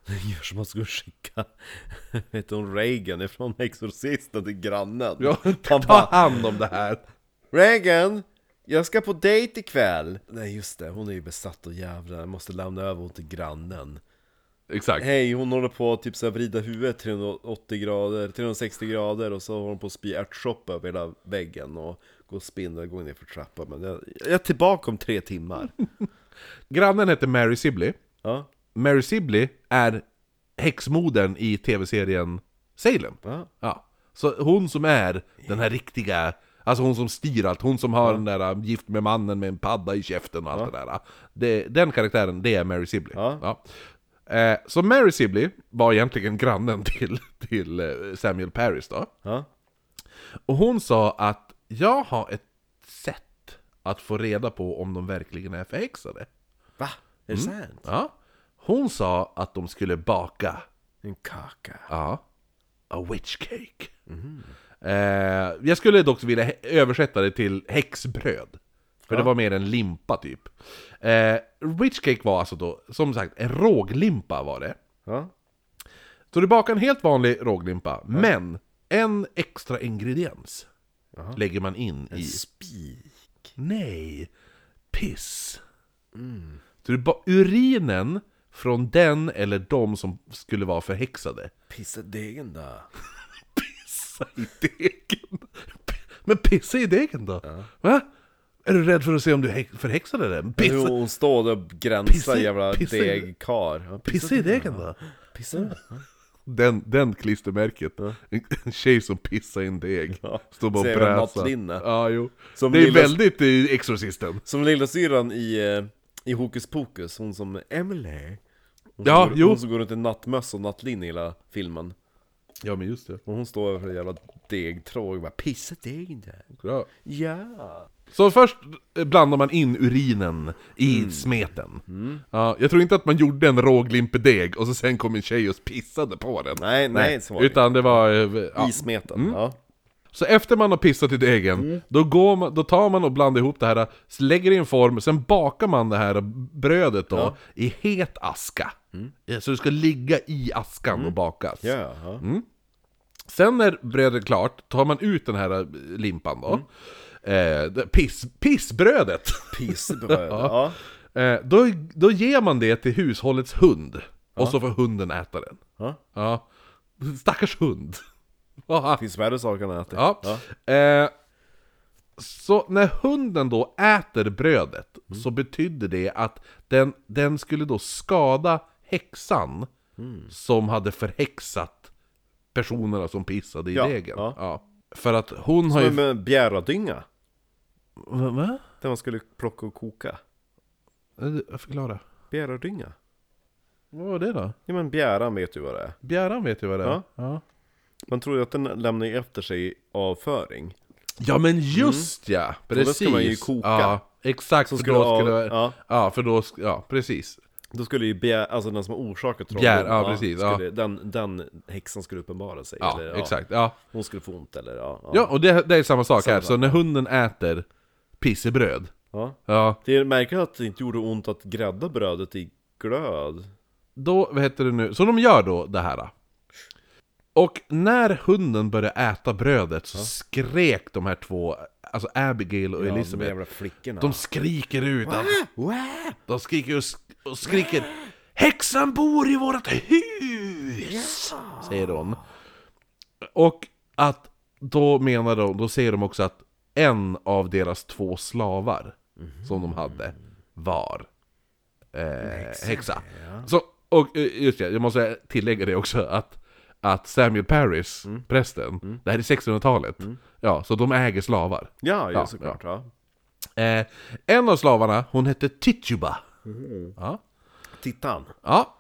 [SPEAKER 1] Gör som man skulle skicka, *laughs* vet hon Reagan ifrån Exorcisten till grannen?
[SPEAKER 2] Ja,
[SPEAKER 1] Han
[SPEAKER 2] ta
[SPEAKER 1] bara,
[SPEAKER 2] hand om det här!
[SPEAKER 1] Reagan! Jag ska på dejt ikväll! Nej just det, hon är ju besatt av djävulen, jag måste lämna över hon till grannen
[SPEAKER 2] Exakt.
[SPEAKER 1] Hej, hon håller på att typ så här vrida huvudet 380 grader, 360 grader och så håller hon på att spy ärtsoppa över hela väggen och går och spinner, går ner för trappan Men jag, jag är tillbaka om tre timmar
[SPEAKER 2] Grannen hette Mary Sibley.
[SPEAKER 1] Ja,
[SPEAKER 2] Mary Sibley är häxmodern i tv-serien Salem.
[SPEAKER 1] ja,
[SPEAKER 2] Ja. Så hon som är den här riktiga, alltså hon som styr allt, hon som har den där äh, gift med mannen med en padda i käften och allt det där. äh. Det, den karaktären, det är Mary Sibley.
[SPEAKER 1] Ja.
[SPEAKER 2] Eh, så Mary Sibley var egentligen grannen *laughs* till, till eh, Samuel Paris då.
[SPEAKER 1] ja,
[SPEAKER 2] Och hon sa att jag har ett sätt att få reda på om de verkligen är förhäxade.
[SPEAKER 1] va? Är det sant?
[SPEAKER 2] Ja. Hon sa att de skulle baka
[SPEAKER 1] En kaka
[SPEAKER 2] Ja. A witch cake. Eh, jag skulle dock vilja he- översätta det till häxbröd. För det var mer en limpa typ. Eh, witch cake var alltså då, som sagt, en råglimpa var det.
[SPEAKER 1] Ja,
[SPEAKER 2] Så du bakar en helt vanlig råglimpa, men en extra ingrediens lägger man in i...
[SPEAKER 1] Spik.
[SPEAKER 2] Nej, piss.
[SPEAKER 1] Mm.
[SPEAKER 2] Så det är bara urinen från den eller de som skulle vara förhäxade. *laughs*
[SPEAKER 1] Pissa degen då.
[SPEAKER 2] Pissa i degen. Men pissa i degen då? Va? Är du rädd för att se om du är hä- förhäxad eller? Pissa,
[SPEAKER 1] Hur hon står där och gränsar
[SPEAKER 2] Pissa-
[SPEAKER 1] jävla
[SPEAKER 2] pissa-
[SPEAKER 1] degkar. Ja,
[SPEAKER 2] pissa i degen då?
[SPEAKER 1] Pissa då.
[SPEAKER 2] Den, den klistermärket. En, en tjej som pissar i en deg.
[SPEAKER 1] Ja,
[SPEAKER 2] Står bara och
[SPEAKER 1] ser en
[SPEAKER 2] bräsar.
[SPEAKER 1] nattlinne.
[SPEAKER 2] Ja, jo.
[SPEAKER 1] Som
[SPEAKER 2] det är
[SPEAKER 1] lilla-
[SPEAKER 2] väldigt i Exorcisten.
[SPEAKER 1] Som lillasyrran i, eh, i Hokus Pokus, hon som Emily. Hon
[SPEAKER 2] Ja,
[SPEAKER 1] som går,
[SPEAKER 2] jo.
[SPEAKER 1] Hon som går runt i nattmössa och nattlinne i hela filmen.
[SPEAKER 2] Ja, men just det.
[SPEAKER 1] Och hon står över en jävla degtråg och bara pissa degen där.
[SPEAKER 2] Bra.
[SPEAKER 1] Ja.
[SPEAKER 2] Så först blandar man in urinen i
[SPEAKER 1] Mm.
[SPEAKER 2] smeten. Ja, jag tror inte att man gjorde en råglimpedeg och så sen kom en tjej och pissade på den.
[SPEAKER 1] Nej, nej, så var det
[SPEAKER 2] Utan det var... eh, Ja.
[SPEAKER 1] I smeten. Ja.
[SPEAKER 2] Så efter man har pissat i degen,
[SPEAKER 1] Mm.
[SPEAKER 2] då, går man, då tar man och blandar ihop det här, lägger i en form, sen bakar man det här brödet då i het aska. Ja, Så det ska ligga i askan och bakas.
[SPEAKER 1] Mm. Ja, ja.
[SPEAKER 2] Sen när brödet är klart, tar man ut den här eh, limpan då.
[SPEAKER 1] Mm.
[SPEAKER 2] Eh, det- piss, pissbrödet! *laughs*
[SPEAKER 1] Pissbröd. ja.
[SPEAKER 2] Eh, då, då ger man det till hushållets hund. Och så får hunden äta den.
[SPEAKER 1] Ja.
[SPEAKER 2] Ja. Stackars hund. *laughs* Haha.
[SPEAKER 1] Finns värre saker än att äta.
[SPEAKER 2] ja. Eh, så när hunden då äter brödet
[SPEAKER 1] Mm.
[SPEAKER 2] så betyder det att den, den skulle då skada häxan
[SPEAKER 1] Mm.
[SPEAKER 2] som hade förhäxat personerna som pissade i
[SPEAKER 1] Ja,
[SPEAKER 2] degen.
[SPEAKER 1] ja.
[SPEAKER 2] För att hon har ju...
[SPEAKER 1] Som en bjäradynga.
[SPEAKER 2] Va? va?
[SPEAKER 1] Där man skulle plocka och koka.
[SPEAKER 2] Eh, Förklara.
[SPEAKER 1] Bjäradynga.
[SPEAKER 2] Vad var det då?
[SPEAKER 1] Ja men bjäran vet ju vad det är.
[SPEAKER 2] Bjäran vet ju vad det är.
[SPEAKER 1] Ja.
[SPEAKER 2] Ja.
[SPEAKER 1] Man tror ju att den lämnar ju efter sig avföring.
[SPEAKER 2] Ja men just ja, precis!
[SPEAKER 1] Mm. då ska man ju koka.
[SPEAKER 2] Ja, exakt,
[SPEAKER 1] Så
[SPEAKER 2] för
[SPEAKER 1] skulle
[SPEAKER 2] då
[SPEAKER 1] det
[SPEAKER 2] skulle
[SPEAKER 1] vara-
[SPEAKER 2] det...
[SPEAKER 1] ja.
[SPEAKER 2] Ja. för då... sk- Ja, precis.
[SPEAKER 1] Då skulle ju bjär, alltså den som har orsakat trollen,
[SPEAKER 2] Bjär, ja, precis, ja.
[SPEAKER 1] skulle, den, den häxan skulle uppenbara sig.
[SPEAKER 2] Ja,
[SPEAKER 1] eller,
[SPEAKER 2] exakt. Ja.
[SPEAKER 1] Hon skulle få ont eller ja. ja.
[SPEAKER 2] ja, och det, det är samma sak här. Så när hunden äter pissebröd,
[SPEAKER 1] ja.
[SPEAKER 2] ja,
[SPEAKER 1] Det är märkligt att det inte gjorde ont att grädda brödet i glöd.
[SPEAKER 2] då, vad heter det nu? Så de gör då det här. Och när hunden började äta brödet så skrek de här två, alltså Abigail och
[SPEAKER 1] Ja, de
[SPEAKER 2] Elizabeth,
[SPEAKER 1] jävla flickorna.
[SPEAKER 2] de skriker ut.
[SPEAKER 1] Wow!
[SPEAKER 2] De skriker och, sk- och skriker Häxan bor i vårt hus! Säger de. Och att då menar de, då säger de också att en av deras två slavar som de hade var eh, häxa. Så, och eh, just det, jag måste tillägga det också att, att Samuel Paris, prästen, det här är 1600-talet. Ja, så de äger slavar.
[SPEAKER 1] Ja, ja,
[SPEAKER 2] Ja,
[SPEAKER 1] såklart. Ja.
[SPEAKER 2] Eh, en av slavarna, hon hette Tituba. Ja.
[SPEAKER 1] Tittan.
[SPEAKER 2] Ja.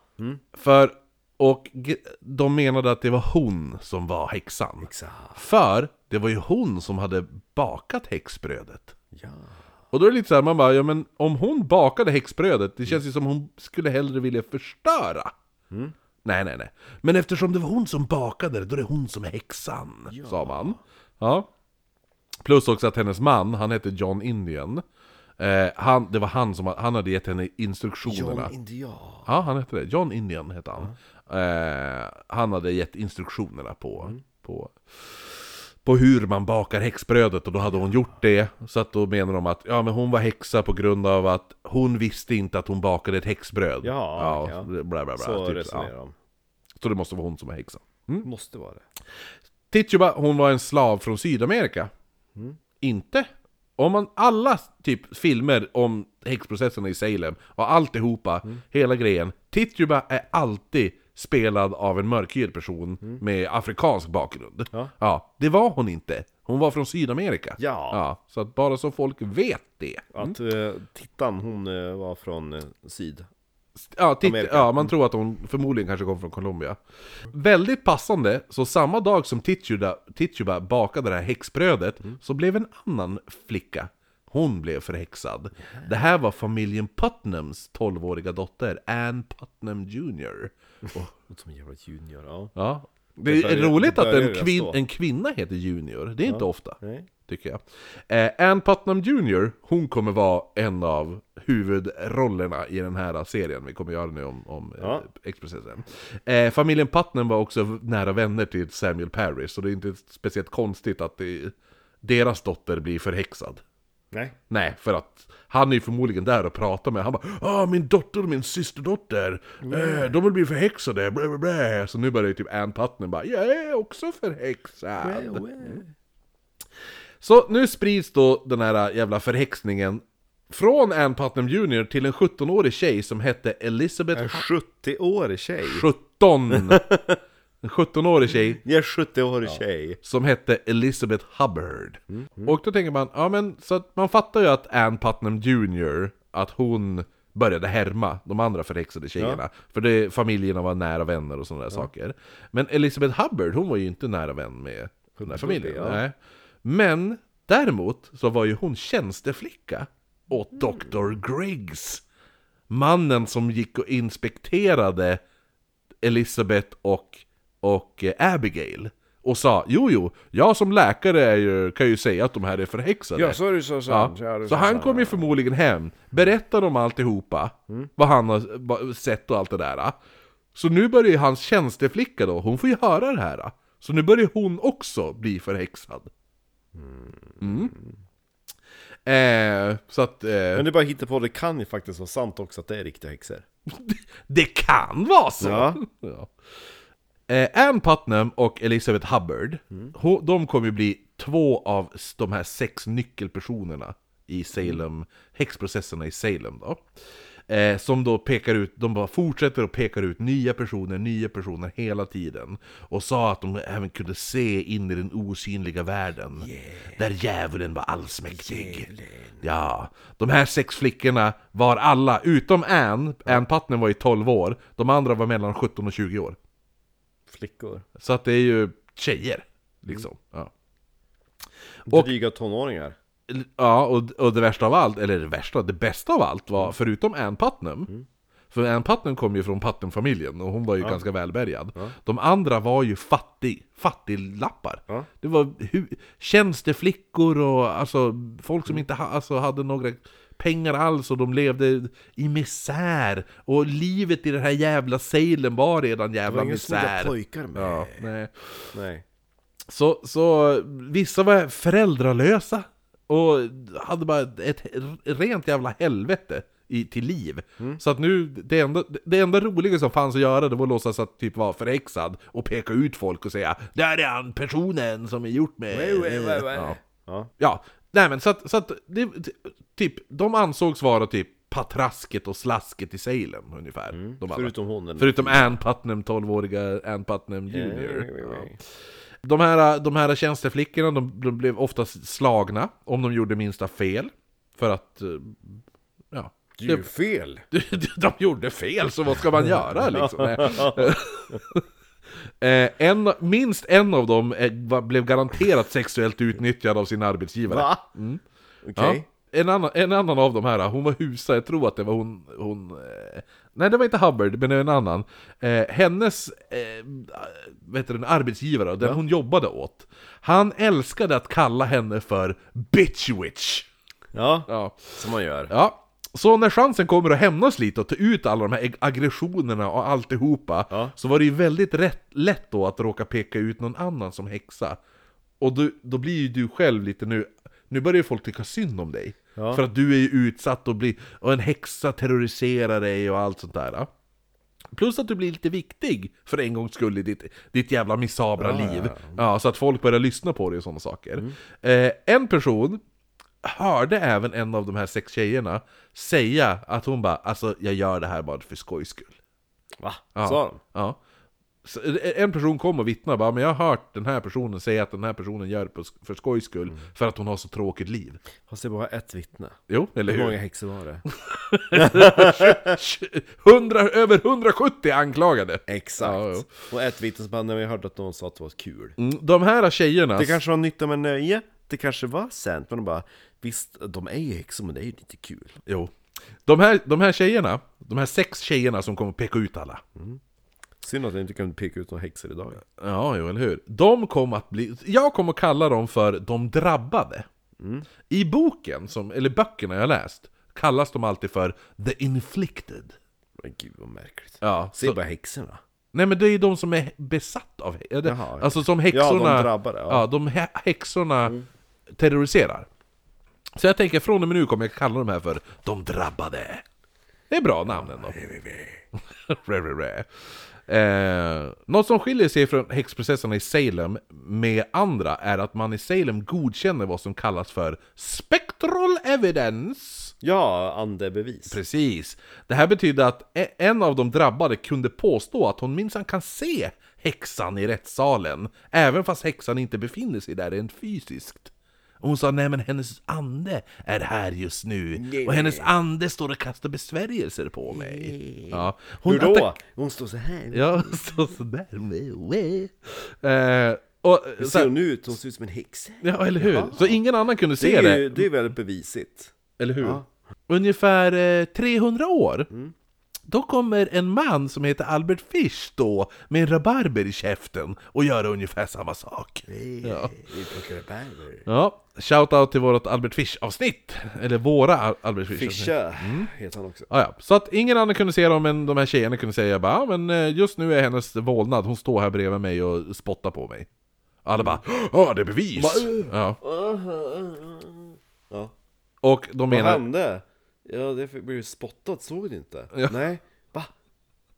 [SPEAKER 2] För, och g- de menade att det var hon som var häxan.
[SPEAKER 1] Exakt.
[SPEAKER 2] För det var ju hon som hade bakat häxbrödet.
[SPEAKER 1] Ja.
[SPEAKER 2] Och då är det lite såhär, man bara, ja men om hon bakade häxbrödet, det känns ju som hon skulle hellre vilja förstöra. Nej, nej, nej. Men eftersom det var hon som bakade det, då är det hon som är häxan, sa man. Ja. Plus också att hennes man, han hette John Indian. Eh, han, det var han som han hade gett henne instruktionerna.
[SPEAKER 1] John Indian.
[SPEAKER 2] Ja, han hette det. John Indian hette han. Eh, han hade gett instruktionerna på,
[SPEAKER 1] Mm.
[SPEAKER 2] på, på hur man bakar häxbrödet och då hade hon gjort det. Så att då menar de att ja, men hon var häxa på grund av att hon visste inte att hon bakade ett häxbröd.
[SPEAKER 1] Ja, okej, ja.
[SPEAKER 2] så bla, bla, bla,
[SPEAKER 1] Så
[SPEAKER 2] typ,
[SPEAKER 1] resonerar
[SPEAKER 2] ja.
[SPEAKER 1] de.
[SPEAKER 2] så det måste vara hon som är häxan.
[SPEAKER 1] Måste vara det.
[SPEAKER 2] Tituba, hon var en slav från Sydamerika.
[SPEAKER 1] Mm.
[SPEAKER 2] Inte. Om man alla typ filmer om häxprocesserna i Salem och alltihopa,
[SPEAKER 1] Mm.
[SPEAKER 2] hela grejen. Tituba är alltid spelad av en mörkhyad person med afrikansk bakgrund.
[SPEAKER 1] Mm. Ja.
[SPEAKER 2] det var hon inte. Hon var från Sydamerika.
[SPEAKER 1] Ja.
[SPEAKER 2] så att bara så folk vet det.
[SPEAKER 1] Att eh, Tittan, hon eh, var från eh, syd.
[SPEAKER 2] Ja, titt,
[SPEAKER 1] Amerika.
[SPEAKER 2] ja, man tror att hon förmodligen kanske kom från Colombia. Väldigt passande, så samma dag som Tituba, Tituba bakade det här häxbrödet så blev en annan flicka, hon blev förhäxad. Det här var familjen Putnams 12-åriga dotter, Ann Putnam Jr.
[SPEAKER 1] Som jävla junior, ja.
[SPEAKER 2] Ja, Det är
[SPEAKER 1] Det börjar-
[SPEAKER 2] roligt
[SPEAKER 1] det
[SPEAKER 2] att
[SPEAKER 1] börjar
[SPEAKER 2] en,
[SPEAKER 1] redan
[SPEAKER 2] kvin,
[SPEAKER 1] stå.
[SPEAKER 2] en kvinna heter Junior, det är inte ofta.
[SPEAKER 1] Nej.
[SPEAKER 2] Tycker jag. Eh, Ann Putnam Junior, hon kommer vara en av huvudrollerna i den här serien vi kommer göra nu om, om
[SPEAKER 1] Ja.
[SPEAKER 2] eh, Expressen. Eh, familjen Putnam var också v- nära vänner till Samuel Parrish, så det är inte speciellt konstigt att det, deras dotter blir förhäxad.
[SPEAKER 1] Nej.
[SPEAKER 2] Nej, för att han är ju förmodligen där och pratar med Han bara ah, min dotter och min systerdotter, eh, de har blivit förhäxade, blä, blä, blä. Så nu börjar ju typ Ann Putnam bara Jag är också förhäxad! Så nu sprids då den här äh, jävla förhäxningen från Ann Putnam Jr till en 17-årig tjej som hette Elizabeth
[SPEAKER 1] En 70-årig tjej.
[SPEAKER 2] 17! En 17-årig tjej
[SPEAKER 1] Jag är 70-årig tjej.
[SPEAKER 2] som hette Elizabeth Hubbard. Och då tänker man, ja men så att man fattar ju att Ann Putnam Jr, att hon började härma de andra förhäxade tjejerna. För det, familjerna var nära vänner och sådana där saker. Men Elizabeth Hubbard, hon var ju inte nära vän med den där familjen.
[SPEAKER 1] ja.
[SPEAKER 2] Nej. Men däremot så var ju hon tjänsteflicka åt Dr. Griggs. Mannen som gick och inspekterade Elizabeth och, och eh, Abigail och sa jo, jo, jag som läkare är ju, kan ju säga att de här är förhäxade.
[SPEAKER 5] Ja, så är det så sant. Ja, det är
[SPEAKER 2] Så han
[SPEAKER 5] sant.
[SPEAKER 2] kommer ju förmodligen hem, berättar om alltihopa, vad han har vad- sett och allt det där. Så nu börjar ju hans tjänsteflicka då, hon får ju höra det här. Så nu börjar hon också bli förhäxad. Mm. Eh, så att... Eh,
[SPEAKER 1] Men det är bara hitta på, det kan ju faktiskt vara sant också att det är riktiga häxor.
[SPEAKER 2] Det kan vara så!
[SPEAKER 1] Ja.
[SPEAKER 2] *laughs* Ja. Eh, Ann Putnam och Elizabeth Hubbard, ho- de kommer ju bli två av s- de här sex nyckelpersonerna i Salem, häxprocesserna i Salem då. Eh, som då pekar ut, de bara fortsätter och pekar ut nya personer, nya personer hela tiden. Och sa att de även kunde se in i den osynliga världen. Där djävulen var allsmäktig. Ja, de här sex flickorna var alla, utom Ann, Ann Putnam var ju 12 år, de andra var mellan 17 och 20 år.
[SPEAKER 1] Flickor.
[SPEAKER 2] Så att det är ju tjejer, liksom.
[SPEAKER 1] Mm.
[SPEAKER 2] Ja. Och-
[SPEAKER 1] Dryga tonåringar.
[SPEAKER 2] Ja, och, och det värsta av allt, eller det värsta, det bästa av allt var,
[SPEAKER 1] Mm.
[SPEAKER 2] förutom Ann Putnam, för Ann Putnam kom ju från Putnam-familjen och hon var ju ganska välbärgad. De andra var ju fattig, fattiglappar.
[SPEAKER 1] Ja.
[SPEAKER 2] Det var hu- tjänsteflickor och alltså, folk
[SPEAKER 1] Mm.
[SPEAKER 2] som inte ha, alltså, hade några pengar alls och de levde i misär. Och livet i den här jävla Salem var redan
[SPEAKER 1] Det var
[SPEAKER 2] jävla
[SPEAKER 1] inga snygga
[SPEAKER 2] misär.
[SPEAKER 1] pojkar med.
[SPEAKER 2] Ja, nej.
[SPEAKER 1] Nej.
[SPEAKER 2] Så, så vissa var föräldralösa och hade bara ett rent jävla helvete i, till liv. Så att nu, det enda, det enda roliga som fanns att göra det var att låtsas att typ vara förhäxad och peka ut folk och säga Där är han personen som är gjort med... Ja.
[SPEAKER 1] Ja.
[SPEAKER 2] Ja, nej men så att, så att det, typ, de ansågs vara typ patrasket och slasket i Salem ungefär. De alla.
[SPEAKER 1] Förutom hon. den-
[SPEAKER 2] Mm. Förutom Ann Putnam, 12-åriga Ann Putnam Junior.
[SPEAKER 1] Eh,
[SPEAKER 2] Ja. De här, de här tjänsteflickorna de, de blev oftast slagna om de gjorde minsta fel. För att... eh, Ja. *laughs*
[SPEAKER 1] Det är ju fel.
[SPEAKER 2] De gjorde fel, så vad ska man göra liksom? Eh, en, minst en av dem eh, var- blev garanterat sexuellt utnyttjad av sin arbetsgivare.
[SPEAKER 1] Va?
[SPEAKER 2] Mm.
[SPEAKER 1] Okej.
[SPEAKER 2] Ja. En, annan, en annan av de här, hon var husa, jag tror att det var hon... hon eh, nej, det var inte Hubbard, men det var en annan. Eh, hennes eh, vet du, den arbetsgivare, den hon jobbade åt, han älskade att kalla henne för bitch witch.
[SPEAKER 1] Ja.
[SPEAKER 2] Ja.
[SPEAKER 1] Som man gör.
[SPEAKER 2] Ja. Så när chansen kommer att hämnas lite och ta ut alla de här ag- aggressionerna och alltihopa
[SPEAKER 1] Ja.
[SPEAKER 2] Så var det ju väldigt rätt, lätt då att råka peka ut någon annan som häxa Och då, då blir ju du själv lite nu Nu börjar ju folk tycka synd om dig För att du är ju utsatt och, blir, och en häxa terroriserar dig och allt sånt där ja. Plus att du blir lite viktig för en gångs skull i ditt, ditt jävla misabra liv. Ja, så att folk börjar lyssna på dig och sådana saker. Eh, en person hörde även en av de här sex tjejerna säga att hon bara alltså jag gör det här bara för skojs skull.
[SPEAKER 1] Va?
[SPEAKER 2] Ja.
[SPEAKER 1] Sa de?
[SPEAKER 2] Ja. Så eh, en person kom och vittnade bara, men jag har hört den här personen säga att den här personen gör det på sk- för skojs skull
[SPEAKER 1] Mm.
[SPEAKER 2] för att hon har så tråkigt liv.
[SPEAKER 1] Fast det är bara ett vittne.
[SPEAKER 2] Jo, eller
[SPEAKER 1] Hur många
[SPEAKER 2] hur?
[SPEAKER 1] häxor var
[SPEAKER 2] *laughs*
[SPEAKER 1] det?
[SPEAKER 2] 100, över 170 anklagade!
[SPEAKER 1] Exakt.
[SPEAKER 2] Ja, jo.
[SPEAKER 1] Och ett vittne som bara, när vi hörde att någon sa att det var kul.
[SPEAKER 2] Mm, De här tjejerna...
[SPEAKER 1] Det kanske var nytta med nöje. Det kanske var sant, men de bara Visst, de är ju häxor, men det är ju lite kul.
[SPEAKER 2] Jo. De här, de här tjejerna, de här sex tjejerna som kommer peka ut alla.
[SPEAKER 1] Synd att jag inte kunde peka ut några häxor idag.
[SPEAKER 2] Ja, jo, eller hur? De kom att bli... Jag kommer att kalla dem för de drabbade. I boken, som, eller böckerna jag läst, kallas de alltid för the inflicted.
[SPEAKER 1] Men gud vad märkligt.
[SPEAKER 2] Ja,
[SPEAKER 1] Se
[SPEAKER 2] så,
[SPEAKER 1] bara häxorna.
[SPEAKER 2] nej men det är ju de som är besatt av hä- eller-
[SPEAKER 1] Jaha, okej.
[SPEAKER 2] Alltså som häxorna...
[SPEAKER 1] Ja, de drabbade, ja. Mm.
[SPEAKER 2] de hä- häxorna terroriserar. Så jag tänker, från och med nu kommer jag kalla de här för de drabbade. Det är bra namn ändå. *laughs* Re, re, re. Eh, något som skiljer sig från häxprocesserna i Salem med andra är att man i Salem godkänner vad som kallas för spectral evidence.
[SPEAKER 1] Ja, andebevis.
[SPEAKER 2] Precis. Det här betyder att e- en av de drabbade kunde påstå att hon minsann kan se häxan i rättssalen, även fast häxan inte befinner sig där rent fysiskt. Och hon sa nej men hennes ande är här just nu, och hennes ande står och kastar besvärjelser på mig. Ja. Hon
[SPEAKER 1] Hur då?
[SPEAKER 2] attack-
[SPEAKER 1] Hon står så här.
[SPEAKER 2] Ja, *laughs* så,
[SPEAKER 1] *laughs*
[SPEAKER 2] sådär. Eh, och,
[SPEAKER 1] Hur
[SPEAKER 2] så,
[SPEAKER 1] ser hon ut? Hon ser ut som en häxa.
[SPEAKER 2] ja, eller hur? Så ingen annan kunde se
[SPEAKER 1] Det
[SPEAKER 2] det.
[SPEAKER 1] är, ju, det är väldigt bevisigt.
[SPEAKER 2] Eller hur? Ungefär eh, 300 år.
[SPEAKER 1] Mm.
[SPEAKER 2] Då kommer en man som heter Albert Fish då med en rabarber i käften och göra ungefär samma sak. Ja. ja, shout-out till vårt Albert Fish-avsnitt. Eller våra Al- Albert Fish-avsnitt.
[SPEAKER 1] Fischa
[SPEAKER 2] Mm.
[SPEAKER 1] heter han också.
[SPEAKER 2] Ja, ja. Så att ingen annan kunde se dem än de här tjejerna kunde säga bara, ja, men eh, just nu är hennes vålnad, hon står här bredvid mig och spottar på mig. Alla bara ja det är bevis! Ja.
[SPEAKER 1] Ja.
[SPEAKER 2] Och de
[SPEAKER 1] Vad
[SPEAKER 2] menar...
[SPEAKER 1] hände? Ja, det blev ju spottat, såg du inte?
[SPEAKER 2] Ja.
[SPEAKER 1] Nej, va?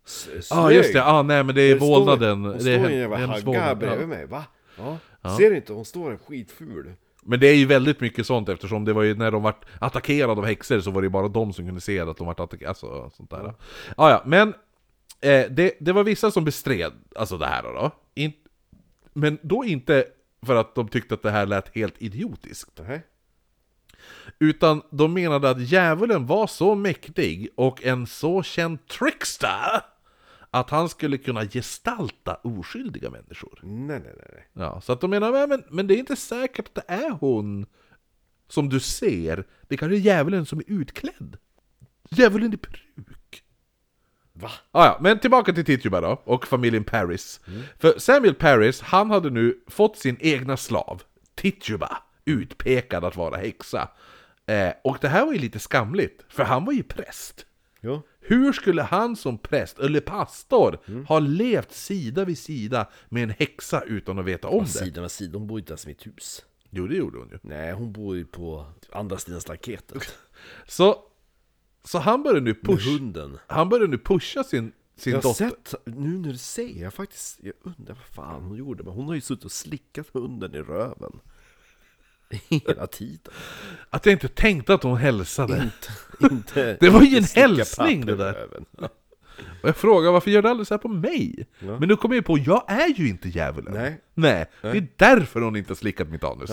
[SPEAKER 1] S- eh,
[SPEAKER 2] Ja ah,
[SPEAKER 1] snygg.
[SPEAKER 2] just det, ah, nej men det är vålnaden.
[SPEAKER 1] Hon
[SPEAKER 2] det är
[SPEAKER 1] står
[SPEAKER 2] hen-
[SPEAKER 1] ju en jävla
[SPEAKER 2] det är hennes
[SPEAKER 1] hagga här
[SPEAKER 2] vålnad.
[SPEAKER 1] bredvid
[SPEAKER 2] Ja.
[SPEAKER 1] mig, va? Ja. Ser du inte? Hon står där skitful.
[SPEAKER 2] Men det är ju väldigt mycket sånt eftersom det var ju när de vart attackerade av häxor så var det ju bara de som kunde se att de vart attackerade, alltså sånt där. Ah, ja, men eh, det, det var vissa som bestred alltså det här då. då. In, men då inte för att de tyckte att det här lät helt idiotiskt.
[SPEAKER 1] Nej.
[SPEAKER 2] Utan de menade att djävulen var så mäktig och en så känd trickster att han skulle kunna gestalta oskyldiga människor.
[SPEAKER 1] nej, nej, nej, nej.
[SPEAKER 2] Ja, så att de menar, "Nej, men, men det är inte säkert att det är hon som du ser. Det kanske är djävulen som är utklädd. Djävulen i peruk.
[SPEAKER 1] Va?
[SPEAKER 2] Ah, ja, men tillbaka till Tituba då, och familjen Paris. För Samuel Paris, han hade nu fått sin egna slav, Tituba, utpekad att vara häxa. Eh, och det här var ju lite skamligt, för han var ju präst.
[SPEAKER 1] Jo.
[SPEAKER 2] Hur skulle han som präst, eller pastor, ha levt sida vid sida med en häxa utan att veta om det?
[SPEAKER 1] Sidan vid sidan, hon bor ju inte ens i mitt hus.
[SPEAKER 2] Jo, det gjorde hon ju.
[SPEAKER 1] Nej, hon bor ju på andra sidan staketet.
[SPEAKER 2] Så, så han började nu
[SPEAKER 1] Med
[SPEAKER 2] pusha,
[SPEAKER 1] hunden.
[SPEAKER 2] han började nu pusha sin, sin
[SPEAKER 1] Jag har
[SPEAKER 2] dotter.
[SPEAKER 1] sett, nu när du säger jag faktiskt, jag undrar vad fan hon gjorde, men hon har ju suttit och slickat hunden i röven. Hela tiden.
[SPEAKER 2] Att jag inte tänkte att hon hälsade.
[SPEAKER 1] Mm. *laughs* Inte,
[SPEAKER 2] Det var ju en
[SPEAKER 1] inte slicka
[SPEAKER 2] hälsning,
[SPEAKER 1] papper
[SPEAKER 2] det där.
[SPEAKER 1] i röven.
[SPEAKER 2] Och jag frågar varför gör du aldrig så här på mig? Men nu kommer jag ju på, jag är ju inte djävulen.
[SPEAKER 1] Nej.
[SPEAKER 2] Nej. Det är därför hon inte har slickat mitt anus.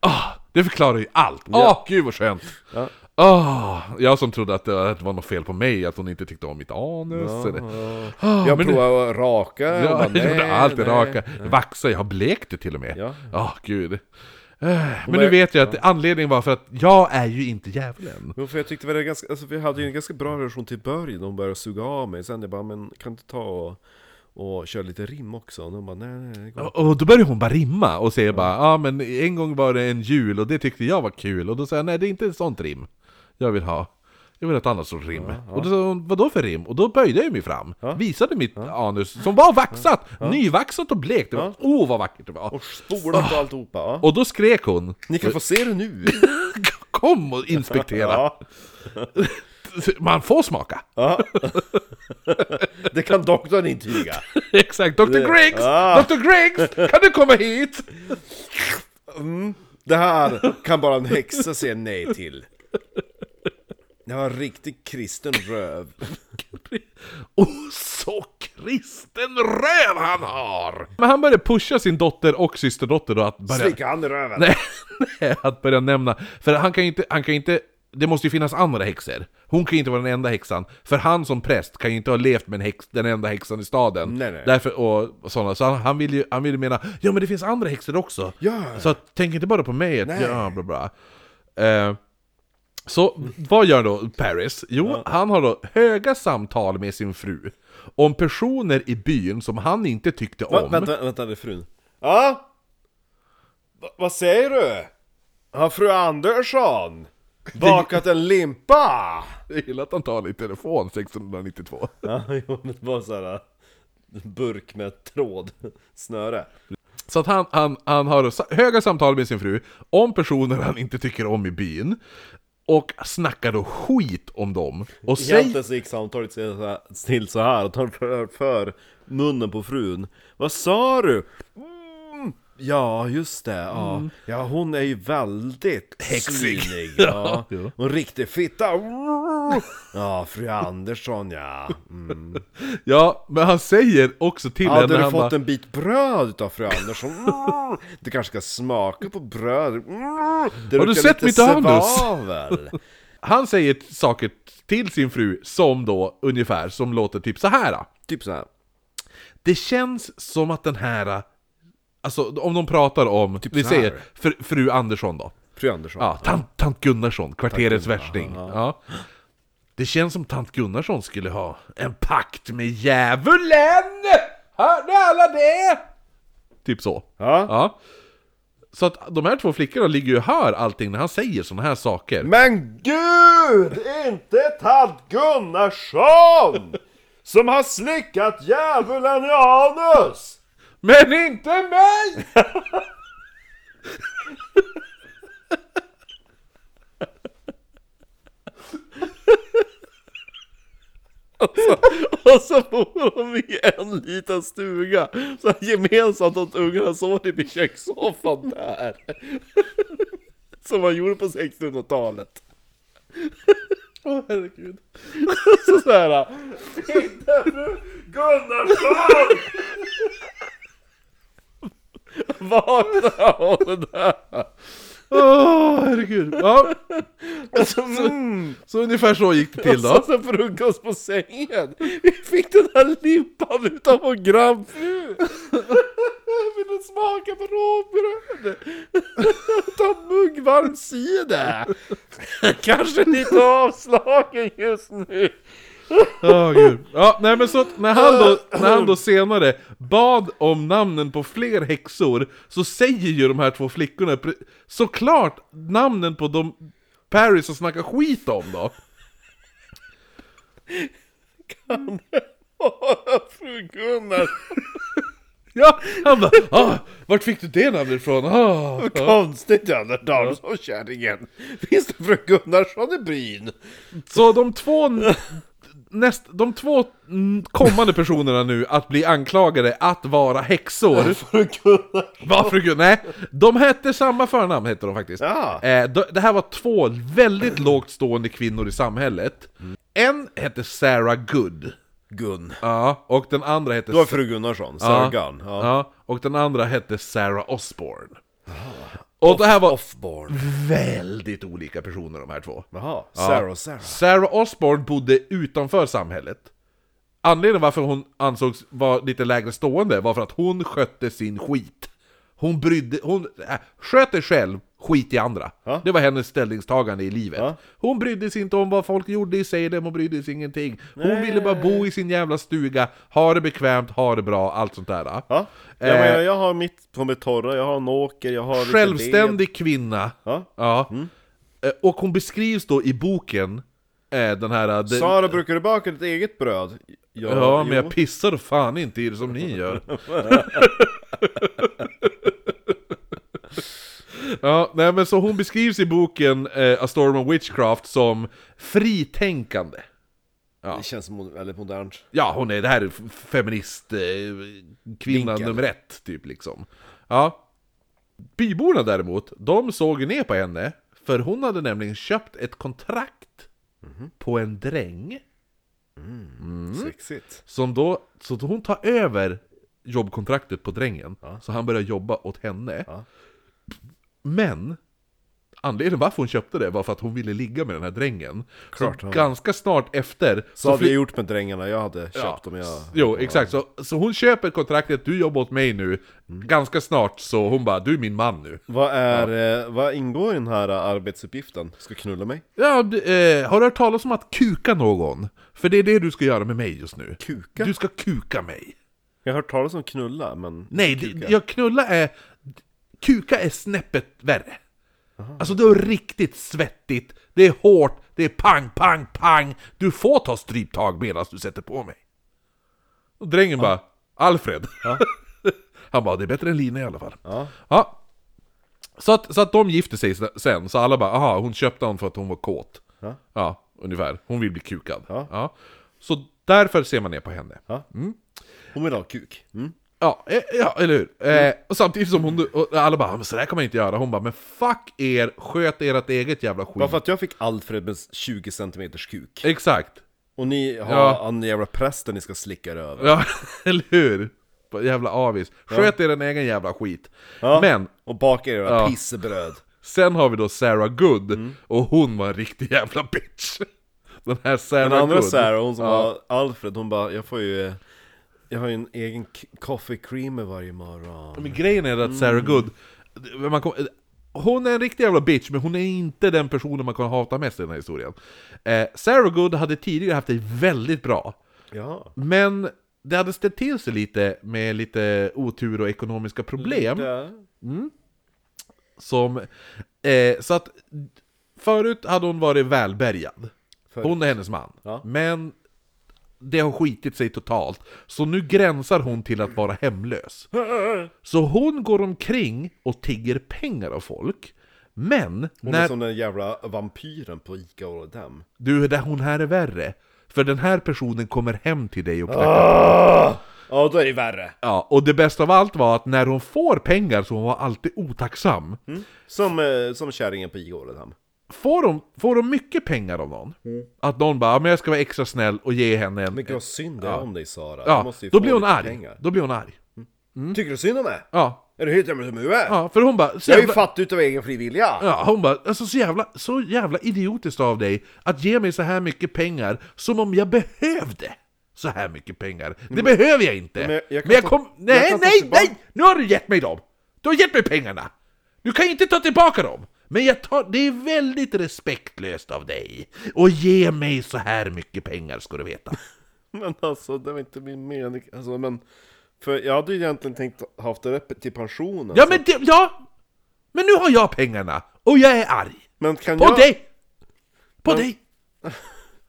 [SPEAKER 2] Ah, det förklarar ju allt. Åh, gud vad skönt!
[SPEAKER 1] Ja.
[SPEAKER 2] Ah, jag som trodde att det att det var något fel på mig, att hon inte tyckte om mitt anus. eller... Ah,
[SPEAKER 1] Jag
[SPEAKER 2] men-
[SPEAKER 1] provade att raka, hon
[SPEAKER 2] Ja,
[SPEAKER 1] bara,
[SPEAKER 2] jag gjorde
[SPEAKER 1] nej,
[SPEAKER 2] allt, jag
[SPEAKER 1] nej.
[SPEAKER 2] raka, vaxa, jag har blekt det till och med.
[SPEAKER 1] Ja.
[SPEAKER 2] Ah, gud. Eh, Men nu
[SPEAKER 1] börjar-
[SPEAKER 2] vet jag att anledningen var för att jag är ju inte djävulen.
[SPEAKER 1] Jo, för jag tyckte väl det var ganska, alltså, vi hade ju en ganska bra relation till början, de började suga av mig, sen jag bara, men kan du ta och, och köra lite rim också? Och de bara, nej, nej, det går inte."
[SPEAKER 2] Och och då började hon bara rimma och säger bara ja ah, men en gång var det en jul och det tyckte jag var kul och då sa jag nej det är inte ett sånt rim jag vill ha. Jag vill ha ett annat sorts rim. Och då sa hon vadå för rim? Och då böjde jag mig fram, visade mitt anus som var vaxat, nyvaxat och blekt. Det var, Åh vad vackert det var!
[SPEAKER 1] Och spola inte alltihopa, ja.
[SPEAKER 2] Och då skrek hon
[SPEAKER 1] Ni kan få se det nu!
[SPEAKER 2] kom och inspektera!
[SPEAKER 1] *laughs* Ja,
[SPEAKER 2] *laughs* Man får smaka!
[SPEAKER 1] det kan doktorn intyga!
[SPEAKER 2] *laughs* Exakt, Dr. Griggs!
[SPEAKER 1] Ah.
[SPEAKER 2] Dr. Griggs! Kan du komma hit?
[SPEAKER 1] Det här kan bara en häxa säga nej till. Det var en riktig kristen röv.
[SPEAKER 2] Och så kristen röv han har! Men han började pusha sin dotter och systerdotter då att börja...
[SPEAKER 1] Slicka han i
[SPEAKER 2] *laughs*
[SPEAKER 1] röven!
[SPEAKER 2] Nej, nej, att börja nämna. För han kan ju inte, han kan ju inte... Det måste ju finnas andra häxor. Hon kan ju inte vara den enda häxan. För han som präst kan ju inte ha levt med en häx, den enda häxan i staden.
[SPEAKER 1] Nej, nej.
[SPEAKER 2] Därför, och, och sådana. Så han, han vill ju han vill ju mena, ja men det finns andra häxor också.
[SPEAKER 1] Ja.
[SPEAKER 2] Så att, tänk inte bara på mig. Att,
[SPEAKER 1] Nej.
[SPEAKER 2] ja, bla, bla. Eh, så vad gör då Paris? Jo, han har då höga samtal med sin fru om personer i byn som han inte tyckte
[SPEAKER 1] Va,
[SPEAKER 2] om.
[SPEAKER 1] Vänta, vänta, det är frun. Ja? Va, vad säger du? Har fru Andersson bakat en limpa?
[SPEAKER 2] Jag gillar att han tar i telefon 692.
[SPEAKER 1] Ja, *laughs* jo, men det var såhär burk med tråd, snöre.
[SPEAKER 2] Så att han, han, han har sa- höga samtal med sin fru om personer han inte tycker om i byn. Och snackar då skit om dem. Och säger...
[SPEAKER 1] Egentligen så gick samtalet till så här- till så här och tar för, för munnen på frun. Vad sa du? Mm, ja, just det. Ja. ja, hon är ju väldigt
[SPEAKER 2] Mm. Häxig. *laughs*
[SPEAKER 1] svinig. Ja. En riktig fitta. Ja, fru
[SPEAKER 2] *laughs*
[SPEAKER 1] Andersson ja. Mm.
[SPEAKER 2] Ja, men han säger också till henne...
[SPEAKER 1] Hade du
[SPEAKER 2] han bara,
[SPEAKER 1] fått en bit bröd utav fru Andersson? Mm. Du kanske ska smaka på bröd? Mm.
[SPEAKER 2] Har du
[SPEAKER 1] Det luktar
[SPEAKER 2] sett
[SPEAKER 1] lite
[SPEAKER 2] mitt anus?
[SPEAKER 1] svavel.
[SPEAKER 2] Han säger t- saker till sin fru som då ungefär, som låter typ så här.
[SPEAKER 1] Typ så här.
[SPEAKER 2] Det känns som att den här, alltså om de pratar om, vi
[SPEAKER 1] Typ så här.
[SPEAKER 2] säger fr, fru Andersson då.
[SPEAKER 1] Fru Andersson.
[SPEAKER 2] Ja, tant, tant Gunnarsson, kvarterets värsting. Ja. Det känns som tant Gunnarsson skulle ha en pakt med djävulen! Hörde alla det? Typ så.
[SPEAKER 1] Ja.
[SPEAKER 2] Ja. Så att de här två flickorna ligger ju och hör allting när han säger såna här saker.
[SPEAKER 1] Men gud, inte Tad Gunnarsson! Som har slickat djävulen i anus!
[SPEAKER 2] Men inte mig!
[SPEAKER 1] Och så bor de i en liten stuga, så gemensamt åt ungarna sov i kökssoffan där. Som man gjorde på 1600-talet. Åh herregud. Så såhär, inte fru Gunnarsson! Vakna av det där!
[SPEAKER 2] Åh, herregud. *laughs* Ja. Alltså,
[SPEAKER 1] Mm.
[SPEAKER 2] Så ungefär så gick det till då.
[SPEAKER 1] Och så frukost på sängen! Vi fick den här limpan utav vår grannfru! *laughs* Vill du smaka på råbröd? Ta muggvarm cider! Kanske lite avslagen just nu!
[SPEAKER 2] Ja, gud. Ja, nej men så att när han, då, när han då senare bad om namnen på fler häxor så säger ju de här två flickorna pre- såklart namnen på de Paris som snackar skit om då.
[SPEAKER 1] Fru Gunnar
[SPEAKER 2] Ja, han bara ah, vart fick du det namnet ifrån? Ah,
[SPEAKER 1] Vad konstigt ja, den damsåkärringen! Finns det fru Gunnarsson i byn?
[SPEAKER 2] Så de två, n- näst, de två mm, kommande personerna nu att bli anklagade att vara häxor
[SPEAKER 1] Fru Gunnar...
[SPEAKER 2] Varför kunde... Nej, de hette samma förnamn hette de faktiskt.
[SPEAKER 1] Ja.
[SPEAKER 2] Eh, d- det här var två väldigt lågt stående kvinnor i samhället. En hette Sarah Good.
[SPEAKER 1] Gun.
[SPEAKER 2] Ja, och den andra hette...
[SPEAKER 1] Det var fru Gunnarsson, Sarah
[SPEAKER 2] ja,
[SPEAKER 1] Gunn. Ja.
[SPEAKER 2] ja, och den andra hette Sarah Osborne. Och det här var
[SPEAKER 1] Offborn.
[SPEAKER 2] väldigt olika personer de här två.
[SPEAKER 1] Jaha, Sarah och Sarah.
[SPEAKER 2] Sarah Osborne bodde utanför samhället. Anledningen varför hon ansågs vara lite lägre stående var för att hon skötte sin skit. Hon brydde... Hon äh, sköter själv, skit i andra.
[SPEAKER 1] Ja.
[SPEAKER 2] Det var hennes ställningstagande i livet.
[SPEAKER 1] Ja.
[SPEAKER 2] Hon brydde sig inte om vad folk gjorde i Salem, hon brydde sig ingenting. Hon ville bara bo i sin jävla stuga, ha det bekvämt, ha det bra, allt sånt där.
[SPEAKER 1] Ja, jag,
[SPEAKER 2] Eh,
[SPEAKER 1] menar, jag har mitt på mitt torra, jag har en åker, jag har lite Mm. ved.
[SPEAKER 2] Självständig kvinna.
[SPEAKER 1] Ja. Alltså,
[SPEAKER 2] Eh, Och hon beskrivs då i boken, eh, den här... den-
[SPEAKER 1] Sara, brukar du baka ditt eget bröd? Ja,
[SPEAKER 2] Ja,
[SPEAKER 1] jo.
[SPEAKER 2] men jag pissar fan inte i det som ni
[SPEAKER 1] *laughs*
[SPEAKER 2] gör. ja, nej men så hon beskrivs i boken eh, A Storm of Witchcraft som fritänkande.
[SPEAKER 1] Det känns mo- väldigt modernt.
[SPEAKER 2] Ja, hon är det här är f- feminist eh, kvinnan
[SPEAKER 1] Vinkel.
[SPEAKER 2] nummer ett, typ liksom. Ja. Byborna däremot, de såg ju ner på henne, för hon hade nämligen köpt ett kontrakt
[SPEAKER 1] Mhm.
[SPEAKER 2] på en dräng.
[SPEAKER 1] Mm. Sexigt.
[SPEAKER 2] Som då, så att hon tar över jobbkontraktet på drängen, så han börjar jobba åt henne. Men, Anledningen varför hon köpte det var för att hon ville ligga med den här drängen.
[SPEAKER 1] Klart,
[SPEAKER 2] så
[SPEAKER 1] ja.
[SPEAKER 2] ganska snart efter...
[SPEAKER 1] Så hade
[SPEAKER 2] fly-
[SPEAKER 1] jag gjort med drängarna jag hade köpt
[SPEAKER 2] Ja.
[SPEAKER 1] om jag...
[SPEAKER 2] Jo, exakt. Så, så hon köper kontraktet, du jobbar åt mig nu.
[SPEAKER 1] Mm.
[SPEAKER 2] Ganska snart så hon bara, du är min man nu.
[SPEAKER 1] Vad, är, eh, vad ingår i den här eh, arbetsuppgiften? Ska knulla mig?
[SPEAKER 2] Ja, d- eh, har du hört talas om att kuka någon? För det är det du ska göra med mig just nu.
[SPEAKER 1] Kuka?
[SPEAKER 2] Du ska kuka mig.
[SPEAKER 1] Jag har hört talas om knulla, men...
[SPEAKER 2] Nej, kuka. jag knulla är... Kuka är snäppet värre. Alltså det är riktigt svettigt, det är hårt, det är pang, pang, pang. Du får ta stryptag medan du sätter på mig. Och drängen bara, Alfred. *laughs* Han bara, det är bättre än lina i alla fall.
[SPEAKER 1] Ja.
[SPEAKER 2] Ja. Så, att, så att de gifte sig sen, så alla bara aha, hon köpte honom för att hon var kåt.
[SPEAKER 1] Ja.
[SPEAKER 2] ungefär. Hon vill bli kukad.
[SPEAKER 1] Ja.
[SPEAKER 2] Så därför ser man ner på henne.
[SPEAKER 1] Ja. Hon vill ha kuk. Mm.
[SPEAKER 2] Ja, eh, ja eller hur? Eh, och samtidigt som hon, och alla bara men så där kan man inte göra. Hon bara men fuck er, sköt ert eget jävla skit.
[SPEAKER 1] Bara för att jag fick Alfred med 20 cm kuk.
[SPEAKER 2] Exakt.
[SPEAKER 1] Och ni har
[SPEAKER 2] Ja.
[SPEAKER 1] han jävla prästen ni ska slicka er över.
[SPEAKER 2] Ja, *laughs* eller hur? Bara Jävla avis. Sköt er egen jävla skit.
[SPEAKER 1] Ja.
[SPEAKER 2] Men
[SPEAKER 1] Och baka er era
[SPEAKER 2] Ja.
[SPEAKER 1] pissebröd.
[SPEAKER 2] Sen har vi då Sarah Good,
[SPEAKER 1] Mm.
[SPEAKER 2] och hon var en riktig jävla bitch. *laughs* Den här Sarah
[SPEAKER 1] Den andra
[SPEAKER 2] Good.
[SPEAKER 1] Sarah, hon som
[SPEAKER 2] ja.
[SPEAKER 1] har Alfred, hon bara jag får ju... eh, Jag har ju en egen k- coffee creamer varje morgon.
[SPEAKER 2] Men grejen är att
[SPEAKER 1] Mm.
[SPEAKER 2] Sarah Good, man kom, hon är en riktig jävla bitch, men hon är inte den personen man kan hata mest i den här historien. Eh, Sarah Good hade tidigare haft det väldigt bra,
[SPEAKER 1] Ja.
[SPEAKER 2] men det hade ställt till sig lite med lite otur och ekonomiska problem.
[SPEAKER 1] Det-
[SPEAKER 2] Som, eh, så att förut hade hon varit välbärgad.
[SPEAKER 1] Förut.
[SPEAKER 2] Hon och hennes man.
[SPEAKER 1] Ja.
[SPEAKER 2] Men det har skitit sig totalt. Så nu gränsar hon till att vara hemlös. Så hon går omkring och tigger pengar av folk. Men
[SPEAKER 1] Hon
[SPEAKER 2] när
[SPEAKER 1] är som den jävla vampyren på Ica och dem.
[SPEAKER 2] du, det- hon här är värre. För den här personen kommer hem till dig och knackar Ah!
[SPEAKER 1] Ja, då är det värre.
[SPEAKER 2] Ja, och det bästa av allt var att när hon får pengar så hon var alltid otacksam.
[SPEAKER 1] Som, eh, som kärringen på Ica och dem.
[SPEAKER 2] Får de, får de mycket pengar av någon, att någon bara "Ja, men jag ska vara extra snäll och ge henne en...
[SPEAKER 1] Mm. Men gud vad synd det är om dig Sara. Du
[SPEAKER 2] ja,
[SPEAKER 1] måste ju
[SPEAKER 2] då
[SPEAKER 1] få
[SPEAKER 2] blir hon
[SPEAKER 1] lite
[SPEAKER 2] arg.
[SPEAKER 1] Pengar.
[SPEAKER 2] Då blir hon arg.
[SPEAKER 1] Tycker du synd om mig?
[SPEAKER 2] Ja,
[SPEAKER 1] Är du helt jävla dum i huvudet?
[SPEAKER 2] ja för hon bara... så
[SPEAKER 1] Jag är ju
[SPEAKER 2] jävla-
[SPEAKER 1] fattig utav egen fri vilja.
[SPEAKER 2] Ja, hon bara, alltså så jävla, så jävla idiotiskt av dig att ge mig så här mycket pengar som om jag behövde så här mycket pengar. Det behöver jag inte!
[SPEAKER 1] Mm. Men jag- jag kan
[SPEAKER 2] Men jag
[SPEAKER 1] ta-
[SPEAKER 2] kom...
[SPEAKER 1] jag
[SPEAKER 2] Nej,
[SPEAKER 1] kan ta
[SPEAKER 2] nej,
[SPEAKER 1] tillbaka-
[SPEAKER 2] nej! Nu har du gett mig dem! Du har gett mig pengarna! Du kan ju inte ta tillbaka dem! Men jag tar, det är väldigt respektlöst av dig och ge mig så här mycket pengar ska du
[SPEAKER 1] *laughs*
[SPEAKER 2] veta.
[SPEAKER 1] Men alltså, det var inte min mening. Alltså, men... För jag hade ju egentligen tänkt haft det där till pensionen.
[SPEAKER 2] Ja
[SPEAKER 1] så-
[SPEAKER 2] men det, ja! Men nu har jag pengarna och jag är arg!
[SPEAKER 1] men kan
[SPEAKER 2] På
[SPEAKER 1] jag,
[SPEAKER 2] dig! På dig!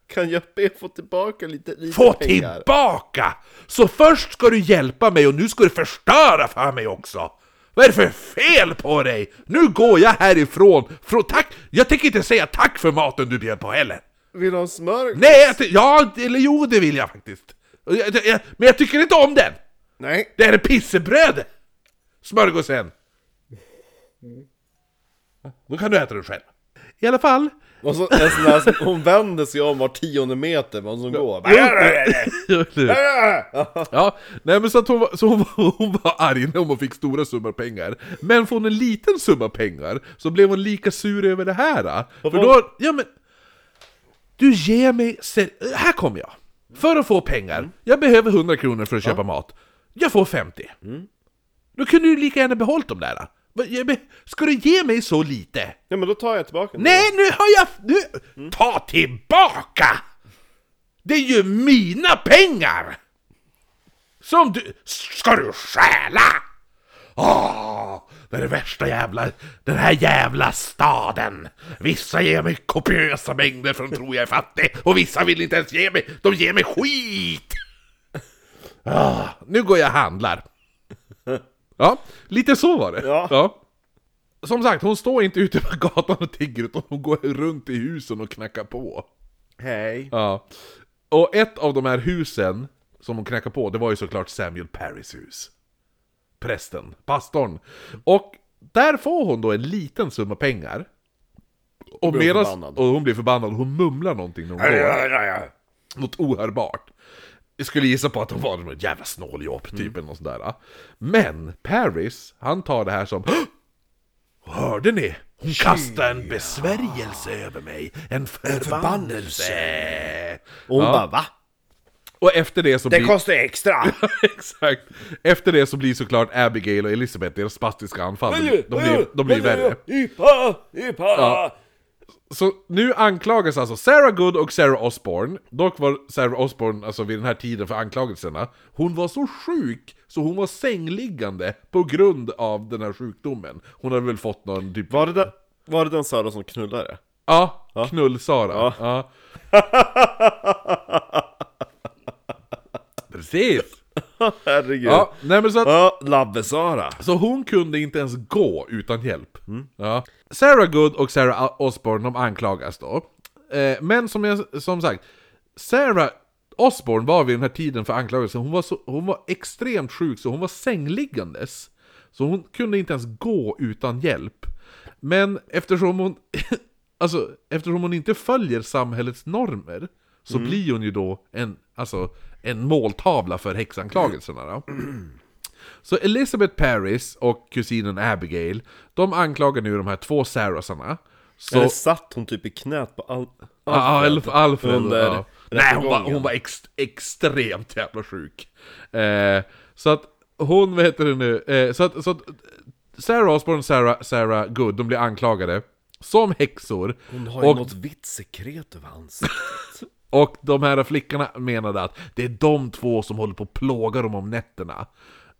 [SPEAKER 1] kan jag be få tillbaka lite, lite
[SPEAKER 2] Få
[SPEAKER 1] pengar?
[SPEAKER 2] tillbaka! Så först ska du hjälpa mig och nu ska du förstöra för mig också! Vad är det för fel på dig? Nu går jag härifrån! Från, tack! Jag tänker inte säga tack för maten du bjöd på heller!
[SPEAKER 1] Vill du ha smör?
[SPEAKER 2] Nej, jag, ty- ja, eller jo, det vill jag faktiskt. Och Jag, jag, jag- men jag tycker inte om den!
[SPEAKER 1] Nej.
[SPEAKER 2] Det här är pissebröd! Smörgåsen! Då kan du äta den själv. Mm. I alla fall,
[SPEAKER 1] Och så en sån här, som- hon vänder sig om var tionde meter vad som går.
[SPEAKER 2] *laughs*
[SPEAKER 1] *laughs*
[SPEAKER 2] Ja, nej men så, att hon, var, så hon, var, hon var arg när hon fick stora summor pengar. Men får hon en liten summa pengar så blev hon lika sur över det här. ah. För då, ja men... Du ger mig... ser- Här kommer jag! För att få pengar, jag behöver 100 kronor för att köpa mat. Jag får 50. Då kunde du lika gärna behållit dem där. Vad- jag be- Ska du ge mig så lite?
[SPEAKER 1] Nej men då tar jag tillbaka den.
[SPEAKER 2] Nej, nu har jag... Nu, Ta tillbaka! Det är ju mina pengar! Som du... Ska du stjäla? Åh, det är det värsta jävla... Den här jävla staden! Vissa ger mig kopiösa mängder för de tror jag är fattig och vissa vill inte ens ge mig... De ger mig skit! Ah, nu går jag och handlar. Ja, lite så var det.
[SPEAKER 1] Ja.
[SPEAKER 2] Som sagt, hon står inte ute på gatan och tigger utan hon går runt i husen och knackar på.
[SPEAKER 1] Hej.
[SPEAKER 2] Ja. Och ett av de här husen som hon knackade på, det var ju såklart Samuel Parrys hus. Prästen, pastorn. Och där får hon då en liten summa pengar. Och,
[SPEAKER 1] blir
[SPEAKER 2] medans,
[SPEAKER 1] förbannad.
[SPEAKER 2] och hon blir förbannad, hon mumlar någonting när hon går. Något ohörbart. Jag skulle gissa på att hon var någon jävla
[SPEAKER 1] Mm.
[SPEAKER 2] snåljåp typ eller något sådär. Men Paris, han tar det här som "Hå! Hörde ni? Hon kastade en besvärjelse över mig. En förbannelse.
[SPEAKER 1] Och hon
[SPEAKER 2] Ja.
[SPEAKER 1] bara va?
[SPEAKER 2] Och efter det så
[SPEAKER 1] Det
[SPEAKER 2] blir...
[SPEAKER 1] kostar *laughs* extra!
[SPEAKER 2] *laughs* Exakt. Efter det så blir såklart Abigail och Elisabeth, deras spastiska anfall, de, blir- de, blir, de blir värre.
[SPEAKER 1] Ypa, ypa.
[SPEAKER 2] Ja. Så nu anklagas alltså Sarah Good och Sarah Osborne. Dock var Sarah Osborne, alltså vid den här tiden för anklagelserna, hon var så sjuk så hon var sängliggande på grund av den här sjukdomen. Hon hade väl fått någon typ...
[SPEAKER 1] Var det den, var det den Sara som knullade?
[SPEAKER 2] Ja, knull-Sara. Ja. *laughs* Precis!
[SPEAKER 1] Herregud.
[SPEAKER 2] Ja, nej men så att...
[SPEAKER 1] Ja, Labbe-Sara.
[SPEAKER 2] Så hon kunde inte ens gå utan hjälp. Ja. Sarah Good och Sarah Osborne de anklagas då. Eh, men som, jag, som sagt, Sarah Osborne var vid den här tiden för anklagelsen, hon var, så, hon var extremt sjuk så hon var sängliggandes. Så hon kunde inte ens gå utan hjälp. Men eftersom hon, *laughs* alltså, eftersom hon inte följer samhällets normer så blir hon ju då en, alltså, en måltavla för häxanklagelserna. Då. Så Elizabeth Paris och kusinen Abigail, de anklagar nu de här två Sarasarna. Så...
[SPEAKER 1] Eller satt hon typ i knät på Al-
[SPEAKER 2] Ja, Alfred. Alfred
[SPEAKER 1] under
[SPEAKER 2] ja. Nej, hon var,
[SPEAKER 1] rättegången?
[SPEAKER 2] hon var ex, extremt jävla sjuk. Eh, så att hon, vad heter det nu, eh, så, att, så att Sarah Osborne och Sarah, Sarah Good, de blir anklagade som häxor.
[SPEAKER 1] Hon har ju
[SPEAKER 2] Och,
[SPEAKER 1] något vitt sekret över ansiktet.
[SPEAKER 2] och de här flickorna menade att det är de två som håller på och plågar dem om nätterna.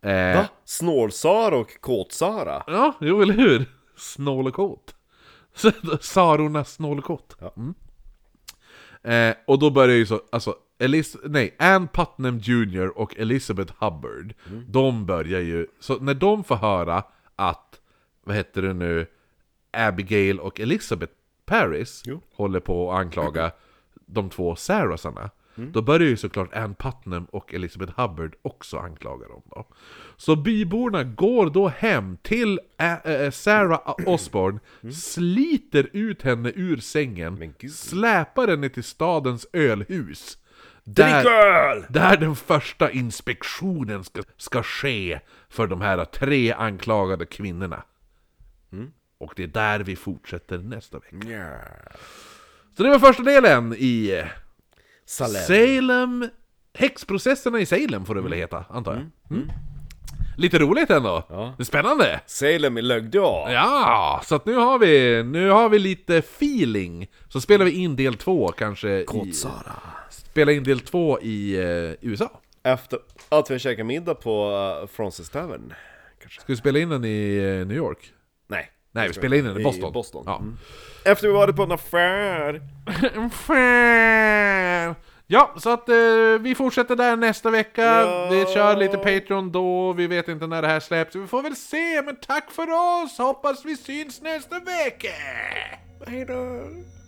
[SPEAKER 2] Eh,
[SPEAKER 1] Va? Snål-Sara och Kåt-Sara?
[SPEAKER 2] Ja, jo eller hur? Snål och kåt. *laughs* Så- Sarorna snål och kåt.
[SPEAKER 1] Ja.
[SPEAKER 2] Mm. Eh, och då börjar ju så, alltså, Elis nej, Ann Putnam Jr och Elizabeth Hubbard,
[SPEAKER 1] Mm.
[SPEAKER 2] de börjar ju, så när de får höra att, vad heter det nu, Abigail och Elizabeth Paris
[SPEAKER 1] Jo.
[SPEAKER 2] håller på att anklaga de två Sarasarna,
[SPEAKER 1] Mm.
[SPEAKER 2] då börjar ju såklart Ann Putnam och Elizabeth Hubbard också anklaga dem då. Så byborna går då hem till Ä- äh, Sarah Osborne, sliter ut henne ur sängen,
[SPEAKER 1] Mm. Men gud.
[SPEAKER 2] släpar henne till stadens ölhus. Där,
[SPEAKER 1] Dricköl!
[SPEAKER 2] där den första inspektionen ska, ska ske för de här tre anklagade kvinnorna.
[SPEAKER 1] Mm.
[SPEAKER 2] Och det är där vi fortsätter nästa vecka. Så det var första delen i eh,
[SPEAKER 1] Salem.
[SPEAKER 2] Salem... Häxprocesserna i Salem får det väl heta, antar jag. Mm. Lite roligt ändå.
[SPEAKER 1] Ja.
[SPEAKER 2] Det är spännande.
[SPEAKER 1] Salem i Lögdeå.
[SPEAKER 2] Ja, så att nu har vi, nu har vi lite feeling. Så spelar vi in del två kanske. I,
[SPEAKER 1] Kåt-Sara.
[SPEAKER 2] spela in del två i eh, USA.
[SPEAKER 1] Efter att vi käkar middag på eh, Francis Tavern. Kanske.
[SPEAKER 2] Ska vi spela in den i eh, New York?
[SPEAKER 1] Nej.
[SPEAKER 2] Nej, vi spelar in den i Boston. Mm.
[SPEAKER 1] I Boston.
[SPEAKER 2] Ja.
[SPEAKER 1] Efter vi varit på en affär.
[SPEAKER 2] Ja, så att eh, vi fortsätter där nästa vecka.
[SPEAKER 1] Ja.
[SPEAKER 2] Vi kör lite Patreon då, vi vet inte när det här släpps. Vi får väl se, men tack för oss! Hoppas vi syns nästa vecka!
[SPEAKER 1] Hejdå.